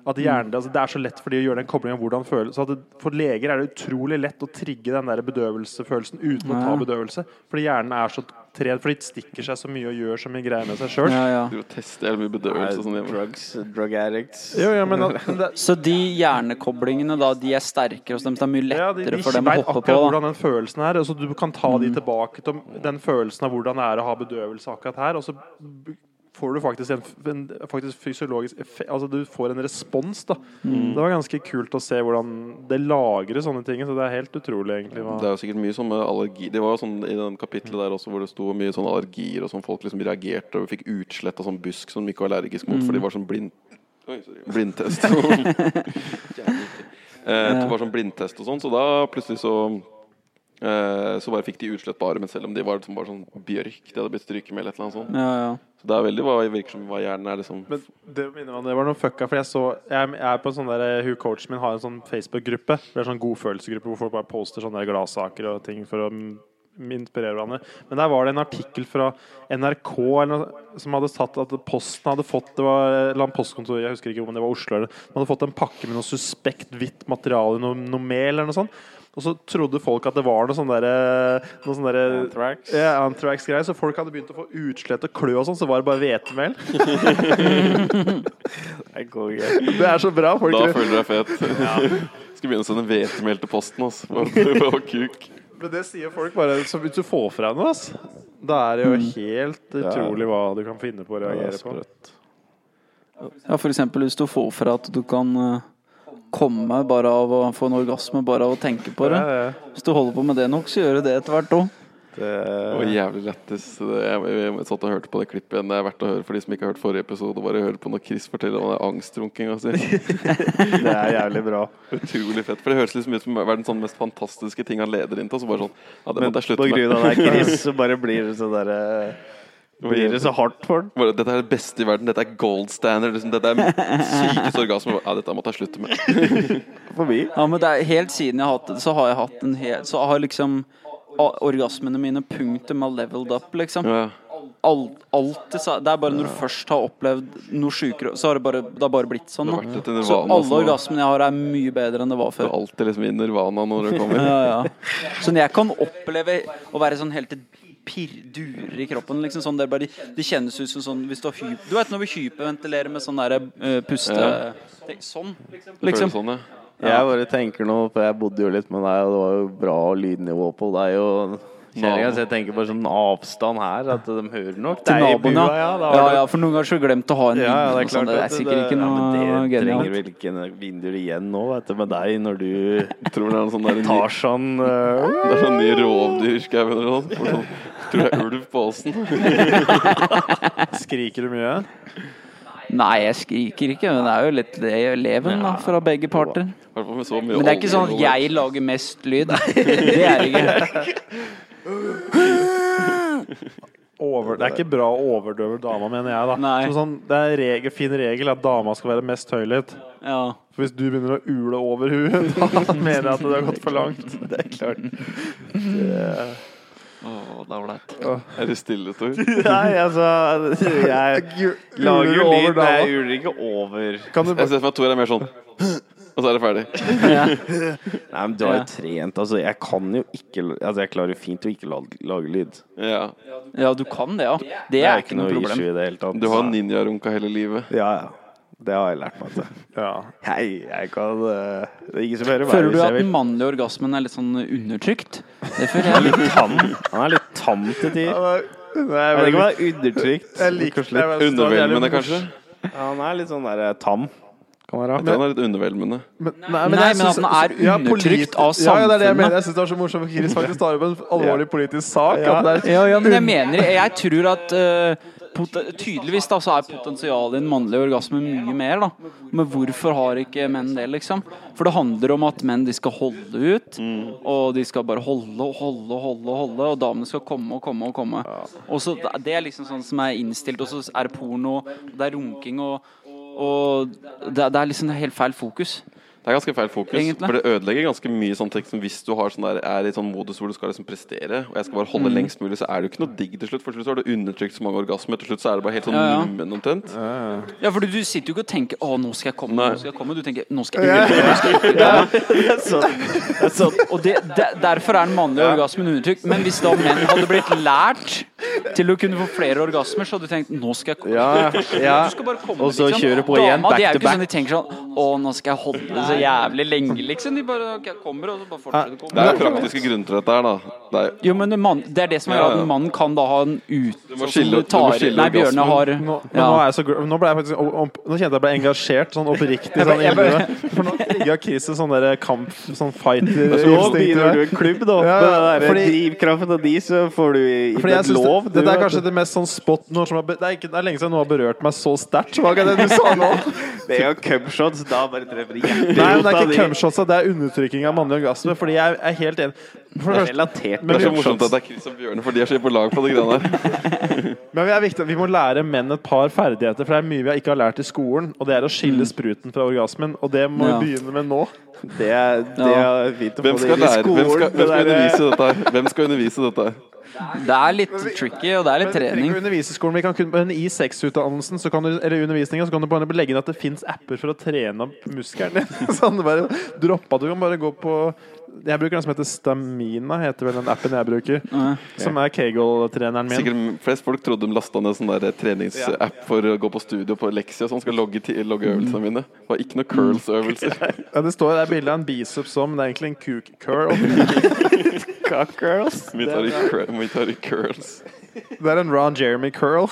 [SPEAKER 2] At hjernen, altså Det er så lett for de å gjøre den koblingen av hvordan følelse så at det, For leger er det utrolig lett å trigge den der bedøvelsefølelsen uten å ta
[SPEAKER 4] Ja. bedøvelse.
[SPEAKER 2] bedøvelse. Fordi hjernen er så trent, fordi det stikker seg så mye og gjør så mye greier med seg
[SPEAKER 1] liksom-
[SPEAKER 2] sjøl.
[SPEAKER 4] Ja, ja.
[SPEAKER 1] Du tester jævlig mye bedøvelse og sånn hjemme.
[SPEAKER 3] drugs, drug addicts.
[SPEAKER 2] Jo, ja, men at, men det,
[SPEAKER 4] Så de hjernekoblingene, da, de er sterkere hos dem, så det er mye
[SPEAKER 2] ja, de,
[SPEAKER 4] lettere
[SPEAKER 2] de
[SPEAKER 4] for dem å
[SPEAKER 2] vet
[SPEAKER 4] hoppe
[SPEAKER 2] akkurat
[SPEAKER 4] på? da Mm.
[SPEAKER 2] hvordan den følelsen er. Altså, du kan ta de tilbake til den følelsen av hvordan det er å ha bedøvelse akkurat her. Og så b- får du faktisk en, f- en faktisk fysiologisk effe- Altså du får en respons, da.
[SPEAKER 4] Mm.
[SPEAKER 2] Det var ganske kult å se hvordan det lagrer sånne ting. Så det er helt utrolig, egentlig.
[SPEAKER 1] Det
[SPEAKER 2] Hva.
[SPEAKER 1] er jo sikkert mye sånn med allergi Det var jo sånn i den kapitlet der også hvor det sto mye sånn allergier og sånn folk liksom reagerte og fikk utslett av sånn busk som de ikke var allergisk mot, for de var sånn blind Oi, sorry. blindtest. Jævlig. eh, det var sånn blindtest og sånn, så da plutselig så eh, så bare fikk de utslett på armen, selv om de var liksom bare sånn bjørk. De hadde blitt stryket med eller et eller annet sånt.
[SPEAKER 4] Ja, ja.
[SPEAKER 1] Så det er veldig hva virker som hva hjernen er, liksom.
[SPEAKER 2] Men det minner meg om det var noe fucka, for jeg så Jeg, jeg er på en sånn der Hun coachen min har en sånn Facebook-gruppe. Det er sånn godfølelsesgruppe hvor folk bare poster sånne der gladsaker og ting for å mm, inspirere hverandre. Men der var det en artikkel fra NRK eller noe, som hadde tatt at Posten hadde fått Det var et eller annet postkontor, jeg husker ikke om det var Oslo eller De hadde fått en pakke med noe suspekt hvitt materiale, noe, noe mel eller noe sånt. Og så trodde folk at det var noe sånn derre Noe sånn derre
[SPEAKER 3] Anthrax.
[SPEAKER 2] Ja, anthrax-greier. Så folk hadde begynt å få utslett og klø og sånn, så var det bare hvetemel.
[SPEAKER 3] Det er konge.
[SPEAKER 2] Det er så bra. Folk
[SPEAKER 1] Da føler du deg fet. Skal begynne å sende hvetemel til posten, altså. På kuk.
[SPEAKER 2] Men det sier folk bare så Hvis du får fra noe, ass, da er det jo helt utrolig hva du kan finne på
[SPEAKER 3] Mm.
[SPEAKER 2] å
[SPEAKER 3] Det
[SPEAKER 2] reagere
[SPEAKER 3] er
[SPEAKER 2] på.
[SPEAKER 3] sprøtt.
[SPEAKER 4] ja for eksempel hvis du får fra at du kan eh, komme bare av å få en orgasme bare av å tenke på det.
[SPEAKER 2] Ja, ja.
[SPEAKER 4] Hvis du holder på med det nok, så gjør du det etter hvert òg.
[SPEAKER 1] Det var jævlig lættis. Det- Jeg, jeg, jeg satt og hørte på det klippet igjen. Det er verdt å høre for de som ikke har hørt forrige episode. Bare høre på når Chris forteller om den angstrunkinga si.
[SPEAKER 3] Det er jævlig bra.
[SPEAKER 1] Utrolig fett. For det høres liksom ut som verdens sånn mest fantastiske ting han leder inn til. og Så bare sånn Ja, det
[SPEAKER 3] Men
[SPEAKER 1] måtte
[SPEAKER 3] på
[SPEAKER 1] jeg slutte
[SPEAKER 3] grunn
[SPEAKER 1] med.
[SPEAKER 3] av deg, Chris, så bare blir det sånn derre Blir det så hardt for den?
[SPEAKER 1] Bare, Dette er det beste i verden. Dette er gold standard. Liksom. Dette er sykeste orgasme. Ja, dette måtte jeg slutte med.
[SPEAKER 3] For meg?
[SPEAKER 4] Ja, men det er helt siden jeg har hatt det, så har jeg hatt en hel Så har liksom a- orgasmene mine punktum har leveled up, liksom.
[SPEAKER 1] Ja.
[SPEAKER 4] Alt, alt det, sa- det er bare når du først har opplevd noe sjukere, så har det bare, det har bare blitt sånn.
[SPEAKER 1] Det har
[SPEAKER 4] da.
[SPEAKER 1] vært etter
[SPEAKER 4] Så
[SPEAKER 1] nirvana,
[SPEAKER 4] alle
[SPEAKER 1] så-
[SPEAKER 4] orgasmene jeg har, er mye bedre enn det var
[SPEAKER 1] Du er
[SPEAKER 4] før.
[SPEAKER 1] alltid liksom i nirvana når det kommer.
[SPEAKER 4] Ja, ja. Sånn jeg kan oppleve å være sånn helt pirr, durer i kroppen, liksom. Sånn det, bare, det kjennes ut som sånn hvis du har hy... Du vet når vi hyperventilerer med sånn derre eh, puste...
[SPEAKER 1] Ja.
[SPEAKER 4] Sånn,
[SPEAKER 1] Det føles
[SPEAKER 4] liksom.
[SPEAKER 1] Sånn, ja.
[SPEAKER 3] Jeg bare tenker nå, for jeg bodde jo litt med deg, og det var jo bra lydnivå på deg. og Kjæringa, så jeg tenker bare sånn avstand her, at de hører nok
[SPEAKER 4] til
[SPEAKER 3] deg i
[SPEAKER 4] naboen, ja.
[SPEAKER 3] bua, ja. Da har
[SPEAKER 4] Ja,
[SPEAKER 3] du-
[SPEAKER 4] ja, for noen ganger så glemt å ha en
[SPEAKER 3] Ja, ja, det er
[SPEAKER 4] vindu. og sånn.
[SPEAKER 3] klart
[SPEAKER 4] Det er
[SPEAKER 3] at
[SPEAKER 4] sikkert ikke
[SPEAKER 3] ja,
[SPEAKER 4] noe
[SPEAKER 3] men Det trenger
[SPEAKER 4] genialt.
[SPEAKER 3] vel ikke noen vinduer igjen nå, vet du, med deg, når du
[SPEAKER 1] Tror det er noe sånn der ny,
[SPEAKER 3] Tarzan uh,
[SPEAKER 1] det er sånn ny rovdyr i skauen eller noe. sånt. Sånn, tror det er ulv på åsen.
[SPEAKER 2] Skriker du mye?
[SPEAKER 4] Nei, jeg skriker ikke, men det er jo litt det i leven da, fra begge parter.
[SPEAKER 1] I hvert fall med så mye
[SPEAKER 4] Men det er ikke sånn at
[SPEAKER 1] olje
[SPEAKER 4] jeg lager mest lyd. Det er det ikke.
[SPEAKER 2] Over, det er ikke bra å overdøve dama, mener jeg. da
[SPEAKER 4] Nei.
[SPEAKER 2] Som sånn, Det er regel, fin regel at dama skal være mest høylytt.
[SPEAKER 4] Ja.
[SPEAKER 2] For hvis du begynner å ule over huet, da mener jeg at det har gått for langt. Det er klart
[SPEAKER 1] over- Er det stille, Tor?
[SPEAKER 3] Nei, altså Jeg lager jo lyd, men jeg uler ikke over
[SPEAKER 2] Kan du
[SPEAKER 1] Jeg ser for meg at Tor er mer sånn Og så er det ferdig.
[SPEAKER 3] Nei, men du har
[SPEAKER 4] Ja.
[SPEAKER 3] jo trent, altså. Jeg kan jo ikke Altså, jeg klarer jo fint å ikke lage, lage lyd.
[SPEAKER 1] Ja.
[SPEAKER 4] ja, du kan det, ja. Det
[SPEAKER 3] Det
[SPEAKER 4] er ikke noe problem.
[SPEAKER 3] issue i det hele tatt.
[SPEAKER 1] Du har
[SPEAKER 3] så-
[SPEAKER 1] ninjarunka hele livet.
[SPEAKER 3] Ja, ja. Det har jeg lært meg. vet du.
[SPEAKER 2] ja.
[SPEAKER 3] Hei, jeg kan eh, Det er ingen som hører meg.
[SPEAKER 4] Føler du
[SPEAKER 3] hvis jeg
[SPEAKER 4] at den
[SPEAKER 3] vil.
[SPEAKER 4] mannlige orgasmen er litt sånn undertrykt? Det føler jeg litt.
[SPEAKER 3] Tam. Han er litt tam til tider. Jeg vet ikke om det er undertrykt.
[SPEAKER 2] Jeg liker
[SPEAKER 3] Kanskje litt-
[SPEAKER 1] Undervelmende, kanskje?
[SPEAKER 3] Ja, han er litt sånn der eh, tam. Kan være.
[SPEAKER 1] Jeg tror han er litt undervelmende.
[SPEAKER 2] Men, nei,
[SPEAKER 4] Nei,
[SPEAKER 2] jeg
[SPEAKER 4] men at
[SPEAKER 2] synes-
[SPEAKER 4] den er
[SPEAKER 2] ja,
[SPEAKER 4] undertrykt av
[SPEAKER 2] Ja, ja, det er det jeg
[SPEAKER 4] samfunnet.
[SPEAKER 2] mener. Jeg syns det var så morsomt at Chris faktisk tar opp en alvorlig politisk sak.
[SPEAKER 3] Ja.
[SPEAKER 2] At det er,
[SPEAKER 4] Ja, ja, men jeg mener Jeg tror at eh, pot- Tydeligvis da, så er potensialet i den mannlige orgasmen mye mer. da Men hvorfor har ikke menn det, liksom? For det handler om at menn de skal holde ut.
[SPEAKER 3] Mm.
[SPEAKER 4] Og de skal bare holde og holde og holde, og holde Og damene skal komme og komme og komme. Og så Det er liksom sånn som er innstilt. Og så er det porno, det er runking og, og det, det er liksom helt feil fokus.
[SPEAKER 1] Det er ganske feil fokus,
[SPEAKER 4] Egentlig.
[SPEAKER 1] for det ødelegger ganske mye sånn tekst som hvis du har sånn der, er i sånn modus hvor du skal liksom prestere, og jeg skal bare holde lengst mulig, så er det jo ikke noe digg til slutt. For til slutt så har du undertrykt så mange orgasmer, til slutt så er det bare helt sånn
[SPEAKER 4] Ja, ja.
[SPEAKER 1] nummen omtrent.
[SPEAKER 4] Ja, for du, du sitter jo ikke og tenker 'Å, nå skal jeg komme',
[SPEAKER 1] Nei.
[SPEAKER 4] nå skal jeg komme. Du tenker 'Nå skal jeg komme'. Og det, de- derfor er den mannlige orgasmen undertrykt. Men hvis da menn hadde blitt lært til å kunne få flere orgasmer, så hadde du tenkt 'Nå skal jeg komme'.
[SPEAKER 3] Ja, ja.
[SPEAKER 4] Du skal bare komme,
[SPEAKER 3] Og så
[SPEAKER 4] liksom.
[SPEAKER 3] kjøre på igjen,
[SPEAKER 4] Dama, de er
[SPEAKER 3] back to
[SPEAKER 4] jo ikke sånn
[SPEAKER 3] back.
[SPEAKER 4] de tenker sånn 'Å, nå skal jeg holde det så jævlig lenge', liksom. De bare ok, jeg kommer, og så bare fortsetter å
[SPEAKER 1] Det
[SPEAKER 4] komme.
[SPEAKER 1] er jo praktiske grunner til dette her, da. Det er,
[SPEAKER 4] Jo, men en mann, det er det som gjør
[SPEAKER 1] Ja,
[SPEAKER 4] at
[SPEAKER 1] ja.
[SPEAKER 4] en mann kan da ha en ut... Du
[SPEAKER 1] må skille- du må skille
[SPEAKER 4] Nei, Bjørne
[SPEAKER 1] orgasmen.
[SPEAKER 4] har
[SPEAKER 2] nå, men nå,
[SPEAKER 4] ja.
[SPEAKER 2] er jeg så, gl- nå ble jeg faktisk om- om- Nå kjente jeg ble engasjert, sånn oppriktig. Sånn,
[SPEAKER 4] jeg bare-
[SPEAKER 2] inni meg. for nå trigga Chris en sånn der kamp, sånn fight
[SPEAKER 3] Nå begynner du en klubb, da.
[SPEAKER 2] Ja,
[SPEAKER 3] Med
[SPEAKER 2] ja,
[SPEAKER 3] den der
[SPEAKER 2] fordi-
[SPEAKER 3] drivkraften av de, så får du i-
[SPEAKER 2] Fordi
[SPEAKER 3] ikke
[SPEAKER 2] jeg
[SPEAKER 3] et
[SPEAKER 2] synes
[SPEAKER 3] lov.
[SPEAKER 2] det,
[SPEAKER 3] du,
[SPEAKER 2] Dette er
[SPEAKER 3] vet
[SPEAKER 2] kanskje
[SPEAKER 3] du.
[SPEAKER 2] det mest sånn spot noe som har, be- det, er ikke, det er lenge siden noe har berørt meg så sterkt. Hva var det du sa nå?
[SPEAKER 3] Det er jo cumshots, da bare treffer de
[SPEAKER 2] Nei, men det er
[SPEAKER 3] hjerterota
[SPEAKER 2] ikke
[SPEAKER 3] di.
[SPEAKER 2] cumshots, det er undertrykking av mannlig orgasme. Fordi jeg er helt enig. For det første,
[SPEAKER 3] Relatert
[SPEAKER 1] det
[SPEAKER 2] Men
[SPEAKER 1] er
[SPEAKER 2] vi-
[SPEAKER 1] så morsomt at det er Chris og Bjørne, for de er så på lag på det greiene der.
[SPEAKER 2] men vi, er viktig, vi må lære menn et par ferdigheter, for det er mye vi ikke har lært i skolen. Og det er å skille spruten fra orgasmen, og det må
[SPEAKER 4] Mm. Ja.
[SPEAKER 2] vi begynne med nå.
[SPEAKER 3] Det er, det
[SPEAKER 4] Ja.
[SPEAKER 3] er fint å
[SPEAKER 1] Hvem
[SPEAKER 3] få det
[SPEAKER 1] skal
[SPEAKER 3] inn i
[SPEAKER 1] lære? Hvem
[SPEAKER 3] skolen.
[SPEAKER 1] skal, hvem skal
[SPEAKER 3] det der,
[SPEAKER 1] undervise dette her? Hvem skal undervise dette her?
[SPEAKER 4] Det er litt tricky, og det er
[SPEAKER 2] Men
[SPEAKER 4] litt
[SPEAKER 2] eh, vi trenger
[SPEAKER 4] trening.
[SPEAKER 2] ikke å undervise i skolen, vi kan kun, men I sexutdannelsen så kan du, eller undervisningen, så kan du bare legge inn at det fins apper for å trene opp muskelen din. sånn, det bare droppa du kan bare gå på Jeg bruker den som heter Stamina, heter vel den appen jeg bruker. Som er Kegel-treneren min.
[SPEAKER 1] Sikkert flest folk trodde de lasta ned sånn der treningsapp for å gå på studio på leksia, sånn skal logge, ti- logge
[SPEAKER 4] Mm.
[SPEAKER 1] øvelsene mine. Det var ikke noe curls-øvelser.
[SPEAKER 2] Ja, det står der bilde av en biceps som, men det er egentlig en kuk curl.
[SPEAKER 3] Cock girls.
[SPEAKER 1] Vi tar i cur- vi tar i curls.
[SPEAKER 2] Det er en Ron Jeremy curl.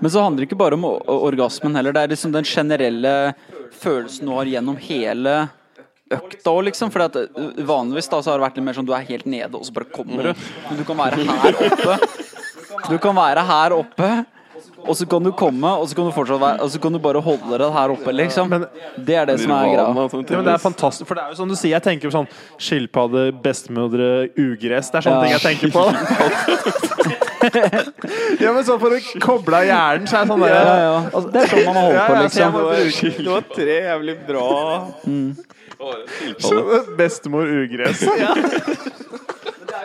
[SPEAKER 4] Men så handler det ikke bare om o- orgasmen heller. Det er liksom den generelle følelsen du har gjennom hele økta òg, liksom. For vanligvis da så har det vært litt mer sånn du er helt nede, og så bare kommer du. Men du kan være her oppe. Du kan være her oppe. Og så kan du komme, og så kan du fortsatt være Og så kan du bare holde det her oppe, liksom.
[SPEAKER 2] Men-
[SPEAKER 4] Det er det som er greia.
[SPEAKER 1] Nirvana, som
[SPEAKER 2] Ja, men det er altså.
[SPEAKER 1] tydeligvis-
[SPEAKER 2] fantastisk, for det er jo som du sier, jeg tenker på sånn skilpadde, bestemødre, ugress. Det er sånne
[SPEAKER 4] Ja.
[SPEAKER 2] ting jeg tenker på. ja, men så for å koble av hjernen, så er det sånn der,
[SPEAKER 4] Ja, ja. Altså, det er sånn man har holdt på,
[SPEAKER 2] Ja, ja, så jeg
[SPEAKER 4] liksom.
[SPEAKER 2] må- Mm.
[SPEAKER 3] Det var tre jævlig bra
[SPEAKER 2] Så- Bestemor ugress.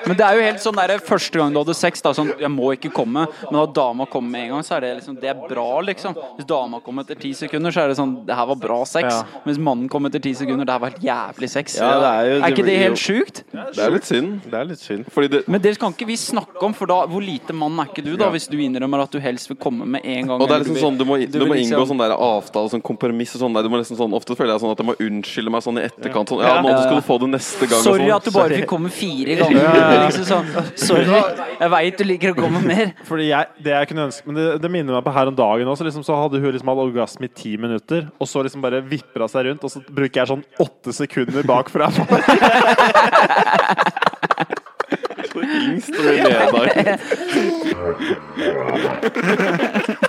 [SPEAKER 4] Men det er jo helt sånn der, første gang du hadde sex, da sånn Jeg må ikke komme, men når dama kommer med en gang, så er det liksom Det er bra, liksom. Hvis dama kom etter ti sekunder, så er det sånn Det her var bra sex.
[SPEAKER 2] Ja.
[SPEAKER 4] Mens mannen kom etter ti sekunder, det her var helt jævlig sex.
[SPEAKER 3] Ja, det er jo-
[SPEAKER 4] ikke det helt sjukt?
[SPEAKER 1] Det er litt synd.
[SPEAKER 3] Det er litt synd.
[SPEAKER 1] Fordi det,
[SPEAKER 4] Men det kan ikke vi snakke om, for da hvor lite mann er ikke du, da, hvis du innrømmer at du helst vil komme med en
[SPEAKER 1] og
[SPEAKER 4] gang?
[SPEAKER 1] det er
[SPEAKER 4] eller
[SPEAKER 1] liksom
[SPEAKER 4] vil-
[SPEAKER 1] sånn, Du må, du
[SPEAKER 4] vil
[SPEAKER 1] må
[SPEAKER 4] liksom-
[SPEAKER 1] inngå sånn der avtale, sånn kompromiss og sånn. Nei, du må liksom sånn Ofte føler jeg sånn at jeg må unnskylde meg sånn i etterkant. Sånn, ja, nå
[SPEAKER 4] Ja.
[SPEAKER 1] skal du få det neste gang. og
[SPEAKER 4] Sorry
[SPEAKER 1] sånn.
[SPEAKER 4] at du bare fikk komme fire ganger. Liksom sånn. Sorry, jeg veit du liker å komme mer.
[SPEAKER 2] Fordi jeg, det jeg kunne ønske Men det, det minner meg på her om dagen også. Liksom, så hadde hun liksom hatt orgasme i ti minutter, og så liksom bare vipper hun seg rundt, og så bruker jeg sånn åtte sekunder bakfra.
[SPEAKER 1] Yngst og blir leder.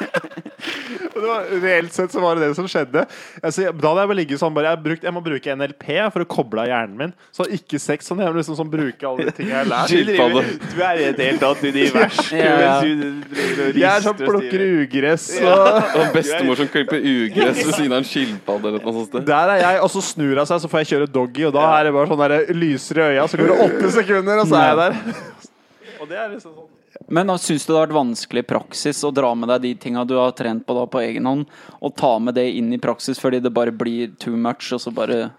[SPEAKER 2] Det var, reelt sett så var det det som skjedde. Altså, jeg- da hadde jeg bare ligget sånn bare, jeg, har brukt, jeg må bruke NLP for å koble av hjernen min. Så ikke sex. Sånn, jeg må liksom sånn, bruke alle de tingene jeg har lært.
[SPEAKER 1] Shit, faen.
[SPEAKER 3] Du er i et helt annet univers.
[SPEAKER 4] Ja, ja.
[SPEAKER 3] Du- du- du- du- du-
[SPEAKER 2] Jeg er sånn
[SPEAKER 3] rister og stiver.
[SPEAKER 2] plukker ugress og
[SPEAKER 1] Og bestemor som klipper ugress ved siden av en skilpadde eller noe sånt. sted.
[SPEAKER 2] Der er jeg, og så snur hun seg, så får jeg kjøre doggy, og da er det bare sånn der, lyser i øya, så går det åtte sekunder, og så er jeg der. Og det er liksom sånn
[SPEAKER 4] Men da syns du det har vært vanskelig i praksis å dra med deg de tinga du har trent på da på egen hånd, og ta med det inn i praksis fordi det bare blir too much, og så bare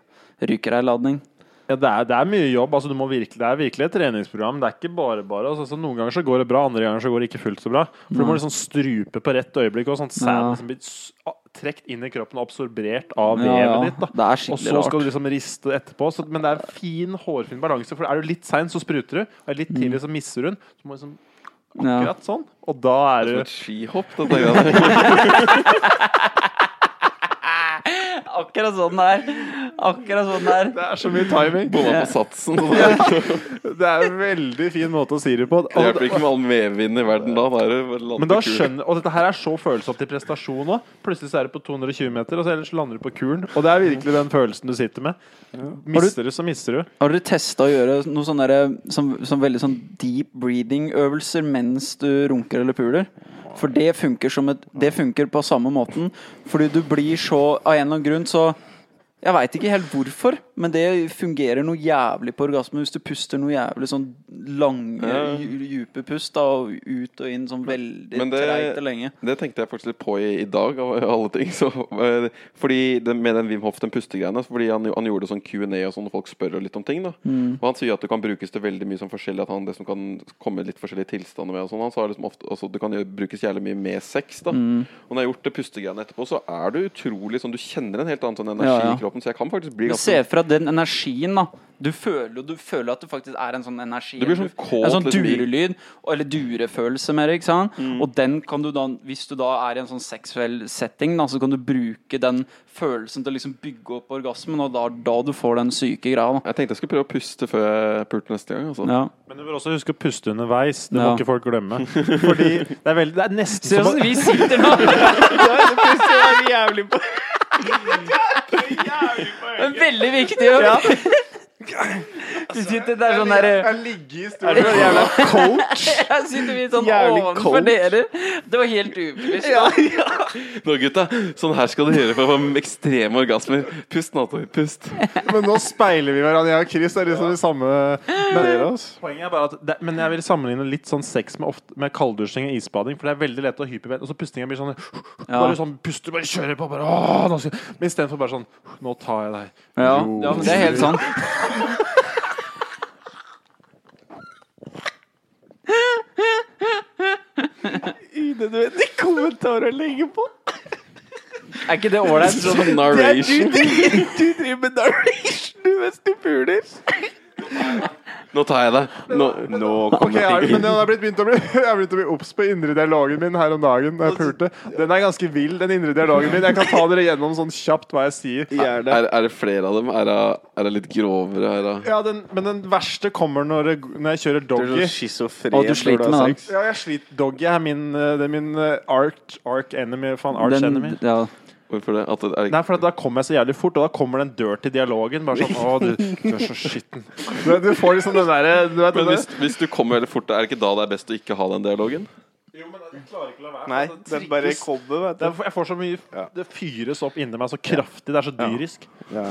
[SPEAKER 4] ryker ei ladning?
[SPEAKER 2] Ja, det er, det er mye jobb. Altså, du må virkelig, det er virkelig et treningsprogram. Det er ikke bare bare. Altså, så noen ganger så går det bra, andre ganger så går det ikke fullt så bra. For du må liksom strupe på rett øyeblikk, og sånn at sæden
[SPEAKER 4] Ja.
[SPEAKER 2] liksom blir s- a- trukket inn i kroppen og absorbert av vevet
[SPEAKER 4] Ja, ja.
[SPEAKER 2] ditt. Da.
[SPEAKER 4] Det er
[SPEAKER 2] og
[SPEAKER 4] skikkelig
[SPEAKER 2] så skal
[SPEAKER 4] rart.
[SPEAKER 2] du liksom riste etterpå. Så, men det er en fin, hårfin balanse. For er du litt sein, så spruter du. Og er du litt tidlig, så misser du den. Så må du liksom
[SPEAKER 4] Mm. Ja.
[SPEAKER 2] akkurat sånn. Og da er
[SPEAKER 1] Som
[SPEAKER 2] du
[SPEAKER 1] et skihopp, dette greia der.
[SPEAKER 4] Akkurat sånn det er. Akkurat sånn det er.
[SPEAKER 2] Det er så mye timing.
[SPEAKER 1] Bomma på satsen. og sånn.
[SPEAKER 2] Det er en veldig fin måte å si det på.
[SPEAKER 1] Det
[SPEAKER 2] Og-
[SPEAKER 1] hjelper ikke med all medvind i verden da. da er det bare land
[SPEAKER 2] Men da
[SPEAKER 1] på kul.
[SPEAKER 2] skjønner Og dette her er så følsomt til prestasjon òg. Plutselig så er det på 220 meter, og så ellers lander du på kulen. Og det er virkelig den følelsen du sitter med. Mister du, så mister du.
[SPEAKER 4] Har du testa å gjøre noe sånn derre som, som veldig sånn deep breathing-øvelser mens du runker eller puler? For det funker som et Det funker på samme måten. Fordi du blir så Av en eller annen grunn så Jeg veit ikke helt hvorfor, men det fungerer noe jævlig på orgasme hvis du puster noe jævlig sånn lange,
[SPEAKER 1] Ja.
[SPEAKER 4] dju- dype pust da, og ut og inn sånn veldig
[SPEAKER 1] men det-
[SPEAKER 4] treigt og lenge.
[SPEAKER 1] Det tenkte jeg faktisk litt på i, i dag, av alle ting. Så, eh, fordi det, Med den Wim Hof, den pustegreiene. Fordi han, han gjorde sånn Q&A og sånn, og folk spør litt om ting. da Og han sier at det kan brukes til veldig mye sånn forskjellig, at han det som kan komme i litt forskjellige tilstander med. og sånn Han sa liksom ofte altså, det kan gjøre- brukes jævlig mye med sex. da Og når jeg har gjort det pustegreiene etterpå, så er det utrolig sånn Du kjenner en helt annen sånn energi
[SPEAKER 4] Ja, ja.
[SPEAKER 1] i kroppen, så jeg kan faktisk bli
[SPEAKER 4] Men
[SPEAKER 1] ganske
[SPEAKER 4] se for deg den energien, da. Du føler, jo- du føler at det faktisk er en sånn energi
[SPEAKER 1] Det blir sånn kåt,
[SPEAKER 4] En sånn
[SPEAKER 1] liksom, i-
[SPEAKER 4] durelyd, og- eller durefølelse mer, ikke sant. Og den kan du da, hvis du da er i en sånn seksuell setting, da, så kan du bruke den følelsen til å liksom bygge opp orgasmen, og da, da du får den syke greia, da.
[SPEAKER 1] Jeg tenkte jeg skulle prøve å puste før jeg pulte neste gang. Altså.
[SPEAKER 4] Ja.
[SPEAKER 2] Men du bør også huske å puste underveis. Det må
[SPEAKER 4] Ja.
[SPEAKER 2] ikke folk glemme. Fordi det er, veldig, det er nesten som å-
[SPEAKER 4] vi sitter nå!
[SPEAKER 3] Det er jævlig på
[SPEAKER 4] En veldig viktig jobb!
[SPEAKER 2] Ja.
[SPEAKER 4] Du sitter der sånn derre
[SPEAKER 3] Jeg ligger i stolen
[SPEAKER 2] sånn
[SPEAKER 3] og jævla coach.
[SPEAKER 4] Jeg sitter vi sånn
[SPEAKER 3] Jævlig
[SPEAKER 4] ovenfor
[SPEAKER 3] coach.
[SPEAKER 4] dere. Det var helt ubevisst. Ja.
[SPEAKER 1] Nå, gutta, sånn her skal du gjøre for å få ekstreme orgasmer. Pust, Nato. Pust.
[SPEAKER 2] Men nå speiler vi hverandre, jeg og Chris. Det er liksom det samme men, Poenget er bare at det, Men jeg vil sammenligne litt sånn sex med, ofte, med kalddusjing og isbading. For det er veldig lett å hyperventilere. Og så pustinga blir sånn Bare sånn puster, bare kjører på. Bare, åh, nå skal, men istedenfor bare sånn Nå tar jeg deg.
[SPEAKER 4] Ja, ja men det er helt sant.
[SPEAKER 3] Unødvendige kommentarer å legge på.
[SPEAKER 4] Er ikke det ålreit? Sånn
[SPEAKER 1] Sånn
[SPEAKER 3] Det er du,
[SPEAKER 1] narration.
[SPEAKER 3] du, du driver med narration du, mens du puler.
[SPEAKER 1] Nå tar jeg deg. Nå,
[SPEAKER 3] Nå kommer
[SPEAKER 2] Ok,
[SPEAKER 3] jeg
[SPEAKER 2] jeg, er- men jeg har blitt begynt å bli Jeg har begynt å bli obs på indre dialogen min her om dagen. Da jeg pulte. Den er ganske vill, den indre dialogen min. Jeg kan ta dere gjennom sånn kjapt hva jeg sier.
[SPEAKER 3] gjør det.
[SPEAKER 1] er, er det flere av dem? Er det, er det litt grovere? Er det,
[SPEAKER 2] Ja, den, Men den verste kommer når, det- når jeg
[SPEAKER 3] Du
[SPEAKER 2] kjører
[SPEAKER 3] er
[SPEAKER 2] doggy.
[SPEAKER 3] sånn schizofren.
[SPEAKER 4] Og du sliter med den.
[SPEAKER 2] Ja, jeg sliter. Doggy er min, eh, det er min eh, arch, arch enemy. Faen, arch enemy.
[SPEAKER 4] Den, ja.
[SPEAKER 1] hvorfor det? At det er,
[SPEAKER 2] Nei, for da kommer jeg så jævlig fort, og da kommer den dirty dialogen. Bare sånn, å, du, du er så skitten. Du, du får liksom den derre du vet
[SPEAKER 1] men
[SPEAKER 2] det
[SPEAKER 1] hvis, hvis du kommer veldig fort, er det ikke da det er best å ikke ha den dialogen?
[SPEAKER 2] Jo, men jeg klarer ikke å la være.
[SPEAKER 3] Nei,
[SPEAKER 2] Altså,
[SPEAKER 3] den bare
[SPEAKER 2] trigges-
[SPEAKER 3] kommer, vet du.
[SPEAKER 2] Det er- Jeg får så mye Det fyres opp inni meg så kraftig. Det er så dyrisk.
[SPEAKER 3] Ja.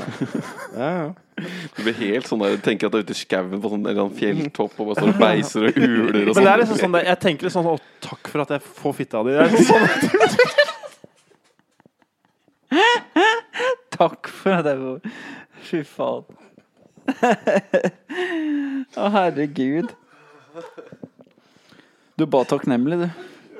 [SPEAKER 3] Ja, ja.
[SPEAKER 1] Du blir helt sånn der, tenker at du er ute i skauen på sånn, en eller annen fjelltopp og bare står og beiser og uler og
[SPEAKER 2] Men det er
[SPEAKER 1] sånn.
[SPEAKER 2] liksom sånn der, jeg tenker litt sånn Å, takk for at jeg får fitta di. Det er liksom sånn,
[SPEAKER 4] Takk for at jeg får Fy faen. Å, herregud. Du er bare takknemlig, du.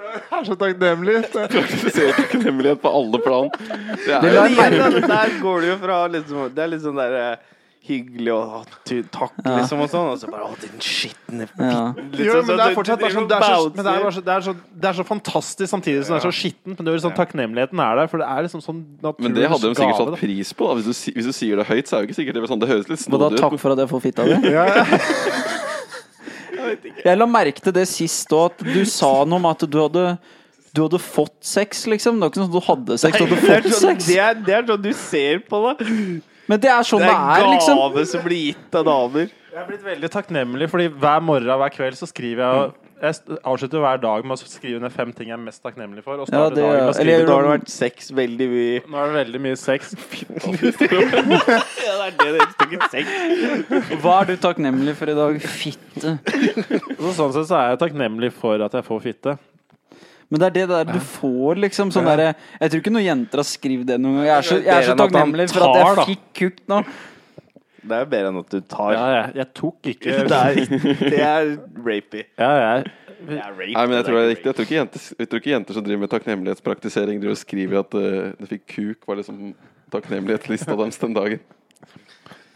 [SPEAKER 2] jeg er så takknemlig. Det-
[SPEAKER 1] Du ser jo takknemlighet på alle plan. Det er, jo-
[SPEAKER 4] lar-
[SPEAKER 3] Men igjen, da, der går det jo fra liksom, Det er litt sånn der eh, hyggelig og å, tu, takk,
[SPEAKER 4] Ja.
[SPEAKER 3] liksom, og sånn. Og så bare Å, den skitne liksom.
[SPEAKER 4] Ja.
[SPEAKER 2] Jo, men det er fortsatt det er sånn, det er så, men det er, bare
[SPEAKER 3] sånn
[SPEAKER 2] så, det, er så, det er så fantastisk samtidig som det er så skittent. Men det er sånn takknemligheten er der, for det er liksom sånn
[SPEAKER 1] men det hadde de
[SPEAKER 2] naturens
[SPEAKER 1] sikkert
[SPEAKER 2] gave,
[SPEAKER 1] satt
[SPEAKER 2] da.
[SPEAKER 1] pris på. Da. Hvis, du, si- hvis du sier det høyt, så er det jo ikke sikkert det blir sånn. Det høres litt
[SPEAKER 4] Og da
[SPEAKER 1] snodig
[SPEAKER 4] takk
[SPEAKER 1] ut.
[SPEAKER 4] for at jeg får fitta di. Jeg la merke til det sist òg, at du sa noe om at du hadde du hadde fått sex, liksom. Det var ikke sånn at du hadde sex. Du
[SPEAKER 3] det,
[SPEAKER 4] hadde
[SPEAKER 3] er
[SPEAKER 4] fått
[SPEAKER 3] sånn,
[SPEAKER 4] sex.
[SPEAKER 3] det, er, det er sånn du ser på det.
[SPEAKER 4] Men det er sånn
[SPEAKER 3] Det
[SPEAKER 4] det
[SPEAKER 3] er
[SPEAKER 4] er, liksom.
[SPEAKER 3] gave som blir gitt av damer.
[SPEAKER 2] Jeg er blitt veldig takknemlig, fordi hver morgen og hver kveld så skriver jeg Jeg st- avslutter hver dag med å skrive ned fem ting jeg er mest takknemlig for. Og
[SPEAKER 4] Ja,
[SPEAKER 2] starter
[SPEAKER 4] det-
[SPEAKER 2] dagen med å
[SPEAKER 4] eller
[SPEAKER 2] skrive
[SPEAKER 3] Da
[SPEAKER 4] jeg gjør
[SPEAKER 3] har det vært sex veldig mye.
[SPEAKER 2] Nå er det veldig mye sex.
[SPEAKER 3] Ja, det er det det er ikke sex.
[SPEAKER 4] Hva er du takknemlig for i dag? Fitte.
[SPEAKER 2] Så sånn sett så er jeg takknemlig for at jeg får fitte.
[SPEAKER 4] Men det er det der du får, liksom. Sånn derre Jeg tror ikke noen jenter har skrevet det noen gang. Jeg er så, jeg
[SPEAKER 3] Bedre enn
[SPEAKER 4] er så
[SPEAKER 3] at han
[SPEAKER 4] takknemlig for at
[SPEAKER 2] tar, da.
[SPEAKER 4] jeg fikk kukk nå.
[SPEAKER 3] Det er bedre enn at du tar.
[SPEAKER 2] Ja, jeg, jeg tok ikke
[SPEAKER 3] Det er, det er rapey.
[SPEAKER 2] ja, jeg,
[SPEAKER 3] Det er rape,
[SPEAKER 1] Nei, men jeg tror det er riktig.
[SPEAKER 3] ikke
[SPEAKER 1] Jeg tror ikke jenter, jeg tror ikke jenter som driver med takknemlighetspraktisering, driver og skriver at eh, det fikk kuk, var liksom takknemlighetslista deres den dagen.
[SPEAKER 3] rape.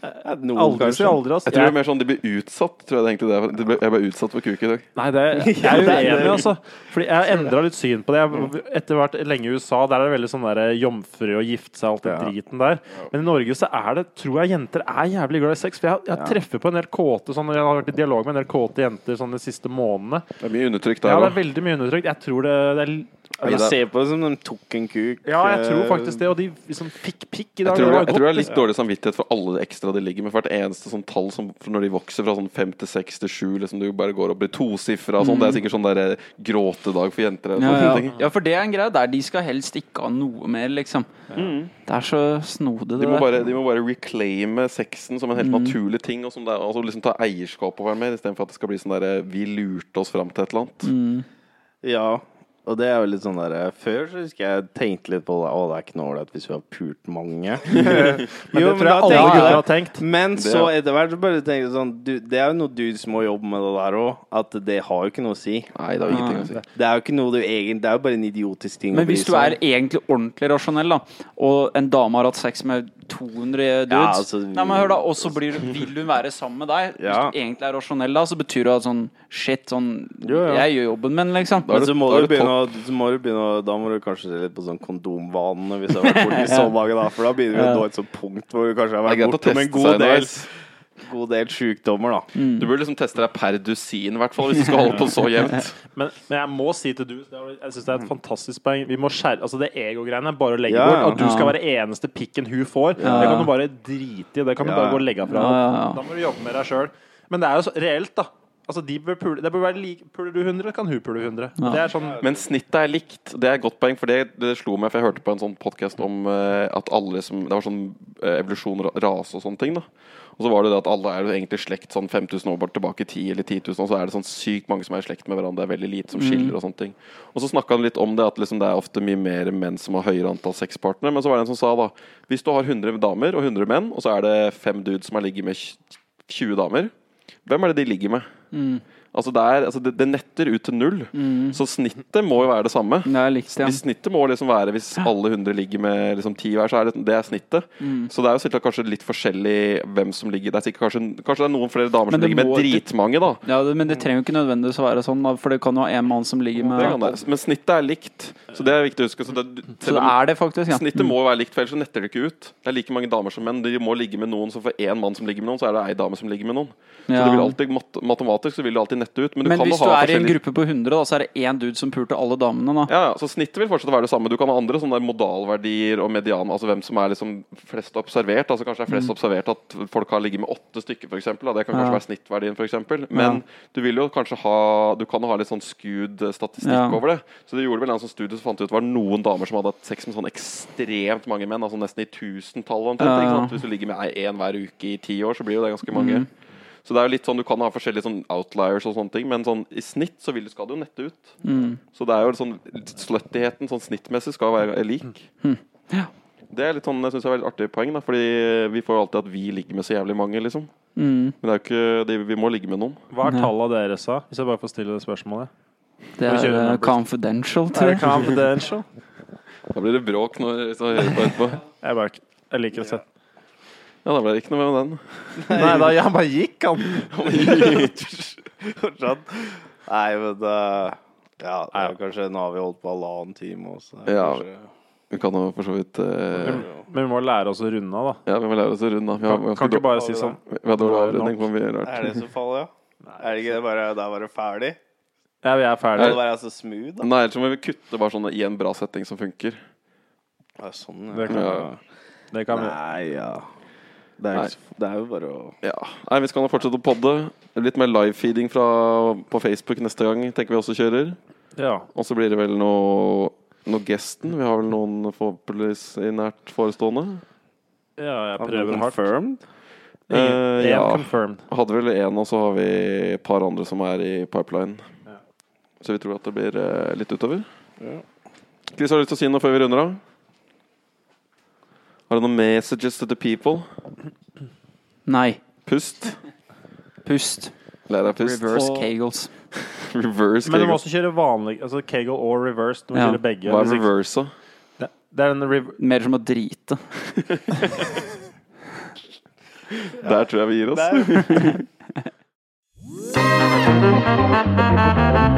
[SPEAKER 3] Ja, noen
[SPEAKER 2] Aldri
[SPEAKER 3] kanskje.
[SPEAKER 2] si aldri, altså.
[SPEAKER 1] Jeg tror det er
[SPEAKER 2] Jeg,
[SPEAKER 1] mer sånn de blir utsatt, tror jeg det er egentlig det. er. De ble, jeg ble utsatt for kuk i dag.
[SPEAKER 2] nei, det, jeg
[SPEAKER 3] Ja,
[SPEAKER 2] er
[SPEAKER 3] det er
[SPEAKER 2] uenig,
[SPEAKER 3] det.
[SPEAKER 2] altså. Fordi jeg endra litt syn på det. Jeg, etter hvert lenge i USA, der er det veldig sånn der jomfru og gifte seg og alt den driten der. Men i Norge så er det, tror jeg jenter er jævlig glad i sex. For jeg, jeg treffer på en del kåte sånn, Jeg har vært i dialog med en del kåte jenter sånn de siste månedene.
[SPEAKER 1] Det er mye undertrykt
[SPEAKER 2] Ja,
[SPEAKER 1] der
[SPEAKER 2] det
[SPEAKER 1] òg.
[SPEAKER 2] er veldig mye undertrykt. Jeg tror det, det er
[SPEAKER 3] Men jeg ser på det som de tok en kuk.
[SPEAKER 2] Ja, jeg tror
[SPEAKER 3] eh,
[SPEAKER 2] faktisk det. Og de liksom fikk pikk i
[SPEAKER 1] Jeg
[SPEAKER 2] dag.
[SPEAKER 1] tror, det,
[SPEAKER 2] det var
[SPEAKER 1] jeg tror det er
[SPEAKER 2] godt.
[SPEAKER 1] litt dårlig samvittighet for alle de ekstra de ligger med. For hvert eneste sånn tall som for når de vokser fra sånn fem til seks til sju, liksom du bare går opp i tosifra og sånn, det
[SPEAKER 2] Mm.
[SPEAKER 1] er sikkert sånn der eh, gråtedag for jenter. eller
[SPEAKER 4] Ja,
[SPEAKER 1] sånne ting.
[SPEAKER 4] ja. ja, for det er en greie der. De skal helst ikke ha noe mer, liksom.
[SPEAKER 3] Mm.
[SPEAKER 4] Det er så snodig,
[SPEAKER 1] De
[SPEAKER 4] det
[SPEAKER 1] må,
[SPEAKER 4] der.
[SPEAKER 1] bare, de må bare reclaime sexen som en helt naturlig ting. Og som det er, altså liksom ta eierskap over den mer, istedenfor at det skal bli sånn derre Vi lurte oss fram til et eller annet.
[SPEAKER 3] Ja, og det er jo litt sånn der eh, Før så husker jeg tenkte litt på det. Å, det er ikke noe ålreit hvis vi har pult mange. jo,
[SPEAKER 2] Men det
[SPEAKER 3] da
[SPEAKER 2] tror jeg alle
[SPEAKER 3] tenker
[SPEAKER 2] gutter
[SPEAKER 3] jeg-
[SPEAKER 2] har tenkt.
[SPEAKER 3] Men
[SPEAKER 1] Det-
[SPEAKER 3] så etter hvert så bare tenkte jeg sånn du, Det er jo noe dudes må jobbe med det der òg. At det har jo ikke noe å si. Ah,
[SPEAKER 1] Nei, det har ingenting å si.
[SPEAKER 3] Det er jo ikke noe du egentlig Det er jo bare en idiotisk ting
[SPEAKER 4] Men
[SPEAKER 3] å bry
[SPEAKER 4] hvis du er
[SPEAKER 3] seg om.
[SPEAKER 4] egentlig ordentlig rasjonell, da, og en dame har hatt sex med 200 dudes
[SPEAKER 3] Ja, altså-
[SPEAKER 4] Nei, men hør da, Og så blir du- vil hun være sammen med deg.
[SPEAKER 3] Ja.
[SPEAKER 4] Hvis du egentlig er rasjonell, da, så betyr det at sånn shit, sånn
[SPEAKER 2] Jo, ja.
[SPEAKER 4] Jeg gjør jobben min, liksom.
[SPEAKER 1] Da er
[SPEAKER 3] Men
[SPEAKER 1] du-
[SPEAKER 3] så må
[SPEAKER 1] da er
[SPEAKER 3] du
[SPEAKER 1] du
[SPEAKER 3] begynne å, så må du begynne å Da må du kanskje se litt på sånn kondomvanene, hvis du har vært borti så mange, da. For da begynner vi å nå et sånt punkt hvor du kanskje har
[SPEAKER 1] Det er
[SPEAKER 3] vært
[SPEAKER 1] greit å
[SPEAKER 3] bortom en
[SPEAKER 1] teste
[SPEAKER 3] god
[SPEAKER 1] seg
[SPEAKER 3] del,
[SPEAKER 1] underveis.
[SPEAKER 3] god del sjukdommer, da.
[SPEAKER 1] Du burde liksom teste deg per dusin, i hvert fall, hvis du skal holde på så jevnt.
[SPEAKER 2] Men, men jeg må si til du det er- Jeg synes det er et fantastisk poeng. Vi må skjære Altså Det ego-greiene er bare å legge
[SPEAKER 3] Ja, ja.
[SPEAKER 2] bort. At du skal
[SPEAKER 4] Ja.
[SPEAKER 2] være eneste pikken hun får. Det kan du bare drite i. Det kan du
[SPEAKER 3] Ja,
[SPEAKER 2] bare
[SPEAKER 3] ja.
[SPEAKER 2] gå og legge fra
[SPEAKER 4] Ja, ja, ja.
[SPEAKER 2] Da må du jobbe med deg sjøl. Men det er jo så reelt, da. Altså de bør pule, det bør være like, Puler du 100, kan hun pule 100.
[SPEAKER 4] Ja.
[SPEAKER 2] Det er sånn
[SPEAKER 1] Men snittet er likt. Det er et godt poeng, for det, det slo meg, for jeg hørte på en sånn podkast om eh, at alle som Det var sånn eh, evolusjon, ra- rase og sånne ting, da. Og så var det det at alle er jo egentlig slekt sånn 5000 år bare tilbake i tid, eller 10 000, og så er det sånn sykt mange som er i slekt med hverandre. Det er veldig lite som skiller og sånne ting. Og så snakka han litt om det, at liksom det er ofte mye mer menn som har høyere antall sexpartnere. Men så var det en som sa da Hvis du har 100 damer og 100 menn,
[SPEAKER 4] Mm.
[SPEAKER 1] og så er det fem dudes som har ligget med 20 damer, hvem er det de ligger med? Altså det, er, altså det, det netter ut til null. Så snittet må jo være det samme.
[SPEAKER 4] Det er likt, Mm. ja.
[SPEAKER 1] Hvis snittet må liksom være Hvis alle 100 ligger med liksom 10 hver, så er det, det er snittet.
[SPEAKER 4] Mm.
[SPEAKER 1] Så det er jo sikkert kanskje litt forskjellig hvem som ligger Det er sikkert kanskje, kanskje det er noen flere damer
[SPEAKER 4] Men
[SPEAKER 1] som
[SPEAKER 4] det
[SPEAKER 1] ligger med
[SPEAKER 4] må-
[SPEAKER 1] dritmange, da.
[SPEAKER 4] ja, det- men det trenger jo ikke nødvendigvis å være sånn, da, for det kan jo ha en mann som
[SPEAKER 1] Det
[SPEAKER 4] ligger
[SPEAKER 1] kan
[SPEAKER 4] med
[SPEAKER 1] være. Men snittet er likt, så det er viktig å huske. Så det,
[SPEAKER 4] Så det er det faktisk, ja. Mm.
[SPEAKER 1] Snittet må jo være likt, for ellers så netter det ikke ut. Det er like mange damer som menn. De må ligge med noen, så for én mann som ligger med noen, så er det ei dame som ligger med noen. Så
[SPEAKER 4] Ja.
[SPEAKER 1] det vil alltid, mat matematisk så vil det alltid nette ut. Men du
[SPEAKER 4] Men
[SPEAKER 1] kan
[SPEAKER 4] hvis
[SPEAKER 1] jo
[SPEAKER 4] du
[SPEAKER 1] ha
[SPEAKER 4] er i en
[SPEAKER 1] forskjellige
[SPEAKER 4] gruppe på 100, da, så er det én dude som puler til alle damene, da.
[SPEAKER 1] ja, ja, så Snittet vil fortsatt være det samme. Du kan ha andre sånne der modalverdier og median. Altså hvem som er liksom flest observert. Altså Kanskje det er flest observert at folk har ligget med åtte stykker, f.eks. Det kan
[SPEAKER 4] Mm. Ja.
[SPEAKER 1] kanskje være snittverdien, for eksempel Men du vil jo kanskje ha Du kan ha litt sånn skewed statistikk
[SPEAKER 4] Ja.
[SPEAKER 1] over det. Så det gjorde vel en sånn studie som fant ut det var noen damer som hadde hatt sex med sånn ekstremt mange menn. Altså nesten i tusentall. omtrent,
[SPEAKER 4] Ja,
[SPEAKER 2] Eh.
[SPEAKER 1] ikke
[SPEAKER 4] ja.
[SPEAKER 1] sant? Hvis du ligger med ei- en hver uke i ti år, så blir jo det ganske
[SPEAKER 2] Mm.
[SPEAKER 1] mange. Så det er jo litt sånn, Du kan ha forskjellige sånn outliers, og sånne ting men sånn, i snitt så vil, skal det jo nette ut.
[SPEAKER 2] Mm.
[SPEAKER 1] Så det er jo sånn sluttigheten sånn snittmessig skal være lik.
[SPEAKER 2] Mm.
[SPEAKER 4] Ja.
[SPEAKER 1] Det er litt sånn, jeg synes det er veldig artig poeng, da, fordi vi får jo alltid at vi ligger med så jævlig mange. liksom. Men
[SPEAKER 4] Mm.
[SPEAKER 1] det er jo ikke, det, vi må ligge med noen.
[SPEAKER 2] Hva er tallet dere sa? Hvis jeg bare får stille det spørsmålet.
[SPEAKER 4] Det
[SPEAKER 2] Vi
[SPEAKER 4] er
[SPEAKER 2] kjører
[SPEAKER 4] eh,
[SPEAKER 2] numbers.
[SPEAKER 4] confidential,
[SPEAKER 2] Er
[SPEAKER 4] tror
[SPEAKER 2] det
[SPEAKER 4] jeg.
[SPEAKER 2] confidential?
[SPEAKER 1] Da blir det bråk når hvis jeg hører på etterpå.
[SPEAKER 2] Jeg, bare, jeg liker å se.
[SPEAKER 1] Ja, da ble det ikke noe med den.
[SPEAKER 3] Nei da, jeg bare gikk, han. Fortsatt. Nei, men det Ja, det er kanskje Nå har vi holdt på halvannen time også. Det er
[SPEAKER 1] Ja.
[SPEAKER 3] kanskje-
[SPEAKER 1] Vi kan jo for så vidt eh,
[SPEAKER 2] Men vi må lære oss å runde av, da.
[SPEAKER 1] Ja, vi må lære oss å runde av. Vi har-
[SPEAKER 2] Kan,
[SPEAKER 1] vi har
[SPEAKER 2] kan
[SPEAKER 1] ganske
[SPEAKER 2] ikke bare
[SPEAKER 1] dår-
[SPEAKER 2] si sånn
[SPEAKER 1] Vi har dårlig
[SPEAKER 2] Nå er det
[SPEAKER 1] avrunding. men vi gjør rart.
[SPEAKER 3] Er det så farlig, ja? Er det ikke det bare Da var det ferdig?
[SPEAKER 2] Ja, vi er
[SPEAKER 3] Må det
[SPEAKER 2] ferdige.
[SPEAKER 3] være så smooth, da?
[SPEAKER 1] Nei, ellers må vi kutte bare sånn i en bra setting som funker.
[SPEAKER 3] Ja, sånn, ja.
[SPEAKER 2] Det kan,
[SPEAKER 1] Ja.
[SPEAKER 2] det kan vi.
[SPEAKER 3] Nei, ja. Det er,
[SPEAKER 1] Nei.
[SPEAKER 3] ikke så- det er jo bare å
[SPEAKER 1] Ja. Nei, vi skal nå fortsette å podde. Litt mer livefeeding fra- på Facebook neste gang, tenker vi også kjører.
[SPEAKER 2] Ja.
[SPEAKER 1] Og så blir det vel noe noe gesten. Vi har vel noen forhåpentligvis i nært forestående.
[SPEAKER 2] ja, jeg prøver hardt.
[SPEAKER 3] Confirmed?
[SPEAKER 1] Eh,
[SPEAKER 2] Én
[SPEAKER 1] ja.
[SPEAKER 2] confirmed.
[SPEAKER 1] Hadde vel én, og så har vi et par andre som er i pipeline. Så vi tror at det blir eh, litt utover. Chris, har du lyst til å si noe før vi runder av? Har du noen messages to the people?
[SPEAKER 4] Nei.
[SPEAKER 1] Pust.
[SPEAKER 4] Pust.
[SPEAKER 1] Lær deg pust.
[SPEAKER 4] Reverse
[SPEAKER 2] Og-
[SPEAKER 4] kegels.
[SPEAKER 1] Reverse
[SPEAKER 2] Men du må
[SPEAKER 1] Kegel.
[SPEAKER 2] også kjøre vanlig altså Kegel og reverse. Du må
[SPEAKER 4] Ja.
[SPEAKER 2] kjøre begge.
[SPEAKER 1] Hva
[SPEAKER 2] hvis
[SPEAKER 1] er
[SPEAKER 2] ikke-
[SPEAKER 1] reverse, da?
[SPEAKER 2] Det det er den rev
[SPEAKER 4] Mer som å drite.
[SPEAKER 1] Der tror jeg vi gir oss.
[SPEAKER 3] Nei.